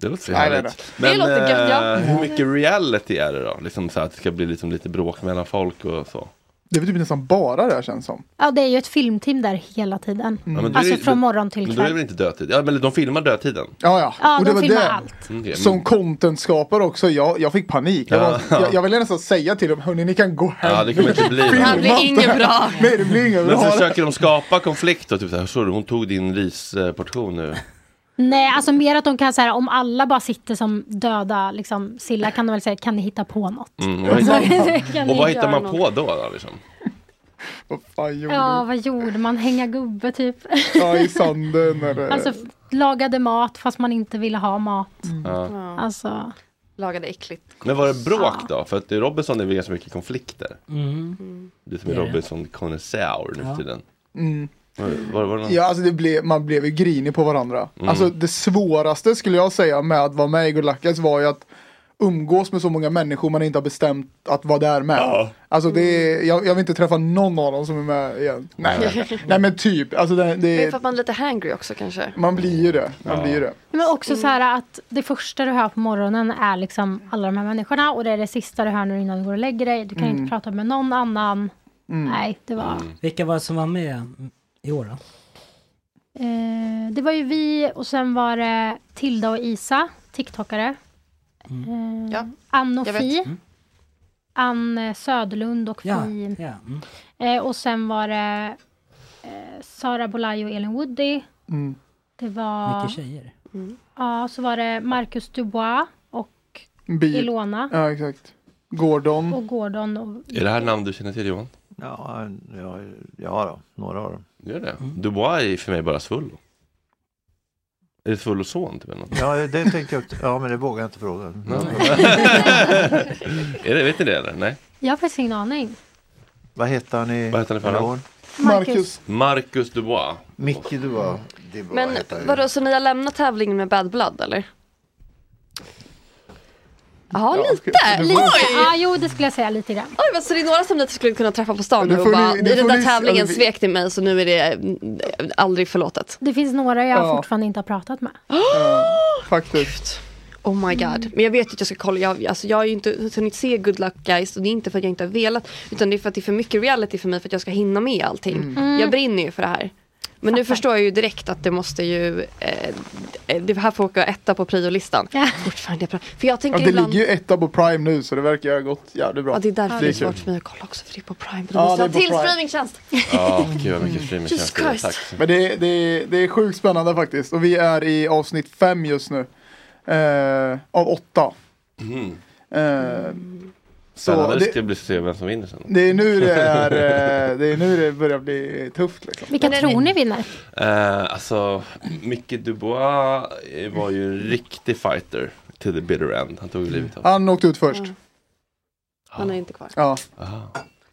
Speaker 5: Det låter
Speaker 16: Nej, nej,
Speaker 5: härligt.
Speaker 16: nej. Det låter gött, ja.
Speaker 5: eh, hur mycket reality är det då? Liksom så här att det ska bli liksom lite bråk mellan folk och så.
Speaker 16: det är typ nästan bara det här känns som.
Speaker 15: Ja, det är ju ett filmteam där hela tiden.
Speaker 16: Mm.
Speaker 5: Ja, men då är
Speaker 15: Alltså
Speaker 5: det-
Speaker 15: från morgon
Speaker 5: Men
Speaker 15: till
Speaker 5: då är det väl
Speaker 15: kväll.
Speaker 5: inte dödtid? Ja, men de filmar dödtiden.
Speaker 16: Ja, ja.
Speaker 15: Ja,
Speaker 16: och
Speaker 15: de
Speaker 16: det var
Speaker 15: filmar
Speaker 16: det.
Speaker 15: allt.
Speaker 5: Mm, okej, men-
Speaker 16: Som content-skapare också, jag, jag fick panik. Jag, var,
Speaker 5: Ja.
Speaker 16: jag, jag ville nästan säga till dem, hörni ni kan gå hem.
Speaker 5: Ja, det kommer inte bli
Speaker 16: Filma
Speaker 5: bra. Det blir
Speaker 16: inte
Speaker 5: inget
Speaker 16: här."
Speaker 5: bra.
Speaker 16: Nej, det blir inget
Speaker 5: Men så
Speaker 16: bra.
Speaker 5: försöker de skapa konflikt och typ så här, "Sorry, hon tog din risportion nu.
Speaker 15: Nej, alltså mer att de kan säga om alla bara sitter som döda liksom, sillar kan de väl säga kan ni hitta på något?
Speaker 5: Mm, och, vad
Speaker 15: Det
Speaker 5: hittar,
Speaker 15: kan
Speaker 5: och vad
Speaker 15: ni
Speaker 5: hittar
Speaker 15: göra
Speaker 5: man
Speaker 15: något.
Speaker 5: på då? då liksom?
Speaker 16: Fan, gjorde
Speaker 15: Ja, vad gjorde man? Hänga gubbe typ.
Speaker 16: Ja, i sanden. Eller...
Speaker 15: alltså f- lagade mat fast man inte ville ha mat.
Speaker 5: Ja.
Speaker 15: Alltså.
Speaker 9: Lagade äckligt.
Speaker 5: Men var det bråk då? För att i Robinson är det ganska mycket konflikter.
Speaker 9: Mm.
Speaker 5: Du som är
Speaker 16: Det är det.
Speaker 5: robinson konnässör nu
Speaker 16: Ja.
Speaker 5: för tiden.
Speaker 16: Mm.
Speaker 5: Var, var, var det någon?
Speaker 16: Ja, alltså det blev, man blev ju grinig på varandra.
Speaker 5: Mm.
Speaker 16: Alltså det svåraste skulle jag säga med att vara med i Gulackis var ju att umgås med så många människor man inte har bestämt att vara där med. Alltså det är, jag, jag vill inte träffa någon av dem som är med igen. Nej, Nej men typ. Alltså det,
Speaker 9: Det är
Speaker 16: det,
Speaker 9: för att man är lite hangry också kanske.
Speaker 16: man blir ju det. Man blir ju det.
Speaker 15: Men också
Speaker 9: Mm.
Speaker 15: så här att det första du hör på morgonen är liksom alla de här människorna och det är det sista du hör nu innan du går och lägger dig. Du kan
Speaker 10: Mm.
Speaker 15: inte prata med någon annan.
Speaker 16: Mm.
Speaker 9: Mm.
Speaker 15: Nej, det var...
Speaker 10: Vilka var det som var med i år då?
Speaker 9: Mm.
Speaker 15: Eh, det var ju vi och sen var det Tilda och Isa, tiktokare.
Speaker 10: Mm.
Speaker 15: Eh, Ann och
Speaker 9: jag vet.
Speaker 15: Fi.
Speaker 9: Mm.
Speaker 15: Ann eh, Söderlund och Fi.
Speaker 10: Ja, ja, mm.
Speaker 15: Eh, och sen var det eh, Sara Bolaj och Elin Woody.
Speaker 16: Mm.
Speaker 15: Det var...
Speaker 10: Mycket tjejer.
Speaker 15: Ja, så var det Marcus Dubois och
Speaker 16: Bi-
Speaker 15: Ilona.
Speaker 16: Ja exakt. Gordon.
Speaker 15: Och Gordon och...
Speaker 5: Är det här namn du känner till Johan?
Speaker 13: Ja, ja, ja då, några av dem.
Speaker 5: Gör det?
Speaker 15: Mm.
Speaker 5: Dubois är för mig bara Svullo. Är det Svullos son? Typ, eller något?
Speaker 13: Ja, det tänkte jag också. Ja, men det vågar jag inte fråga.
Speaker 5: är det, vet ni det eller? Nej?
Speaker 15: Jag har faktiskt ingen aning.
Speaker 13: Vad hette han i
Speaker 5: Vad heter han i förnamn?
Speaker 15: Marcus.
Speaker 5: Marcus Dubois.
Speaker 13: Micke Dubois.
Speaker 9: Men vadå, så ni har lämnat tävlingen med Bad Blood eller? Jaha, lite. lite.
Speaker 15: Ja, jo det skulle jag säga lite grann.
Speaker 9: Oj, men så det är några som ni skulle kunna träffa på stan
Speaker 15: Det
Speaker 9: nu och
Speaker 15: får
Speaker 9: bara,
Speaker 15: ni-
Speaker 9: i
Speaker 15: det
Speaker 9: den
Speaker 15: får
Speaker 9: där
Speaker 15: ni-
Speaker 9: tävlingen
Speaker 15: eller vi-
Speaker 9: svek ni mig så nu är det eh, aldrig förlåtet.
Speaker 15: Det finns några jag
Speaker 9: Ja.
Speaker 15: fortfarande inte har pratat med.
Speaker 16: Faktiskt.
Speaker 9: Oh my god.
Speaker 15: Mm.
Speaker 9: Men jag vet ju att jag ska kolla, jag, alltså, jag har ju inte hunnit se Good Luck Guys och det är inte för att jag inte har velat utan det är för att det är för mycket reality för mig för att jag ska hinna med allting.
Speaker 15: Mm. Mm.
Speaker 9: Jag brinner ju för det här. Men nu förstår jag ju direkt att det måste ju, eh, det här får åka etta på priolistan. Fortfarande, jag pratar- för jag tänker
Speaker 16: Ja, Alltså, det
Speaker 9: ibland,
Speaker 16: ligger ju etta på Prime nu så det verkar ha gått jävligt bra.
Speaker 9: ja, det är därför det är svårt
Speaker 16: kul.
Speaker 9: för mig att kolla också för det är på Prime.
Speaker 16: Ja,
Speaker 9: Ja, måste
Speaker 16: det
Speaker 9: ha
Speaker 16: är på
Speaker 9: till
Speaker 16: Prime.
Speaker 9: streamingtjänst.
Speaker 5: Ja, gud vad mycket
Speaker 9: Jesus
Speaker 5: streamingtjänster.
Speaker 9: Christ.
Speaker 5: Tack.
Speaker 16: Men det, är- det, är- det är sjukt spännande faktiskt. Och vi är i avsnitt fem just nu. Eh, av åtta.
Speaker 5: Mm.
Speaker 16: Eh, så
Speaker 5: Spännande det
Speaker 16: det,
Speaker 5: ska bli att se vem som vinner sen.
Speaker 16: det är nu det är, eh, det är nu det börjar bli tufft liksom.
Speaker 15: Vilka tror ni vinner?
Speaker 5: Eh, alltså, Micke Dubois eh, var ju en riktig fighter till the bitter end. Han tog ju livet av sig.
Speaker 16: Han åkte ut först.
Speaker 9: Han är inte kvar.
Speaker 16: Ja.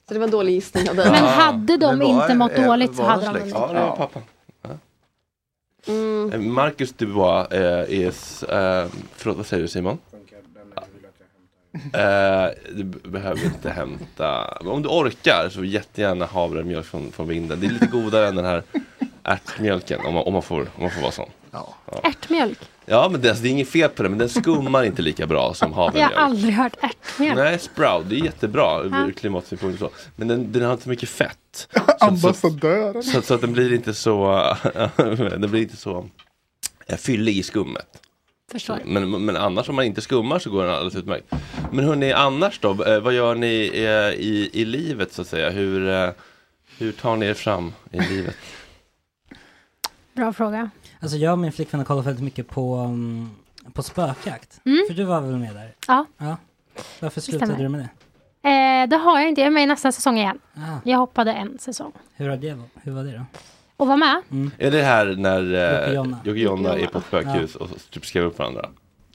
Speaker 9: Så det var en dålig gissning av dig.
Speaker 15: Men hade de inte mått dåligt så hade de
Speaker 5: liksom? Ja, det var pappa. Eh, Marcus Dubois eh, är... s- Eh, förlåt, vad säger du Simon? Eh, du b- behöver inte hämta. Om du orkar så jättegärna havremjölk från, från vinden. Det är lite godare än den här ärtmjölken om man, om man, får, om man får vara sån. Ja,
Speaker 15: Ärtmjölk.
Speaker 5: ja men det, alltså, det är inget fel på det men den skummar inte lika bra som
Speaker 15: Jag har
Speaker 5: havremjölk.
Speaker 15: aldrig hört ärtmjölk.
Speaker 5: Nej, sprout, det är jättebra
Speaker 15: Ja.
Speaker 5: ur klimatsynpunkt och så. Men den, den har inte så mycket fett.
Speaker 16: Ambassadören.
Speaker 5: Så, så att den blir inte så, den blir inte så eh, fyllig i skummet.
Speaker 15: Förstår.
Speaker 5: Men, men annars om man inte skummar så går den alldeles utmärkt. Men hörni, annars då? eh, Vad gör ni eh, i, i livet så att säga? Hur, eh, hur tar ni er fram i livet?
Speaker 15: Bra fråga.
Speaker 10: Alltså jag och min flickvän har kollat väldigt mycket på, mm, på spökjakt. För du var väl med där?
Speaker 15: Ja.
Speaker 10: ja. Varför
Speaker 15: Mm. stämmer.
Speaker 10: slutade du med det?
Speaker 15: Eh, det har jag inte. Jag är med i nästa säsong igen.
Speaker 10: Ah.
Speaker 15: Jag hoppade en säsong.
Speaker 10: Hur, har det, hur var det då?
Speaker 15: Och var med.
Speaker 5: Är det här när
Speaker 10: Jocke
Speaker 5: eh,
Speaker 10: Jonna.
Speaker 5: Jocke och Jonna är på ett spökhus och så typ skriver upp varandra?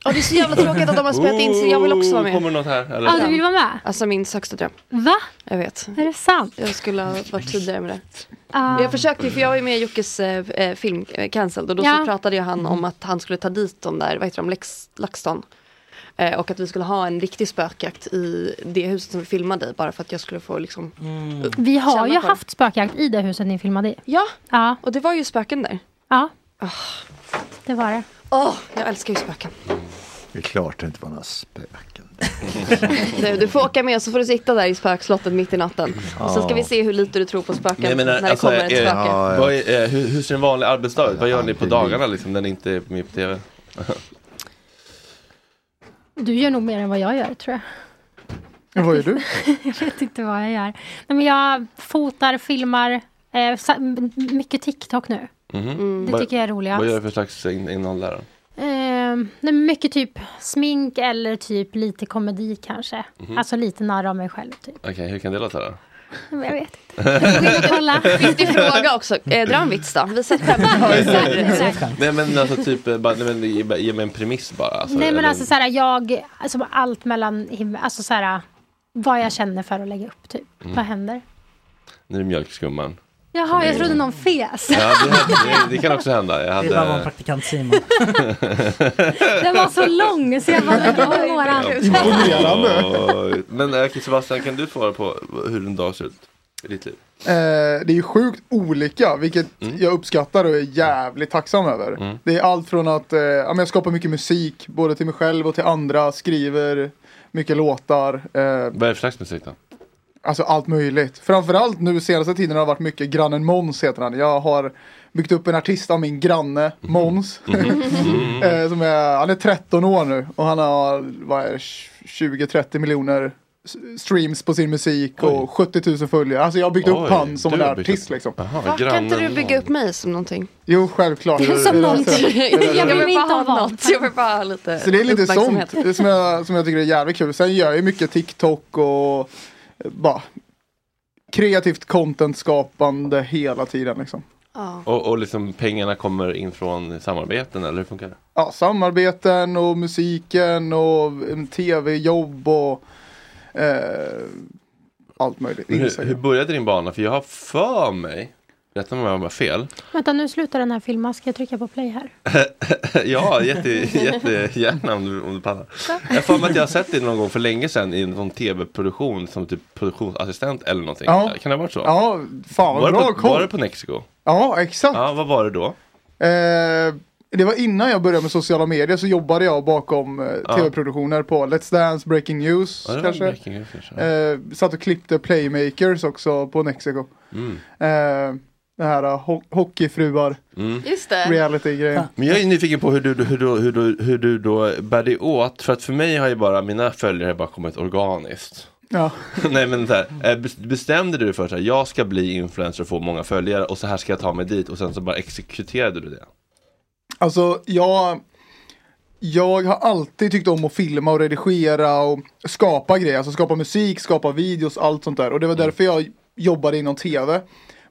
Speaker 9: Och det är så jävla tråkigt att de har spelat in så jag vill också vara med.
Speaker 5: Oh, kommer något här? Eller?
Speaker 9: Ja, du vill
Speaker 15: vara med?
Speaker 9: Alltså min högsta dröm.
Speaker 15: Va?
Speaker 9: Jag vet.
Speaker 15: Är det sant?
Speaker 9: Jag skulle ha varit tidigare med det.
Speaker 15: Ah.
Speaker 9: Jag försökte ju, för jag var ju med i Jockes eh, eh, film eh, Cancelled och då
Speaker 15: Ja.
Speaker 9: så pratade ju han om att han skulle ta dit de där, vad heter de, Lex, LaxTon. Eh, och att vi skulle ha en riktig spökjakt i det huset som vi filmade i bara för att jag skulle få liksom eh,
Speaker 15: Vi har
Speaker 9: känna
Speaker 15: ju
Speaker 9: på det.
Speaker 15: haft spökjakt i det huset ni filmade i.
Speaker 9: Ja,
Speaker 15: ja.
Speaker 9: och det var ju spöken där. Ah.
Speaker 15: Ja. Det var det.
Speaker 9: Åh, jag älskar ju spöken.
Speaker 13: Det är klart det inte var några spöken.
Speaker 9: Du, du får åka med så får du sitta där i spökslottet mitt i natten. Och så ska
Speaker 5: Ja.
Speaker 9: vi se hur lite du tror på spöken
Speaker 5: Men jag menar,
Speaker 9: när
Speaker 5: alltså,
Speaker 9: det kommer ett
Speaker 5: är-
Speaker 9: spöke.
Speaker 5: vad är, eh, hur, hur ser en vanlig arbetsdag ut? Vad gör ni på dagarna liksom, när ni inte är med på TV?
Speaker 15: Du gör nog mer än vad jag gör tror jag.
Speaker 16: Vad gör du?
Speaker 15: jag vet inte vad jag gör. Nej, men jag fotar, filmar, eh, sa- m- mycket TikTok nu.
Speaker 5: Mhm.
Speaker 15: Det
Speaker 5: Vad-
Speaker 15: tycker jag är roligast.
Speaker 5: Vad gör du för slags in- innehåll där? då?
Speaker 15: Eh, nej, men mycket typ smink eller typ lite komedi kanske.
Speaker 5: Mhm.
Speaker 15: Alltså lite narra av mig själv typ.
Speaker 5: Okej, hur kan det låta då?
Speaker 15: Men jag vet inte. Gå in och kolla.
Speaker 9: Viktig fråga också, eh, dra en vits då. Visa ett skämt.
Speaker 5: nej men alltså typ, eh, bara, nej, men, ge, bara- ge mig en premiss bara. Alltså,
Speaker 15: Nej men
Speaker 5: eller-
Speaker 15: alltså såhär, jag, alltså allt mellan himmel, alltså såhär, vad jag känner för att lägga upp typ.
Speaker 5: Mm.
Speaker 15: Vad händer?
Speaker 5: Nu är det mjölkskumman.
Speaker 15: Jaha, jag trodde någon fes.
Speaker 5: Ja, det, det, det kan också hända. Jag
Speaker 10: Det var vår
Speaker 5: hade...
Speaker 10: praktikant Simon.
Speaker 15: Den var så lång så jag bara, det var ju våran.
Speaker 5: Oj. Men eh, okej, Sebastian, kan du svara på hur en dag ser ut i ditt liv?
Speaker 16: Eh, det är ju sjukt olika, vilket
Speaker 5: Mm.
Speaker 16: jag uppskattar och är jävligt tacksam över. Det är allt från att eh, ja, men jag skapar mycket musik, både till mig själv och till andra, skriver mycket låtar. Eh,
Speaker 5: Vad är det för slags musik då?
Speaker 16: Alltså allt möjligt. Framförallt nu senaste tiden har det varit mycket grannen Måns heter han. Jag har byggt upp en artist av min granne
Speaker 5: Mhm.
Speaker 16: Måns. Eh, som är, han är 13 år nu och han har vad är det, 20-30 miljoner s- streams på sin musik och 70 000 följare. Alltså jag har byggt upp
Speaker 5: Oj,
Speaker 16: han som
Speaker 5: du
Speaker 16: en
Speaker 5: har byggt
Speaker 16: artist
Speaker 5: upp-
Speaker 16: liksom.
Speaker 5: Jaha,
Speaker 9: Va, Kan inte du bygga upp mig som någonting?
Speaker 16: Jo, självklart.
Speaker 9: Som någonting. Jag
Speaker 16: Jag
Speaker 9: vill bara ha något. Jag vill bara ha lite
Speaker 16: Så det är lite
Speaker 9: uppmärksamhet.
Speaker 16: sånt eh, som jag, som jag tycker är jävligt kul. Sen gör jag ju mycket TikTok och eh, bara kreativt content-skapande hela tiden liksom.
Speaker 9: Ja.
Speaker 5: Och, och liksom pengarna kommer in från samarbeten eller hur funkar det?
Speaker 16: Ja, samarbeten och musiken och mm, tv-jobb och eh, allt möjligt.
Speaker 5: Men Hur,
Speaker 16: Instagram.
Speaker 5: hur började din bana? För jag har för mig, rätta mig om jag har fel.
Speaker 15: Vänta, nu slutar den här filmen. Ska jag trycka på play här?
Speaker 5: ja, jätte, jättegärna om du, om du pallar. Jag har för mig att jag har sett dig någon gång för länge sedan i en sån tv-produktion som typ produktionsassistent eller någonting.
Speaker 16: Ja.
Speaker 5: Kan det ha varit så?
Speaker 16: Ja, fan vad
Speaker 5: var,
Speaker 16: bra
Speaker 5: det på, var
Speaker 16: koll.
Speaker 5: det på Nexiko?
Speaker 16: Ja, exakt.
Speaker 5: Ja, vad var det då?
Speaker 16: Eh, det var innan jag började med sociala medier så jobbade jag bakom eh,
Speaker 5: Ja.
Speaker 16: tv-produktioner på Let's Dance, Breaking News
Speaker 5: Ja, det var
Speaker 16: kanske.
Speaker 5: Breaking News, kanske.
Speaker 16: Eh, satt och klippte Playmakers också på Nexiko.
Speaker 5: Mm.
Speaker 16: Eh, det här eh, ho- hockeyfruar.
Speaker 5: Mm.
Speaker 9: Just det.
Speaker 16: Reality-grejen.
Speaker 5: Men jag är nyfiken på hur du, hur, du, hur, du, hur du då bär dig åt. För att för mig har ju bara mina följare bara kommit organiskt.
Speaker 16: Ja.
Speaker 5: Nej men så här, eh, bes- bestämde du dig för att jag ska bli influencer och få många följare och så här ska jag ta mig dit och sen så bara exekuterade du det?
Speaker 16: Alltså jag, jag har alltid tyckt om att filma och redigera och skapa grejer. Alltså skapa musik, skapa videos, allt sånt där. Och det var därför jag jobbade inom tv.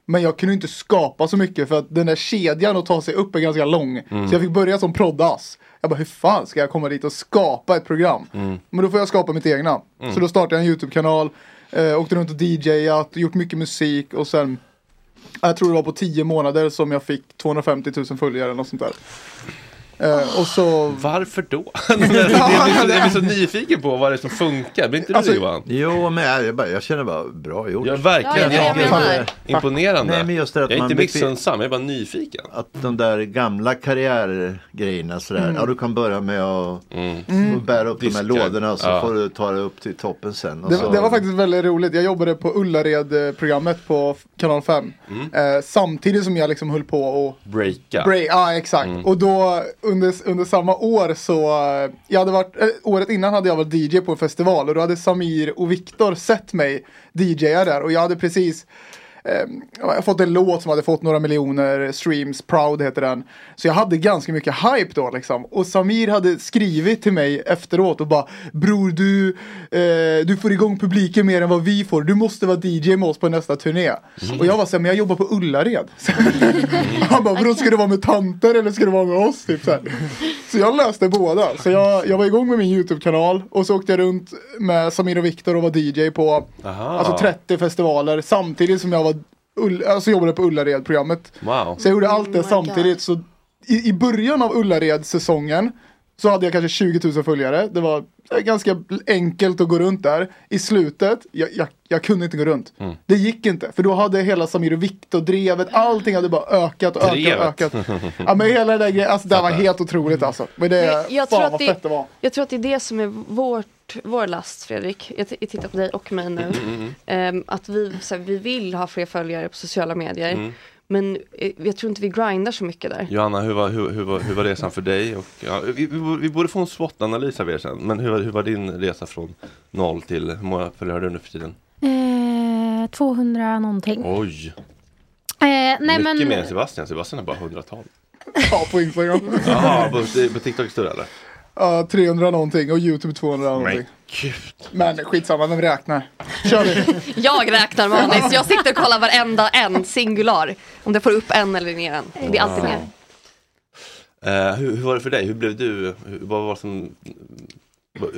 Speaker 16: Men jag kunde inte skapa så mycket för att den där kedjan att ta sig upp är ganska lång.
Speaker 5: Mm.
Speaker 16: Så jag fick börja som proddas. Jag bara hur fan ska jag komma dit och skapa ett program?
Speaker 5: Mm.
Speaker 16: Men då får jag skapa mitt egna.
Speaker 5: Mm.
Speaker 16: Så då startade jag en YouTube-kanal, eh, åkte runt och DJat, gjort mycket musik och sen jag tror det var på 10 månader som jag fick 250 000 följare eller något sånt där. Eh, och så...
Speaker 5: Varför då? jag, blir så, jag blir så nyfiken på vad det är som funkar. Blir inte
Speaker 13: Alltså-
Speaker 5: du Johan?
Speaker 13: Jo, men jag, jag, bara, jag känner bara bra gjort.
Speaker 5: Ja, verkligen.
Speaker 13: Ja, ja,
Speaker 5: Jag-
Speaker 13: ja, ja.
Speaker 5: Imponerande.
Speaker 13: Nej, men just det, att
Speaker 5: jag är
Speaker 13: man
Speaker 5: inte
Speaker 13: blir-
Speaker 5: missunnsam, jag är bara nyfiken.
Speaker 13: Att de där gamla karriärgrejerna sådär.
Speaker 5: Mm.
Speaker 13: Ja, du kan börja med att
Speaker 16: Mm.
Speaker 13: att bära upp
Speaker 5: Diskar.
Speaker 13: de här lådorna och så
Speaker 5: Ja.
Speaker 13: får du ta det upp till toppen sen. Och
Speaker 16: Det,
Speaker 13: så...
Speaker 16: det
Speaker 8: Alltså-
Speaker 16: var faktiskt väldigt roligt. Jag jobbade på Ullared-programmet på f- kanal 5. Eh, samtidigt som jag liksom höll på och ah,
Speaker 5: Breaka.
Speaker 16: Bra- ja exakt.
Speaker 5: Mm.
Speaker 16: Och då under, under samma år så, eh, jag hade varit, eh, året innan hade jag varit DJ på en festival och då hade Samir och Viktor sett mig DJa där och jag hade precis eh, jag hade fått en låt som hade fått några miljoner streams, Proud heter den. Så jag hade ganska mycket hype då liksom. Och Samir hade skrivit till mig efteråt och bara Bror du, eh, du får igång publiken mer än vad vi får. Du måste vara DJ med oss på nästa turné.
Speaker 5: Shit.
Speaker 16: Mm. Och jag var såhär, men jag jobbar på Ullared. Han bara, vadå ska det vara med tanter eller ska det vara med oss? Typ så, här. så jag löste båda. Så jag, jag var igång med min YouTube-kanal och så åkte jag runt med Samir och Viktor och var DJ på
Speaker 6: Ah.
Speaker 5: Aha.
Speaker 16: alltså 30 festivaler samtidigt som jag var, Ull- alltså jobbade på Ullared-programmet.
Speaker 5: Wow.
Speaker 16: Så jag gjorde allt det samtidigt. Så i, I början av Ullared-säsongen så hade jag kanske 20 000 följare. Det var eh, ganska enkelt att gå runt där. I slutet, jag, jag, jag kunde inte gå runt.
Speaker 5: Mm.
Speaker 16: Det gick inte, för då hade hela Samir och Viktor-drevet, allting hade bara ökat och ökat och ökat. Ja men hela den där grejen, alltså det här var helt otroligt alltså. Men det,
Speaker 9: Men jag,
Speaker 16: fan
Speaker 9: tror att
Speaker 16: vad
Speaker 9: det,
Speaker 16: fett det var.
Speaker 9: jag tror att det är det som är vårt, vår last Fredrik. Jag, t- jag tittar på dig och mig nu.
Speaker 5: Mm,
Speaker 9: Ehm, att vi, så här, vi vill ha fler följare på sociala medier.
Speaker 5: Mm.
Speaker 9: Men eh, jag tror inte vi grindar så mycket där.
Speaker 5: Johanna, hur var, hur, hur, var, hur var resan för dig? Och, ja, vi, vi borde- vi borde få en SWOT-analys av er sen. Men hur, var- hur var din resa från noll till, hur många följare har du nu för tiden?
Speaker 15: Eh, 200 någonting.
Speaker 5: Oj,
Speaker 15: Eh, nej,
Speaker 5: mycket
Speaker 15: men,
Speaker 5: mer än Sebastian. Sebastian har bara hundratal.
Speaker 16: Ja på Instagram.
Speaker 5: Jaha, på, på TikTok är större eller?
Speaker 16: Ja, 300 någonting och YouTube 200 någonting. Men skitsamma, vem räknar? Kör vi.
Speaker 9: Jag räknar maniskt. Jag sitter och kollar varenda en singular. Om det får upp en eller ner en. Det är alltid
Speaker 5: Wow.
Speaker 9: mer.
Speaker 5: Eh, hur, hur var det för dig? Hur blev du? Hur, vad var som... Var,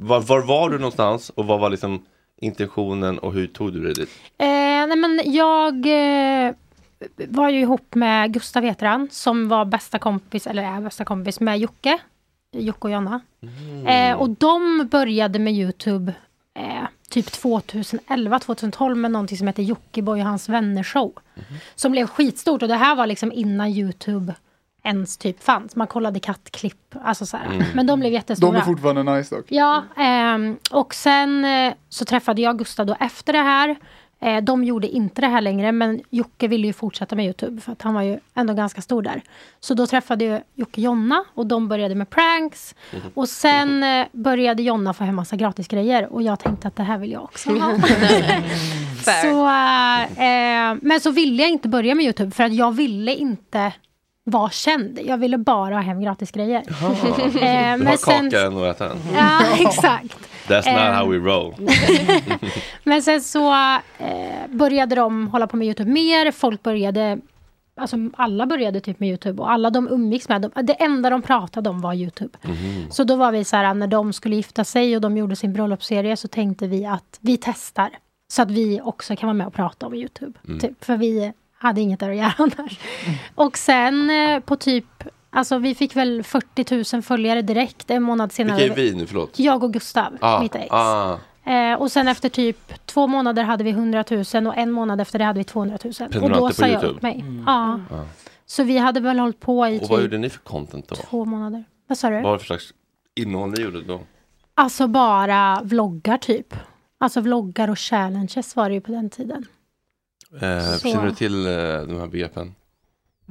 Speaker 5: var, var var du någonstans och vad var liksom intentionen och hur tog du dig dit?
Speaker 15: Eh, nej men jag eh, var ju ihop med Gustav heter han, som var bästa kompis, eller är bästa kompis med Jocke. Jocke och Jonna. Eh, och de började med Youtube eh, typ 2011, 2012 med någonting som heter Jockiboi och hans vänner show. Som blev skitstort och det här var liksom innan Youtube ens typ fanns. Man kollade kattklipp, alltså så här.
Speaker 5: Mm.
Speaker 16: Mm.
Speaker 15: Men de blev jättestora.
Speaker 16: De är fortfarande nice dock.
Speaker 15: Ja, ehm, och sen eh, så träffade jag Gustav då efter det här. Eh, de gjorde inte det här längre, men Jocke ville ju fortsätta med Youtube för att han var ju ändå ganska stor där. Så då träffade jag Jocke Jonna och de började med pranks. Och sen eh, började Jonna få hem massa gratisgrejer och jag tänkte att det här vill jag också ha. så, eh, eh, men så ville jag inte börja med Youtube för att jag ville inte vara känd. Jag ville bara ha hem gratisgrejer.
Speaker 5: Ah. Du
Speaker 15: Eh,
Speaker 5: har kakan och äta den?
Speaker 15: Ja, exakt.
Speaker 5: That's
Speaker 15: Ehm.
Speaker 5: not how we roll.
Speaker 15: Men sen så eh, började de hålla på med YouTube mer. Folk började, alltså alla började typ med YouTube och alla de umgicks med, de, det enda de pratade om var YouTube. Så då var vi så här, när de skulle gifta sig och de gjorde sin bröllopsserie så tänkte vi att vi testar. Så att vi också kan vara med och prata om YouTube.
Speaker 6: Mm.
Speaker 15: Typ, för vi hade inget där att göra annars. Och sen eh, på typ, alltså vi fick väl 40 000 följare direkt en månad senare.
Speaker 5: Vilka är vi nu? Förlåt.
Speaker 15: Jag och Gustav,
Speaker 5: Ah,
Speaker 15: mitt ex.
Speaker 5: ah.
Speaker 15: Eh, och sen efter typ två månader hade vi 100 000 och en månad efter det hade vi 200 000. Och
Speaker 5: Prenumeranter
Speaker 15: då
Speaker 5: på
Speaker 15: sa jag
Speaker 5: YouTube?
Speaker 15: upp mig.
Speaker 5: Mm.
Speaker 15: Ja.
Speaker 5: Ah.
Speaker 15: Så vi hade väl hållit på i
Speaker 5: Och vad
Speaker 15: typ
Speaker 5: gjorde ni för content då?
Speaker 15: två månader. Vad sa du?
Speaker 5: Vad var det för slags innehåll ni gjorde då?
Speaker 15: Alltså bara vloggar typ. Alltså vloggar och challenges var det ju på den tiden.
Speaker 5: Eh,
Speaker 15: Så.
Speaker 5: känner du till eh, de här begreppen?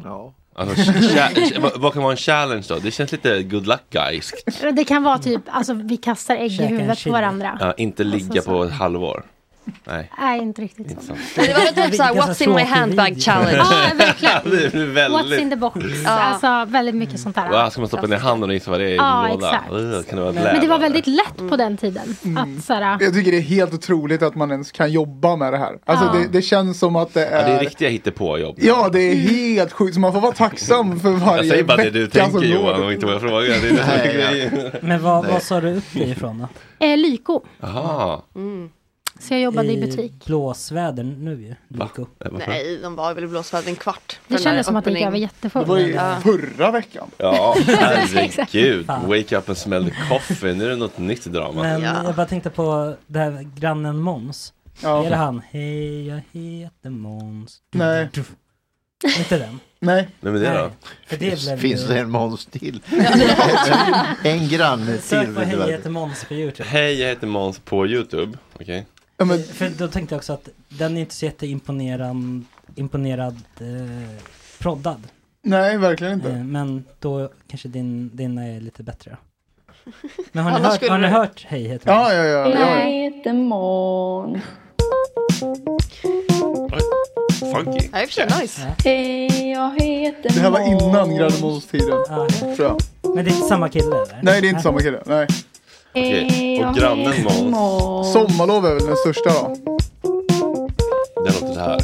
Speaker 13: Ja.
Speaker 5: Alltså, cha- cha- vad- vad kan vara en challenge då? Det känns lite good luck guys.
Speaker 15: Det kan vara typ, alltså vi kastar ägg i
Speaker 5: Käka en
Speaker 15: huvudet på
Speaker 5: chili.
Speaker 15: varandra.
Speaker 5: Ja, inte ligga
Speaker 15: Alltså, så.
Speaker 5: på ett halvår. Nej.
Speaker 15: Nej, inte riktigt så.
Speaker 19: Det var väl typ såhär, what's in my handbag challenge.
Speaker 15: Ja, verkligen.
Speaker 5: det blir
Speaker 15: What's
Speaker 5: väldigt...
Speaker 15: in the box. Alltså väldigt mycket sånt där.
Speaker 5: Wow, ska man stoppa ner handen och gissa vad det är i
Speaker 15: Ja,
Speaker 5: en
Speaker 15: exakt.
Speaker 5: låda? Ugh, Kan det vara ett
Speaker 15: Men det
Speaker 5: läder?
Speaker 15: var väldigt lätt på den tiden. Att såhär,
Speaker 16: Jag tycker det är helt otroligt att man ens kan jobba med det här. Alltså
Speaker 15: Ja.
Speaker 16: det, det känns som att det
Speaker 5: Ja, det
Speaker 16: är...
Speaker 5: är riktiga hittepåjobb.
Speaker 16: Ja, det är helt sjukt. Så man får vara tacksam för varje
Speaker 5: Jag säger bara det du
Speaker 16: vecka som
Speaker 5: tänker
Speaker 16: går.
Speaker 5: Johan och inte vad jag frågar. Det är det som är grejen.
Speaker 10: Men vad,
Speaker 5: Nej.
Speaker 10: vad sa du upp dig ifrån då?
Speaker 15: eh, Lyko. Ah.
Speaker 5: Jaha.
Speaker 15: Så jag jobbade
Speaker 10: Eh.
Speaker 15: i butik.
Speaker 10: blåsväder nu ju. Lyko.
Speaker 9: Eh, Nej, de var väl i blåsväder en kvart.
Speaker 15: Det kändes som att det gick över jättefort.
Speaker 16: Det var ju
Speaker 9: Ja.
Speaker 16: förra veckan.
Speaker 5: Ja, herregud.
Speaker 10: Fan.
Speaker 5: Wake up and smell the coffee. Nu är det något nytt drama.
Speaker 10: Men jag bara tänkte på det här grannen Måns.
Speaker 16: Ja.
Speaker 10: Är det han? Hej, jag heter Måns.
Speaker 16: Nej.
Speaker 10: Inte den?
Speaker 16: Nej.
Speaker 5: Vem är det då?
Speaker 10: För det blev
Speaker 13: Finns
Speaker 10: ju-
Speaker 13: det en Måns till? en granne till.
Speaker 10: Sök
Speaker 13: vet
Speaker 10: på
Speaker 13: du
Speaker 10: Hej, jag
Speaker 13: väl.
Speaker 10: heter Måns på Youtube.
Speaker 5: Hej, jag heter Måns på YouTube. Okej.
Speaker 10: Eh, För då tänkte jag också att den är inte så jätteimponerad imponerad, eh, proddad.
Speaker 16: Nej, verkligen inte.
Speaker 10: Eh, men då kanske din, dina är lite bättre. då. Men har ni,
Speaker 16: Annars
Speaker 10: hört,
Speaker 16: skulle
Speaker 10: har ni
Speaker 16: det-
Speaker 10: hört Hej heter
Speaker 16: Ja,
Speaker 10: Måns?
Speaker 16: ja, ja.
Speaker 19: Jag heter Mån.
Speaker 5: Funky.
Speaker 9: Ja, i och för sig nice.
Speaker 19: Hej, jag heter
Speaker 16: Det här var
Speaker 19: Mån.
Speaker 16: innan Granemålstiden. Tror jag.
Speaker 10: Men det är inte samma kille eller?
Speaker 16: Nej, det är inte samma kille. Nej.
Speaker 19: Hej, jag heter Mån.
Speaker 16: Sommarlov är väl den största då?
Speaker 5: Det låter så här.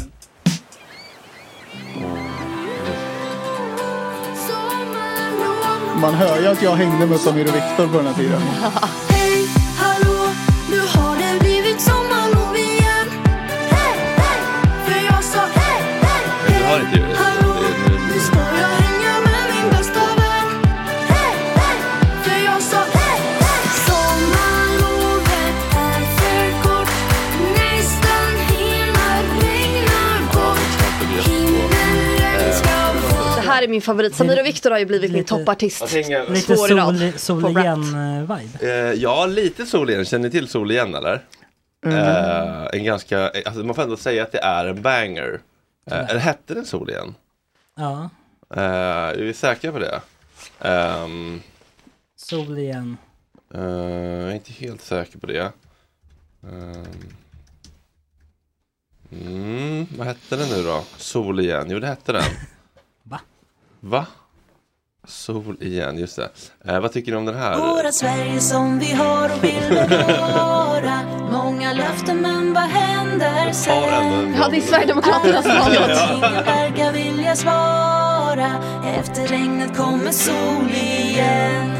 Speaker 16: Man hör ju att jag hängde med Samir och Viktor på den här tiden.
Speaker 6: Hej, hallå, nu har det blivit sommarlov igen. Hej, hej, för jag sa hej, hej,
Speaker 5: Men du hör inte ljudet. Det- det-
Speaker 6: nu ska jag hänga med min bästa vän. Hej, hej, för jag sa hej, hej. Sommarlovet är för kort, nästan hela regnar bort. Himlen ska
Speaker 9: Det här är min favorit. Samir och Viktor har ju blivit min toppartist.
Speaker 5: Jag tänker-
Speaker 10: Lite
Speaker 9: Två år i rad.
Speaker 10: sol, sol
Speaker 9: på rap.
Speaker 10: igen-vibe.
Speaker 5: Eh, ja, lite sol igen. Känner ni till sol igen eller? Eh, en ganska, alltså, man får ändå säga att det är en banger. Eh, eller hette den sol igen?
Speaker 10: Ja,
Speaker 5: Eh, är vi säkra på det? Ehm,
Speaker 10: sol igen.
Speaker 5: eh, jag är inte helt säker på det. Ehm. mm, vad hette den nu då? Sol igen. Jo, det hette den.
Speaker 10: Va?
Speaker 5: Va? Sol igen, just det. Eh, vad tycker ni om den här?
Speaker 6: Våra Sverige som vi har och vill bevara Många löften men vad händer sen?
Speaker 9: Ja, det är Sverigedemokraternas
Speaker 6: Allting
Speaker 9: låt.
Speaker 6: jag verkar vilja svara Efter regnet kommer sol igen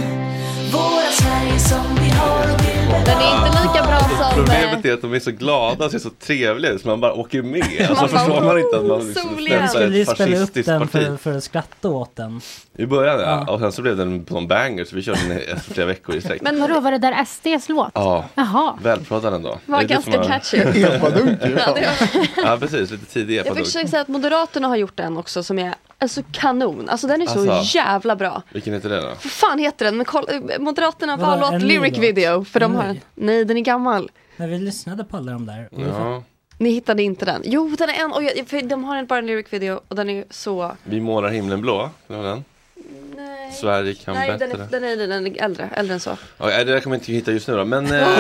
Speaker 6: Våra Sverige som vi har och vill bevara
Speaker 9: Den är inte lika bra som... eh,
Speaker 5: Problemet är att de är så glada och ser så trevliga ut så man bara åker med.
Speaker 9: Man
Speaker 5: Alltså
Speaker 9: bara,
Speaker 5: förstår man liksom inte att man
Speaker 9: soliga.
Speaker 10: Vi
Speaker 5: stämplar
Speaker 10: skulle ju
Speaker 5: ett
Speaker 10: spela upp
Speaker 5: fascistiskt
Speaker 10: den
Speaker 5: parti.
Speaker 10: för, för att skratta åt den.
Speaker 5: I början ja. och sen så blev den en banger så vi körde den i flera veckor i sträck.
Speaker 15: Men vadå, var det där SDs låt?
Speaker 5: Ja,
Speaker 15: Jaha.
Speaker 5: välpratad ändå.
Speaker 9: Var
Speaker 5: Det är det
Speaker 9: ganska
Speaker 5: som har-
Speaker 9: catchy. Epadunk
Speaker 5: ja.
Speaker 9: Ja, det
Speaker 5: precis, lite tidig
Speaker 9: Jag fick
Speaker 5: epadunk.
Speaker 9: försöka säga att Moderaterna har gjort en också som är alltså kanon. Alltså den är så
Speaker 5: Alltså.
Speaker 9: jävla bra.
Speaker 5: Vilken heter det då?
Speaker 9: Vad fan heter den? Men kolla, Moderaterna
Speaker 10: Vadå,
Speaker 9: var
Speaker 10: en
Speaker 9: låt
Speaker 10: ny
Speaker 9: lyric
Speaker 10: låt?
Speaker 9: video för de har
Speaker 10: Nej.
Speaker 9: en. Nej, den är gammal.
Speaker 10: Men vi lyssnade på alla de där.
Speaker 9: Mm.
Speaker 10: och vi
Speaker 5: Ja.
Speaker 9: Ni hittade inte den. Jo, den är en och jag, för de har en, bara en lyric video och den är så
Speaker 5: Vi målar himlen blå, det var den.
Speaker 9: Nej.
Speaker 5: Sverige kan
Speaker 9: Nej,
Speaker 5: bättre.
Speaker 9: den är, den, är, den är äldre, äldre än så.
Speaker 5: Ja, det där kommer jag inte hitta just nu då. Men, eh, men,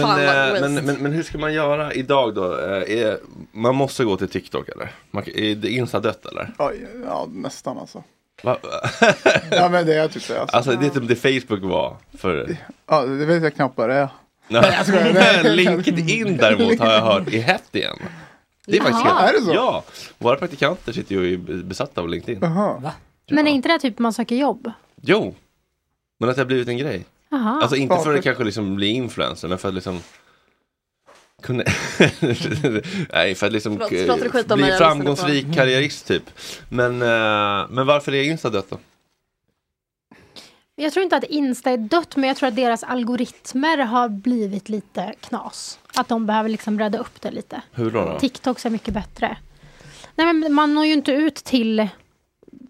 Speaker 9: fan vad
Speaker 5: eh, men,
Speaker 9: waste.
Speaker 5: men, men, hur ska man göra idag då? Eh, är, man måste gå till TikTok eller? Man, är det Insta dött eller?
Speaker 16: Oj, ja, nästan alltså.
Speaker 5: Va?
Speaker 16: Ja, men det är typ det. Alltså.
Speaker 5: Alltså det är typ det Facebook var för
Speaker 16: Ja, det vet jag knappt vad det är.
Speaker 5: Nej,
Speaker 16: jag skojar. Nej.
Speaker 5: LinkedIn däremot har jag hört är hett igen. Det är faktiskt
Speaker 15: Jaha.
Speaker 5: hett.
Speaker 15: Är det så?
Speaker 5: Ja, våra praktikanter sitter ju och är besatta av LinkedIn.
Speaker 15: Men är inte det här typ man söker jobb?
Speaker 5: Jo, men att det har blivit en grej.
Speaker 9: Ah.
Speaker 15: Jaha.
Speaker 5: Alltså inte för
Speaker 15: Varför?
Speaker 5: att kanske liksom bli influencer, men för att liksom kunna... Nej, för att liksom
Speaker 9: Förlåt, pratar du skit om mig?
Speaker 5: bli
Speaker 9: Jag lyssnade
Speaker 5: framgångsrik
Speaker 9: på-
Speaker 5: karriärist typ. Men, eh, men varför är Insta dött då?
Speaker 15: Jag tror inte att Insta är dött, men jag tror att deras algoritmer har blivit lite knas. Att de behöver liksom rädda upp det lite.
Speaker 5: Hur då? då?
Speaker 15: TikToks är mycket bättre. Nej, men man når ju inte ut till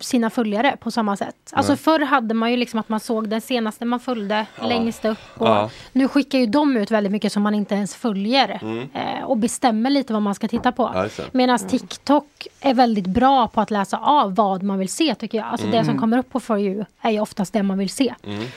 Speaker 15: sina följare på samma sätt. Alltså
Speaker 5: Nej.
Speaker 15: förr hade man ju liksom att man såg den senaste man följde
Speaker 5: Ja.
Speaker 15: längst upp. Och
Speaker 5: Ja.
Speaker 15: Nu skickar ju de ut väldigt mycket som man inte ens följer.
Speaker 5: Mm.
Speaker 15: Eh, och bestämmer lite vad man ska titta på.
Speaker 5: Ja, just det.
Speaker 15: Medan
Speaker 9: Mm.
Speaker 15: TikTok är väldigt bra på att läsa av vad man vill se tycker jag. Alltså det som
Speaker 9: Mm.
Speaker 15: kommer upp på For You är ju oftast det man vill se.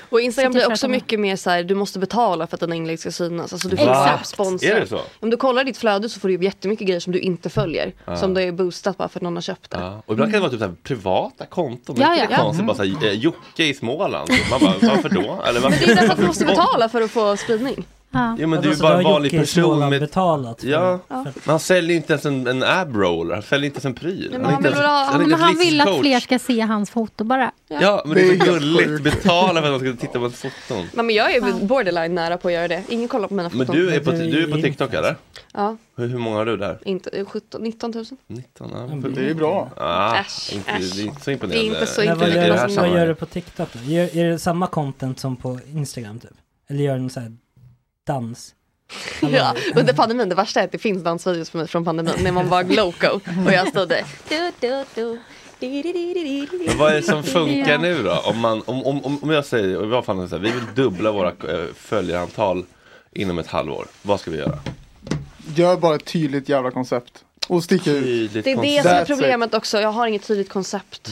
Speaker 9: Och Instagram
Speaker 15: Så tycker
Speaker 9: blir
Speaker 15: jag
Speaker 9: också
Speaker 15: att de-
Speaker 9: mycket mer så här, du måste betala för att dina inlägg ska synas. Alltså du får
Speaker 15: Exakt.
Speaker 9: Exakt. sponsor.
Speaker 5: Är det så?
Speaker 9: Om du kollar ditt flöde så får du ju jättemycket grejer som du inte följer.
Speaker 5: Ja.
Speaker 9: Som du är boostat bara för att någon har köpt det.
Speaker 5: Ja. Och ibland kan det vara typ så här privata konton.
Speaker 9: Ja,
Speaker 5: Ja, ja,
Speaker 9: ja, Mm. ja.
Speaker 5: Konstigt, bara så här, eh, Jocke i Småland. Man bara, varför då? Eller, varför?
Speaker 9: Men det är därför att du måste betala för att få spridning.
Speaker 5: Ja, men
Speaker 10: Vadå,
Speaker 5: du är
Speaker 10: så
Speaker 5: bara
Speaker 10: då
Speaker 5: en
Speaker 10: har
Speaker 5: vanlig
Speaker 10: Jocke i
Speaker 5: person
Speaker 10: Småland
Speaker 5: med...
Speaker 10: betalat för-
Speaker 5: Ja,
Speaker 10: för-
Speaker 5: men han säljer ju inte ens en, en ab-roller, han säljer inte ens en pryl.
Speaker 15: Men
Speaker 5: är
Speaker 15: han
Speaker 5: inte
Speaker 15: vill,
Speaker 5: ens-
Speaker 15: ha,
Speaker 5: är
Speaker 15: men
Speaker 5: inte ens
Speaker 15: han vill att
Speaker 5: livscoach.
Speaker 15: fler ska se hans foto bara.
Speaker 5: Ja, men det är
Speaker 16: Det är
Speaker 5: så
Speaker 16: helt
Speaker 5: gulligt,
Speaker 16: sjukt.
Speaker 5: betala för att de ska titta på ett foton.
Speaker 9: Nej, men jag är borderline nära på att göra det. Ingen kollar på mina
Speaker 5: Men
Speaker 9: foton.
Speaker 5: du är på, du är på TikTok eller?
Speaker 9: Ja,
Speaker 5: Hur, hur många har du där?
Speaker 9: inte, eh, 17, 19 000.
Speaker 5: 19? Ja,
Speaker 9: Mm,
Speaker 5: men-
Speaker 9: det är bra.
Speaker 5: Ah,
Speaker 9: Äsch,
Speaker 5: inte,
Speaker 9: äsch.
Speaker 5: Det är inte så
Speaker 9: Det är
Speaker 5: imponerande.
Speaker 9: inte så
Speaker 10: Men vad,
Speaker 5: I det här
Speaker 10: gör, vad gör du
Speaker 5: sammanhanget.
Speaker 10: på TikTok då? Gör, är det samma content som på Instagram typ? Eller gör du någon sån här dans?
Speaker 9: Ja, under pandemin, det värsta är att det finns dansvideos på mig från pandemin när man var loco och jag stod där. Du, du, du, di, di, di, di, di, di.
Speaker 5: Men vad är det som funkar
Speaker 9: Ja.
Speaker 5: nu då? Om, man, om, om, om om jag säger, och vad fan så här, vi vill dubbla våra eh, följarantal inom ett halvår. Vad ska vi göra?
Speaker 16: Gör bara ett tydligt jävla koncept. Och stick ut.
Speaker 9: Det är det som är problemet också, jag har inget tydligt koncept.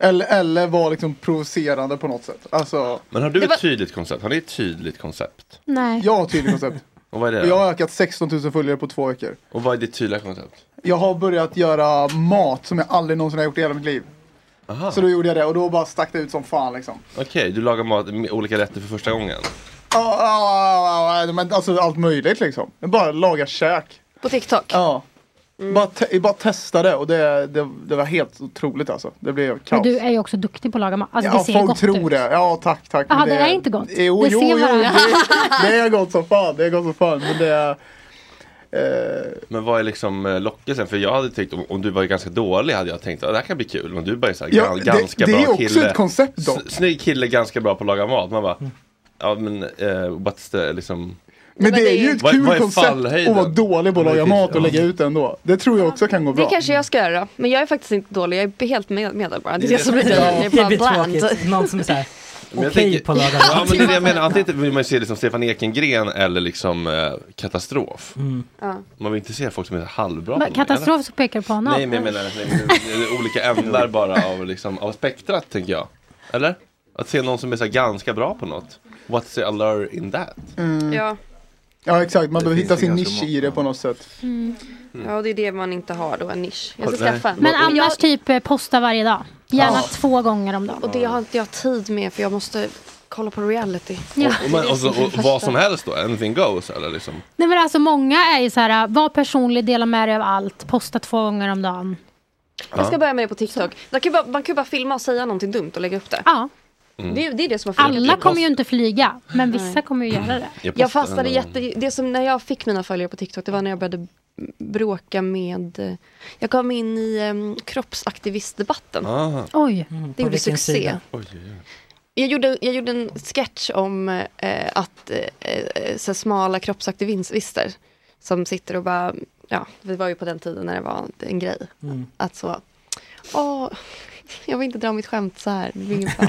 Speaker 16: Eller, eller var liksom provocerande på något sätt. Alltså,
Speaker 5: Men har du
Speaker 16: Det var-
Speaker 5: ett tydligt koncept? Har ni ett tydligt koncept?
Speaker 15: Nej.
Speaker 16: Jag har ett tydligt koncept.
Speaker 5: Och vad är det?
Speaker 16: Jag har ökat 16 000 följare på två veckor.
Speaker 5: Och vad är ditt tydliga koncept?
Speaker 16: Jag har börjat göra mat som jag aldrig någonsin har gjort i hela mitt liv.
Speaker 5: Aha.
Speaker 16: Så då gjorde jag det och då bara stack det ut som fan liksom.
Speaker 5: Okej, du lagar mat med olika rätter för första gången.
Speaker 16: Ja, ja, ja, ja, Men alltså allt möjligt liksom. Jag bara laga käk.
Speaker 9: På TikTok?
Speaker 16: Ja.
Speaker 15: Mm.
Speaker 16: Bara, te- bara testa det och det, det, det var helt otroligt alltså. Det blev
Speaker 15: Men
Speaker 16: kaos.
Speaker 15: du är ju också duktig på att laga mat. Alltså det
Speaker 16: ja,
Speaker 15: ser ju
Speaker 16: folk
Speaker 15: gott
Speaker 16: tror
Speaker 15: ut.
Speaker 16: det. Ja, tack, tack.
Speaker 15: Jaha,
Speaker 16: Men
Speaker 15: det är inte gott.
Speaker 16: Jo,
Speaker 15: Det
Speaker 16: jo,
Speaker 15: ser
Speaker 16: jo.
Speaker 15: man.
Speaker 16: Det, det är gott som fan. Det är gott som fan. Men det är... Eh,
Speaker 5: Men vad är liksom eh, lockelsen? För jag hade tänkt, om, om du var ganska dålig hade jag tänkt att det här kan bli kul. Men du bara är så här,
Speaker 16: Ja,
Speaker 5: gan-
Speaker 16: det-
Speaker 5: ganska
Speaker 16: det
Speaker 5: bra
Speaker 16: är också
Speaker 5: kille.
Speaker 16: ett koncept dock.
Speaker 5: S- Snygg kille, ganska bra på att laga mat. Man bara,
Speaker 10: Mm.
Speaker 5: ja men eh, what's the, liksom.
Speaker 16: men det är ju ett
Speaker 5: Vad-
Speaker 16: kul
Speaker 5: vad är
Speaker 16: koncept
Speaker 5: fallhöjden?
Speaker 16: att vara dålig på att
Speaker 5: Men det
Speaker 16: laga
Speaker 5: finns-
Speaker 16: mat och lägga ut det ändå. Det tror jag också kan gå bra.
Speaker 9: Det kanske jag ska göra, men jag är faktiskt inte dålig, jag är helt med, medel bara. Det är det som blir
Speaker 10: Ja.
Speaker 9: grejen, det
Speaker 10: Det
Speaker 9: är
Speaker 10: blir
Speaker 9: bara bland.
Speaker 10: tråkigt. Någon som är såhär,
Speaker 5: Men
Speaker 10: okej
Speaker 5: jag tänker-
Speaker 10: på att laga
Speaker 5: Ja
Speaker 10: mat.
Speaker 5: men det är det jag menar, antingen vill man ju se det som Stefan Ekengren eller liksom eh, katastrof.
Speaker 10: Mm.
Speaker 9: Ja.
Speaker 5: Man vill inte se folk som är halvbra.
Speaker 15: Men
Speaker 5: på något.
Speaker 15: Katastrof så pekar på honom.
Speaker 5: Nej men jag menar, nej, men det är olika ändar bara av, liksom, av spektrat tänker jag. Eller? Att se någon som är så här, ganska bra på något. What's the allure in that?
Speaker 16: Mm.
Speaker 9: Ja.
Speaker 16: Ja, exakt. Man behöver
Speaker 5: finns
Speaker 16: hitta
Speaker 5: ju
Speaker 16: sin
Speaker 5: ganska
Speaker 16: nisch i det på något sätt.
Speaker 15: Mm.
Speaker 9: Ja, och det är det man inte har då, en nisch. Jag ska
Speaker 16: Nej.
Speaker 9: skaffa en.
Speaker 15: Men
Speaker 9: Och jag-
Speaker 15: annars typ eh, posta varje dag. Gärna
Speaker 9: Ja.
Speaker 15: två gånger om dagen.
Speaker 9: Och det har inte jag tid med för jag måste kolla på reality.
Speaker 5: Och, man, och, så, och vad som helst då, anything goes eller liksom.
Speaker 15: Nej men alltså många är ju så här, var personlig, dela med dig av allt, posta två gånger om dagen.
Speaker 9: Jag ska börja med det på TikTok. Man kan, ju bara, man kan ju bara filma och säga någonting dumt och lägga upp det.
Speaker 15: Ja.
Speaker 5: Mm.
Speaker 9: Det, är- det är det som har funkat.
Speaker 15: Alla kommer ju inte flyga, men vissa kommer ju göra det.
Speaker 9: Jag, fastnade jätte... Det som när jag fick mina följare på TikTok, det var när jag började bråka med... Jag kom in i um, kroppsaktivistdebatten.
Speaker 15: Oj.
Speaker 5: Mm,
Speaker 9: Det gjorde succé.
Speaker 5: Oj,
Speaker 9: Jag gjorde, jag gjorde en sketch om eh, att eh, eh, så smala kroppsaktivister som sitter och bara, ja, vi var ju på den tiden när det var en grej.
Speaker 6: Mm.
Speaker 9: Att så, åh, jag vill inte dra mitt skämt så här, det blir ingen bra.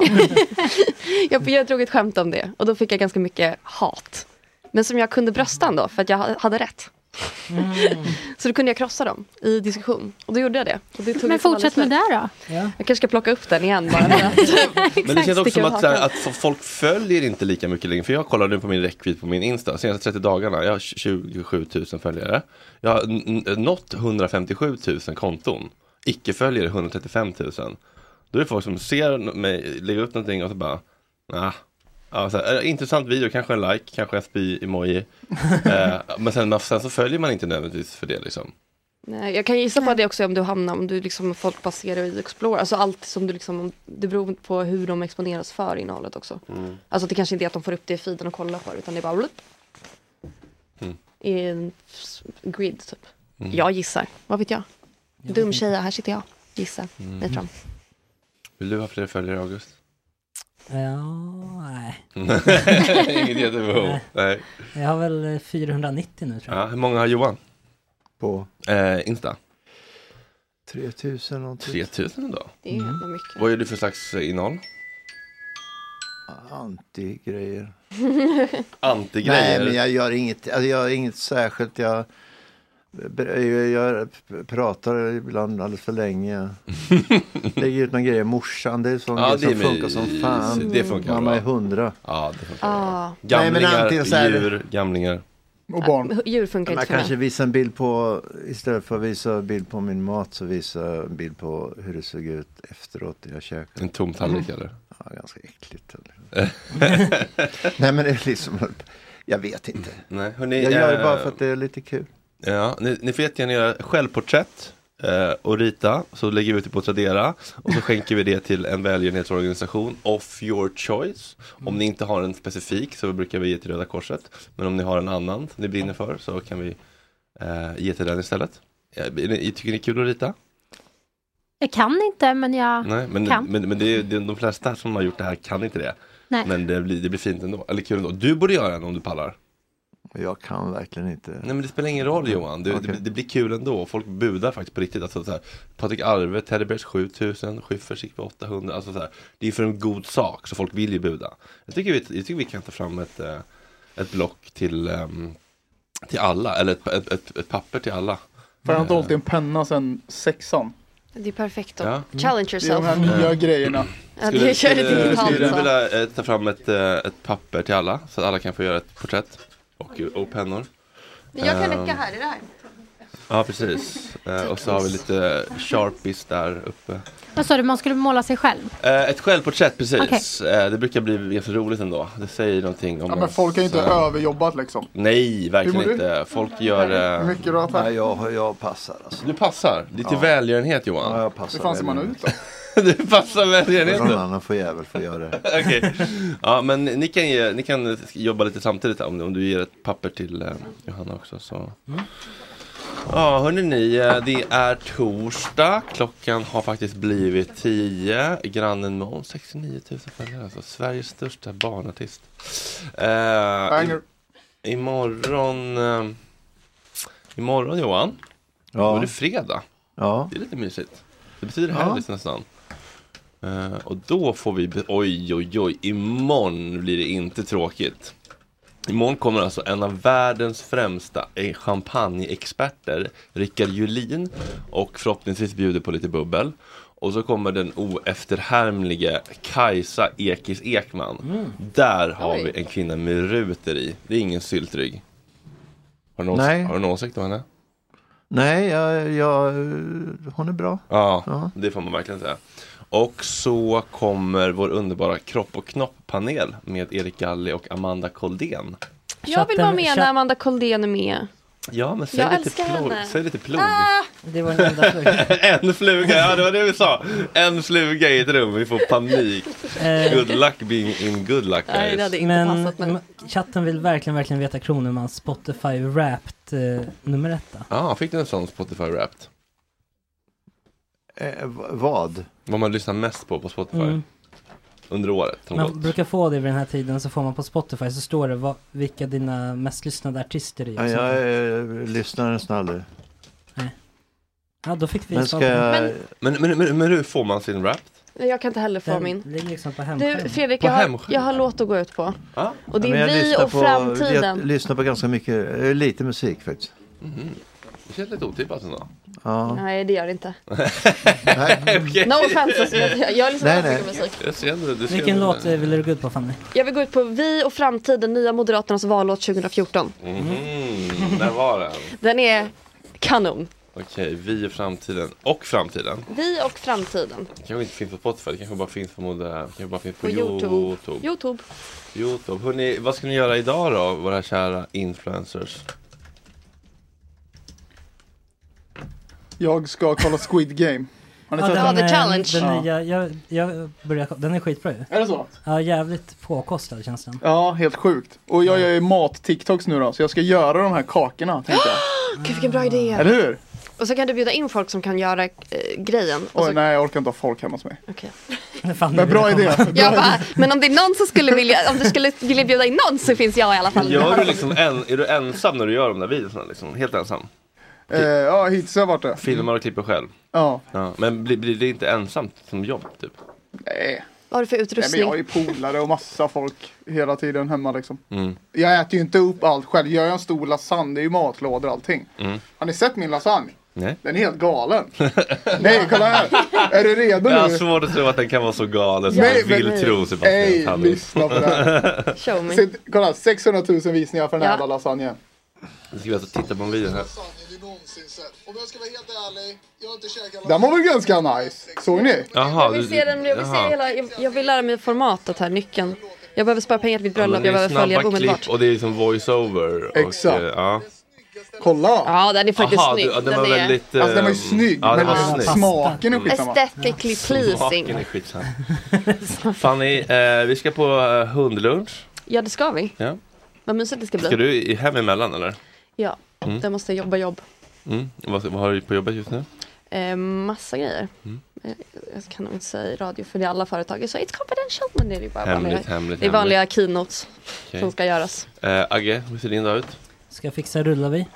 Speaker 9: jag, jag drog ett skämt om det och då fick jag ganska mycket hat. Men som jag kunde brösta ändå, för att jag ha- hade rätt. Så då kunde jag krossa dem i diskussion. Och då gjorde jag det. Och det tog
Speaker 15: Men
Speaker 9: liksom
Speaker 15: fortsätt med
Speaker 9: aldrig
Speaker 15: det då.
Speaker 9: slut. Jag kanske ska plocka upp den igen bara. för att-
Speaker 5: Men det
Speaker 9: Exakt,
Speaker 5: känns också
Speaker 9: sticka
Speaker 5: som
Speaker 9: ut
Speaker 5: att, så här,
Speaker 9: hakan.
Speaker 5: att f- folk följer inte lika mycket längre. För jag kollar nu på min räckvidd på min Insta. Senaste 30 dagarna, jag har 27 000 följare. Jag har n- n- nått 157 000 konton. Icke-följare 135 000. Då är det folk som ser n- mig lägga upp någonting och så bara, nah. Ja, så här, eh, intressant video, kanske en like, kanske en spy-emoji. eh, men sen, man- sen så följer man inte nödvändigtvis för det liksom.
Speaker 9: Nej, jag kan gissa på det också om du hamnar, om du liksom folk passerar i Explorer. Alltså allt som du liksom, det beror på hur de exponeras för innehållet också.
Speaker 5: Mm.
Speaker 9: Alltså det kanske inte är att de får upp det i feeden och kollar på det, utan det är bara blup.
Speaker 5: Mm.
Speaker 9: I en s- grid typ.
Speaker 5: Mm.
Speaker 9: Jag gissar, vad vet jag? Dum tjeja, här sitter jag. Gissar,
Speaker 5: Mm.
Speaker 9: jag tror.
Speaker 5: Vill du ha fler följare August?
Speaker 10: Ja, nej.
Speaker 5: Inget jättebehov.
Speaker 10: Nej.
Speaker 5: Nej.
Speaker 10: Jag har väl eh, 490 nu tror jag.
Speaker 5: Ja, hur många har Johan?
Speaker 13: På?
Speaker 5: Eh, Insta.
Speaker 13: 3000 någonting.
Speaker 5: 3000 idag.
Speaker 9: Det är
Speaker 5: Mm.
Speaker 9: ändå mycket.
Speaker 5: Vad gör du för slags eh, innehåll?
Speaker 13: Anti-grejer.
Speaker 5: Antigrejer.
Speaker 13: Nej, men jag gör inget, alltså jag gör inget särskilt. Jag, jag, jag pratar ibland alldeles för länge. Lägger ut någon grej. Morsan, det är sån
Speaker 5: Ja,
Speaker 13: grej som
Speaker 5: det är
Speaker 13: funkar som
Speaker 5: mysigt.
Speaker 13: fan.
Speaker 5: Det funkar
Speaker 13: Mamma
Speaker 5: bra.
Speaker 13: är hundra.
Speaker 5: Ja, det funkar.
Speaker 9: Ah.
Speaker 13: Nej, men
Speaker 5: Gamlingar,
Speaker 13: antingen så här-
Speaker 5: djur, gamlingar.
Speaker 13: Och barn.
Speaker 9: Djur funkar
Speaker 13: Man
Speaker 9: inte för
Speaker 13: kanske
Speaker 9: mig.
Speaker 13: visar en bild på, istället för att visa en bild på min mat så visa en bild på hur det såg ut efteråt när jag käkade. Mm.
Speaker 5: En tom tallrik, eller?
Speaker 13: Ja, ganska äckligt. Eller? Nej men det är liksom, jag vet inte.
Speaker 5: Nej, hörni,
Speaker 13: jag gör
Speaker 5: eh,
Speaker 13: det bara för att det är lite kul.
Speaker 5: Ja, ni, ni får jättegärna göra självporträtt eh, och rita, så lägger vi ut det på Tradera och så skänker vi det till en välgörenhetsorganisation of your choice. Om ni inte har en specifik så brukar vi ge till Röda Korset, men om ni har en annan som ni brinner för så kan vi eh, ge till den istället. Eh, är ni- Tycker ni det är kul att rita?
Speaker 15: Jag kan inte, men jag
Speaker 5: Nej, men,
Speaker 15: kan.
Speaker 5: men, men det är, det är de flesta som har gjort det här kan inte det.
Speaker 15: Nej.
Speaker 5: Men det blir, det blir fint ändå, eller kul ändå. Du borde göra en om du pallar.
Speaker 13: Jag kan verkligen inte.
Speaker 5: Nej men det spelar ingen roll Johan, det, det, det blir kul ändå. Folk budar faktiskt på riktigt. Alltså, så här, Patrik Arve, Teddy Bears 7000, Schyffert sitter på 800. Alltså, så här, det är för en god sak, så folk vill ju buda. Jag tycker vi, jag tycker vi kan ta fram ett, eh, ett block till, ehm, till alla, eller ett, ett, ett, ett papper till alla. Eh,
Speaker 16: För jag har inte
Speaker 5: Mm.
Speaker 16: hållit i en penna sedan sexan.
Speaker 9: Det är perfekt då.
Speaker 5: Ja.
Speaker 9: Challenge yourself.
Speaker 16: Det är de här nya grejerna.
Speaker 9: Ja, det kör
Speaker 5: skulle,
Speaker 9: lite
Speaker 5: skulle,
Speaker 9: digitalt,
Speaker 5: skulle du
Speaker 9: va?
Speaker 5: vilja eh, ta fram ett, eh, ett papper till alla, så att alla kan få göra ett porträtt och, och pennor.
Speaker 9: Men jag kan
Speaker 5: Ehm,
Speaker 9: räcka här, är det här?
Speaker 5: Ja, precis. Eh, och så har vi lite sharpies där uppe.
Speaker 15: Vad sa du, man skulle måla sig själv?
Speaker 5: Eh, ett självporträtt, precis. Eh, det brukar bli ganska roligt ändå. Det säger någonting om
Speaker 16: Ja, men
Speaker 5: ens,
Speaker 16: folk har ju inte
Speaker 5: eh,
Speaker 16: överjobbat liksom.
Speaker 5: Nej,
Speaker 16: Hur
Speaker 5: verkligen
Speaker 16: mår
Speaker 5: inte. Folk gör... Eh,
Speaker 16: Mycket bra tack.
Speaker 13: Nej, jag, jag passar alltså.
Speaker 5: du passar. Lite
Speaker 13: Ja.
Speaker 5: välgörenhet Johan.
Speaker 13: Ja, jag passar.
Speaker 16: Hur fan ser man ut då?
Speaker 5: du passar välgörenhet.
Speaker 13: Någon annan får jävel få göra det.
Speaker 5: Okej. Ja, men ni kan, ge, ni kan jobba lite samtidigt om, om du ger ett papper till eh, Johanna också. Så.
Speaker 16: Mm.
Speaker 5: Ja, hörni ni, eh, det är torsdag. Klockan har faktiskt blivit 10. Grannen Måns, 69 000 följare. Alltså, Sveriges största barnartist. Eh,
Speaker 16: Banger.
Speaker 5: i, imorgon, eh, imorgon Johan,
Speaker 13: Ja.
Speaker 5: då är det fredag.
Speaker 13: Ja.
Speaker 5: Det är lite mysigt. Det betyder
Speaker 13: Ja.
Speaker 5: helg nästan. Eh, och då får vi, be- oj oj oj, imorgon blir det inte tråkigt. Imorgon kommer alltså en av världens främsta eh, champagneexperter, Rickard Julin, och förhoppningsvis bjuder på lite bubbel. Och så kommer den oefterhärmlige Kajsa Ekis Ekman.
Speaker 13: Mm.
Speaker 5: Där har
Speaker 13: Oj.
Speaker 5: vi en kvinna med ruter i. Det är ingen syltrygg. Har du någon,
Speaker 13: Nej.
Speaker 5: har du någon åsikt om henne?
Speaker 13: Nej, jag, jag, hon är bra.
Speaker 5: Ja,
Speaker 13: Ja.
Speaker 5: det får man verkligen säga. Och så kommer vår underbara kropp och knopp-panel med Erik Galli och Amanda Koldén.
Speaker 9: Jag vill vara med när Amanda Koldén är med.
Speaker 5: Ja, men säg
Speaker 9: Jag
Speaker 5: lite
Speaker 9: älskar
Speaker 5: plog.
Speaker 9: henne.
Speaker 5: Säg lite plog.
Speaker 9: Ah!
Speaker 10: Det var den enda frågan.
Speaker 5: en fluga, ja det var det vi sa. En fluga i ett rum, vi får panik.
Speaker 10: Eh.
Speaker 5: Good luck being in good luck guys.
Speaker 10: men, m- chatten vill verkligen, verkligen veta Kronemans Spotify Wrapped eh, nummer ett då.
Speaker 5: Ja, fick du en sån Spotify Wrapped?
Speaker 13: Eh, v- vad?
Speaker 5: Vad man lyssnar mest på på Spotify?
Speaker 10: Mm.
Speaker 5: Under året som
Speaker 10: Man
Speaker 5: gått.
Speaker 10: brukar få det vid den här tiden så får man på Spotify så står det vad, vilka dina mest lyssnade artister är. och
Speaker 13: Ja,
Speaker 10: sånt där.
Speaker 13: jag eh, lyssnar nästan aldrig.
Speaker 10: ja, då fick vi
Speaker 13: Men
Speaker 10: svar
Speaker 13: ska
Speaker 10: på det.
Speaker 13: jag...
Speaker 5: Men, men, men, men hur får man sin Wrapped?
Speaker 9: Nej, Jag kan inte heller få
Speaker 10: Den
Speaker 9: min.
Speaker 10: ligger liksom på
Speaker 9: Du
Speaker 10: hemsidan.
Speaker 9: Fredrik,
Speaker 5: På
Speaker 9: jag har,
Speaker 5: hemskivan.
Speaker 9: jag har låt att gå ut på.
Speaker 5: Ja.
Speaker 9: Och det
Speaker 13: Ja, men jag
Speaker 9: är vi
Speaker 13: lyssnar
Speaker 9: och
Speaker 13: Jag
Speaker 9: framtiden.
Speaker 13: lyssnar på ganska mycket, eh, lite musik faktiskt.
Speaker 5: Mhm. Det känns lite otippat ändå.
Speaker 13: Ja.
Speaker 9: Nej, det gör det inte.
Speaker 5: Okej.
Speaker 9: No offense, alltså, jag, jag lyssnar
Speaker 13: Nej,
Speaker 9: på
Speaker 13: nej.
Speaker 9: mycket musik.
Speaker 5: Jag ser ändå- du ser
Speaker 10: Vilken
Speaker 5: ändå-
Speaker 10: låt eh, ville du gå ut på Fanny?
Speaker 9: Jag vill gå ut på Vi och framtiden, Nya Moderaternas vallåt 2014.
Speaker 5: Mhm, Där var den.
Speaker 9: Den är kanon.
Speaker 5: Okej, vi och framtiden. Och framtiden.
Speaker 9: Vi och framtiden.
Speaker 5: Det kanske inte finns på Spotify, det kanske bara finns på, moder... det kanske bara finns på
Speaker 9: På Youtube.
Speaker 5: YouTube.
Speaker 9: Youtube.
Speaker 5: Youtube. Hörrni, vad ska ni göra idag då, våra kära influencers?
Speaker 16: Jag ska kolla Squid Game. Har ni sett
Speaker 10: den,
Speaker 16: den?
Speaker 10: eh, Den nya, jag, jag börjar, den är skitbra ju.
Speaker 16: Är det så?
Speaker 10: Ja, jävligt påkostad känns den.
Speaker 16: Ja, helt sjukt. Och jag gör ju mat-tiktoks nu då, så jag ska göra de här kakorna tänkte jag.
Speaker 9: Gud vilken bra idé.
Speaker 16: Eller hur?
Speaker 9: Och så kan du bjuda in folk som kan göra eh, grejen. Och
Speaker 16: Oj,
Speaker 9: så...
Speaker 16: nej jag orkar inte ha folk hemma hos mig.
Speaker 9: Okej.
Speaker 16: Men bra idé.
Speaker 9: Jag bara, men om det är någon som skulle vilja, om du skulle vilja bjuda in någon så finns jag i alla fall.
Speaker 5: Gör du liksom en, är du ensam när du gör de där videorna? Liksom? Helt ensam?
Speaker 16: Eh, ja, hittills har jag varit det.
Speaker 5: Filmar och klipper själv?
Speaker 16: Ja.
Speaker 5: Men blir, blir det inte ensamt som jobb typ?
Speaker 16: Nej.
Speaker 9: Vad har du för
Speaker 16: Nej,
Speaker 9: utrustning?
Speaker 16: men jag är ju polare och massa folk hela tiden hemma liksom.
Speaker 5: Mm.
Speaker 16: Jag äter ju inte upp allt själv. Gör jag en stor lasagne, det är ju matlådor och allting.
Speaker 5: Mm.
Speaker 16: Har ni sett min lasagne?
Speaker 5: Nej.
Speaker 16: Den är helt galen. Nej, kolla här. Är du redo
Speaker 5: Jag
Speaker 16: nu?
Speaker 5: har svårt att tro att den kan vara så galen som
Speaker 16: Nej,
Speaker 5: du
Speaker 16: men-
Speaker 5: vill tro Sebastian.
Speaker 16: Ej,
Speaker 5: Tallroth.
Speaker 16: lyssna på det här.
Speaker 9: Show me.
Speaker 16: Se, kolla, 600 000 visningar för den här
Speaker 9: Ja.
Speaker 16: jävla lasagnen.
Speaker 5: Nu ska vi alltså titta på en video här.
Speaker 16: Om jag ska vara helt ärlig, jag har inte käkat Den var väl ganska nice? Såg ni?
Speaker 5: Jaha,
Speaker 9: Jag vill se den, jag vill se
Speaker 5: jaha.
Speaker 9: hela, jag, jag vill lära mig formatet här, nyckeln. Jag behöver spara pengar till mitt bröllop, jag
Speaker 5: det är
Speaker 9: behöver följa
Speaker 5: snabba
Speaker 9: omedelbart.
Speaker 5: klipp och det är liksom voice-over. och,
Speaker 16: Exakt.
Speaker 5: eh, Ja.
Speaker 16: Kolla!
Speaker 9: Ja, den är faktiskt
Speaker 5: Aha,
Speaker 9: snygg.
Speaker 5: du- ja, den var väldigt,
Speaker 16: Alltså den var ju
Speaker 5: ehm,
Speaker 16: snygg,
Speaker 5: ja, den
Speaker 16: men alltså,
Speaker 5: var snygg.
Speaker 16: smaken är
Speaker 5: Mm.
Speaker 16: skitsamma.
Speaker 9: Aesthetically
Speaker 5: Smaken är
Speaker 9: pleasing.
Speaker 5: skitsamma. Fanny, eh, vi ska på eh, hundlunch.
Speaker 9: Ja, det ska vi.
Speaker 5: Ja.
Speaker 9: Vad mysigt det ska bli.
Speaker 5: Ska du i- hem emellan eller?
Speaker 9: Ja,
Speaker 5: Mm.
Speaker 9: där måste jag jobba jobb.
Speaker 5: Mm. Vad, vad har du på jobbet just nu?
Speaker 9: Eh, massa grejer.
Speaker 5: Mm.
Speaker 9: Eh, Jag kan nog inte säga i radio för det är alla företag. Så it's confidential. Men det är ju bara
Speaker 5: Hemligt,
Speaker 9: vanliga,
Speaker 5: hemligt,
Speaker 9: det är vanliga keynotes
Speaker 5: Okej.
Speaker 9: som ska göras.
Speaker 5: Eh, Agge, hur ser din dag ut?
Speaker 10: Ska fixa rullar vi.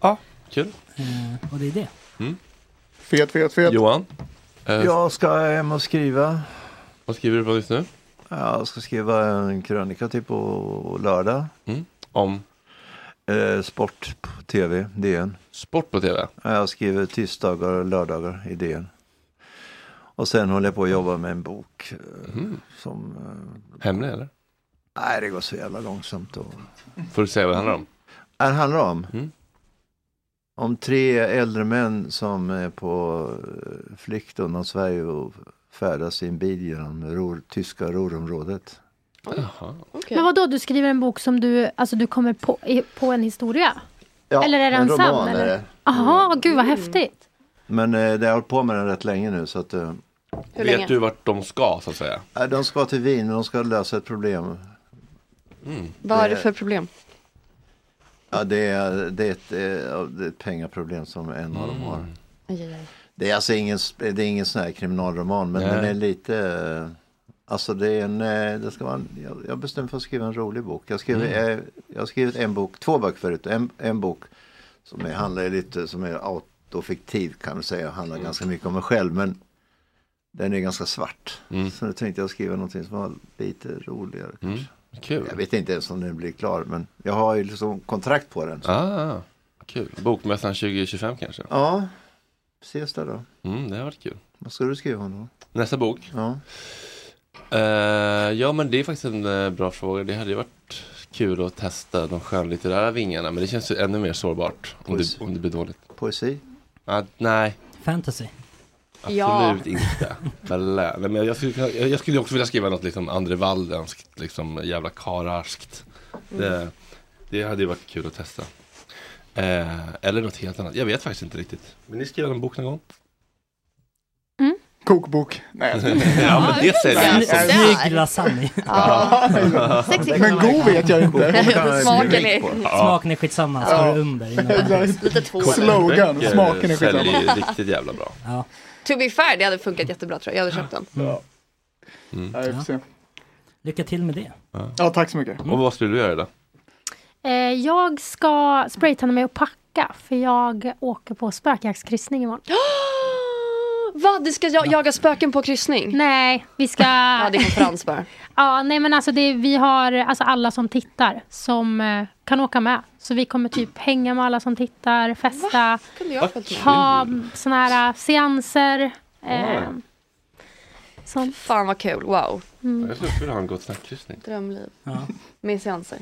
Speaker 5: Ja. Kul.
Speaker 10: Eh, och det är det.
Speaker 16: Fet, fet, fet.
Speaker 5: Mm. Johan? Eh,
Speaker 8: Jag ska hem och skriva.
Speaker 5: Vad skriver du på just nu?
Speaker 8: Jag ska skriva en krönika typ på lördag.
Speaker 5: Mm. Om?
Speaker 8: Eh, sport på tv, DN.
Speaker 5: Sport på tv?
Speaker 8: Jag skriver tisdagar och lördagar i DN. Och sen håller jag på att jobba med en bok. eh, Som, eh,
Speaker 5: Mm. Hemlig eller?
Speaker 8: nej, det går så jävla långsamt. Och...
Speaker 5: Får du säga vad det handlar om? Mm.
Speaker 8: Ja, Det handlar om. Om tre äldre män som är på eh, flykt undan Sverige och färdas i en bil genom ror, tyska Ruhrområdet.
Speaker 5: Jaha.
Speaker 15: Men vad då? du skriver en bok som du, alltså du kommer på, i- på en historia? eller är det en sann?
Speaker 8: är det.
Speaker 15: eller?
Speaker 9: Mm.
Speaker 15: Jaha, gud vad häftigt.
Speaker 8: Men eh, det har jag hållit på med den rätt länge nu så att eh,
Speaker 15: Hur
Speaker 5: Vet
Speaker 15: länge?
Speaker 5: du vart de ska så att säga?
Speaker 8: eh, de ska till Wien men de ska lösa ett problem.
Speaker 5: Mm.
Speaker 9: Vad är det
Speaker 8: Eh,
Speaker 9: för problem?
Speaker 8: Ja, det är, det är, ett, eh, ja, det är ett pengaproblem som en av dem har.
Speaker 9: Mm. Aj, aj, aj.
Speaker 8: Det är alltså ingen, sp- det är ingen sån här kriminalroman men
Speaker 5: Nej.
Speaker 8: den är lite eh, Alltså det är en, eh, det ska vara en jag, jag bestämde för att skriva en rolig bok. Jag, skrev,
Speaker 5: Mm.
Speaker 8: eh, jag har skrivit en bok, två böcker förut. En, en bok som är, handlar lite, som är autofiktiv kan man säga, handlar
Speaker 5: Mm.
Speaker 8: ganska mycket om mig själv men den är ganska svart.
Speaker 5: Mm.
Speaker 8: Så nu tänkte jag skriva någonting som var lite roligare. kanske.
Speaker 5: Kul.
Speaker 8: Jag vet inte ens om den blir klar men jag har ju liksom kontrakt på den. Så.
Speaker 5: Ah, kul. Bokmässan 2025 kanske?
Speaker 8: Ja, ses där då.
Speaker 5: Mm, det har varit kul.
Speaker 8: Vad ska du skriva om då?
Speaker 5: Nästa bok? Eh,
Speaker 8: Ja.
Speaker 5: ja men det är faktiskt en eh, bra fråga. Det hade ju varit kul att testa de skönlitterära vingarna. Men det känns ju ännu mer sårbart om, det,
Speaker 8: Poesi.
Speaker 5: om det blir dåligt.
Speaker 8: Poesi?
Speaker 5: Ah, nej,
Speaker 10: Fantasy. Ja.
Speaker 5: absolut inte. Balla. Nej, men jag, skulle, kunna- jag jag skulle också vilja skriva något liksom Andre Waldenskt, liksom jävla kararskt. Det,
Speaker 14: Mm.
Speaker 5: det hade ju varit kul att testa. Eh, eller något helt annat. Jag vet faktiskt inte riktigt. Vill ni skriva en bok någon gång?
Speaker 16: Kokbok. Nej, jag skojar.
Speaker 5: ja men det säljer ju. som-
Speaker 10: Snygg lasagne.
Speaker 16: Men god vet jag inte.
Speaker 10: Smaken är, smaken är skitsamma, ska
Speaker 16: Ja.
Speaker 10: du under innan
Speaker 9: Lite två.
Speaker 16: Slogan,
Speaker 5: Kokböcker
Speaker 16: smaken är
Speaker 5: eh, säljer ju
Speaker 16: skitsamma.
Speaker 5: riktigt jävla bra.
Speaker 9: To be fair, det hade funkat jättebra tror jag. Jag hade köpt den.
Speaker 10: Mm.
Speaker 5: Mm.
Speaker 16: Ja, vi får se.
Speaker 10: Lycka till med det.
Speaker 16: Ja, tack så mycket.
Speaker 5: Och vad skulle du göra idag?
Speaker 15: Eh, jag ska spraytanna mig och packa för jag åker på spökjaktskryssning imorgon.
Speaker 9: Vad? Du ska jag, jaga spöken på kryssning?
Speaker 15: Nej, vi ska... ja,
Speaker 9: det är konferens bara.
Speaker 15: Ja, nej men alltså det, vi har alltså alla som tittar som eh, kan åka med. Så vi kommer typ hänga med alla som tittar, festa,
Speaker 9: Kunde jag ha följt med?
Speaker 15: ha såna här eh, seanser. Eh,
Speaker 5: Wow.
Speaker 9: Fan vad kul, wow.
Speaker 5: Mm. Jag skulle vilja ha en Gott snack-kryssning.
Speaker 9: Drömliv.
Speaker 10: Ja.
Speaker 9: Med seanser.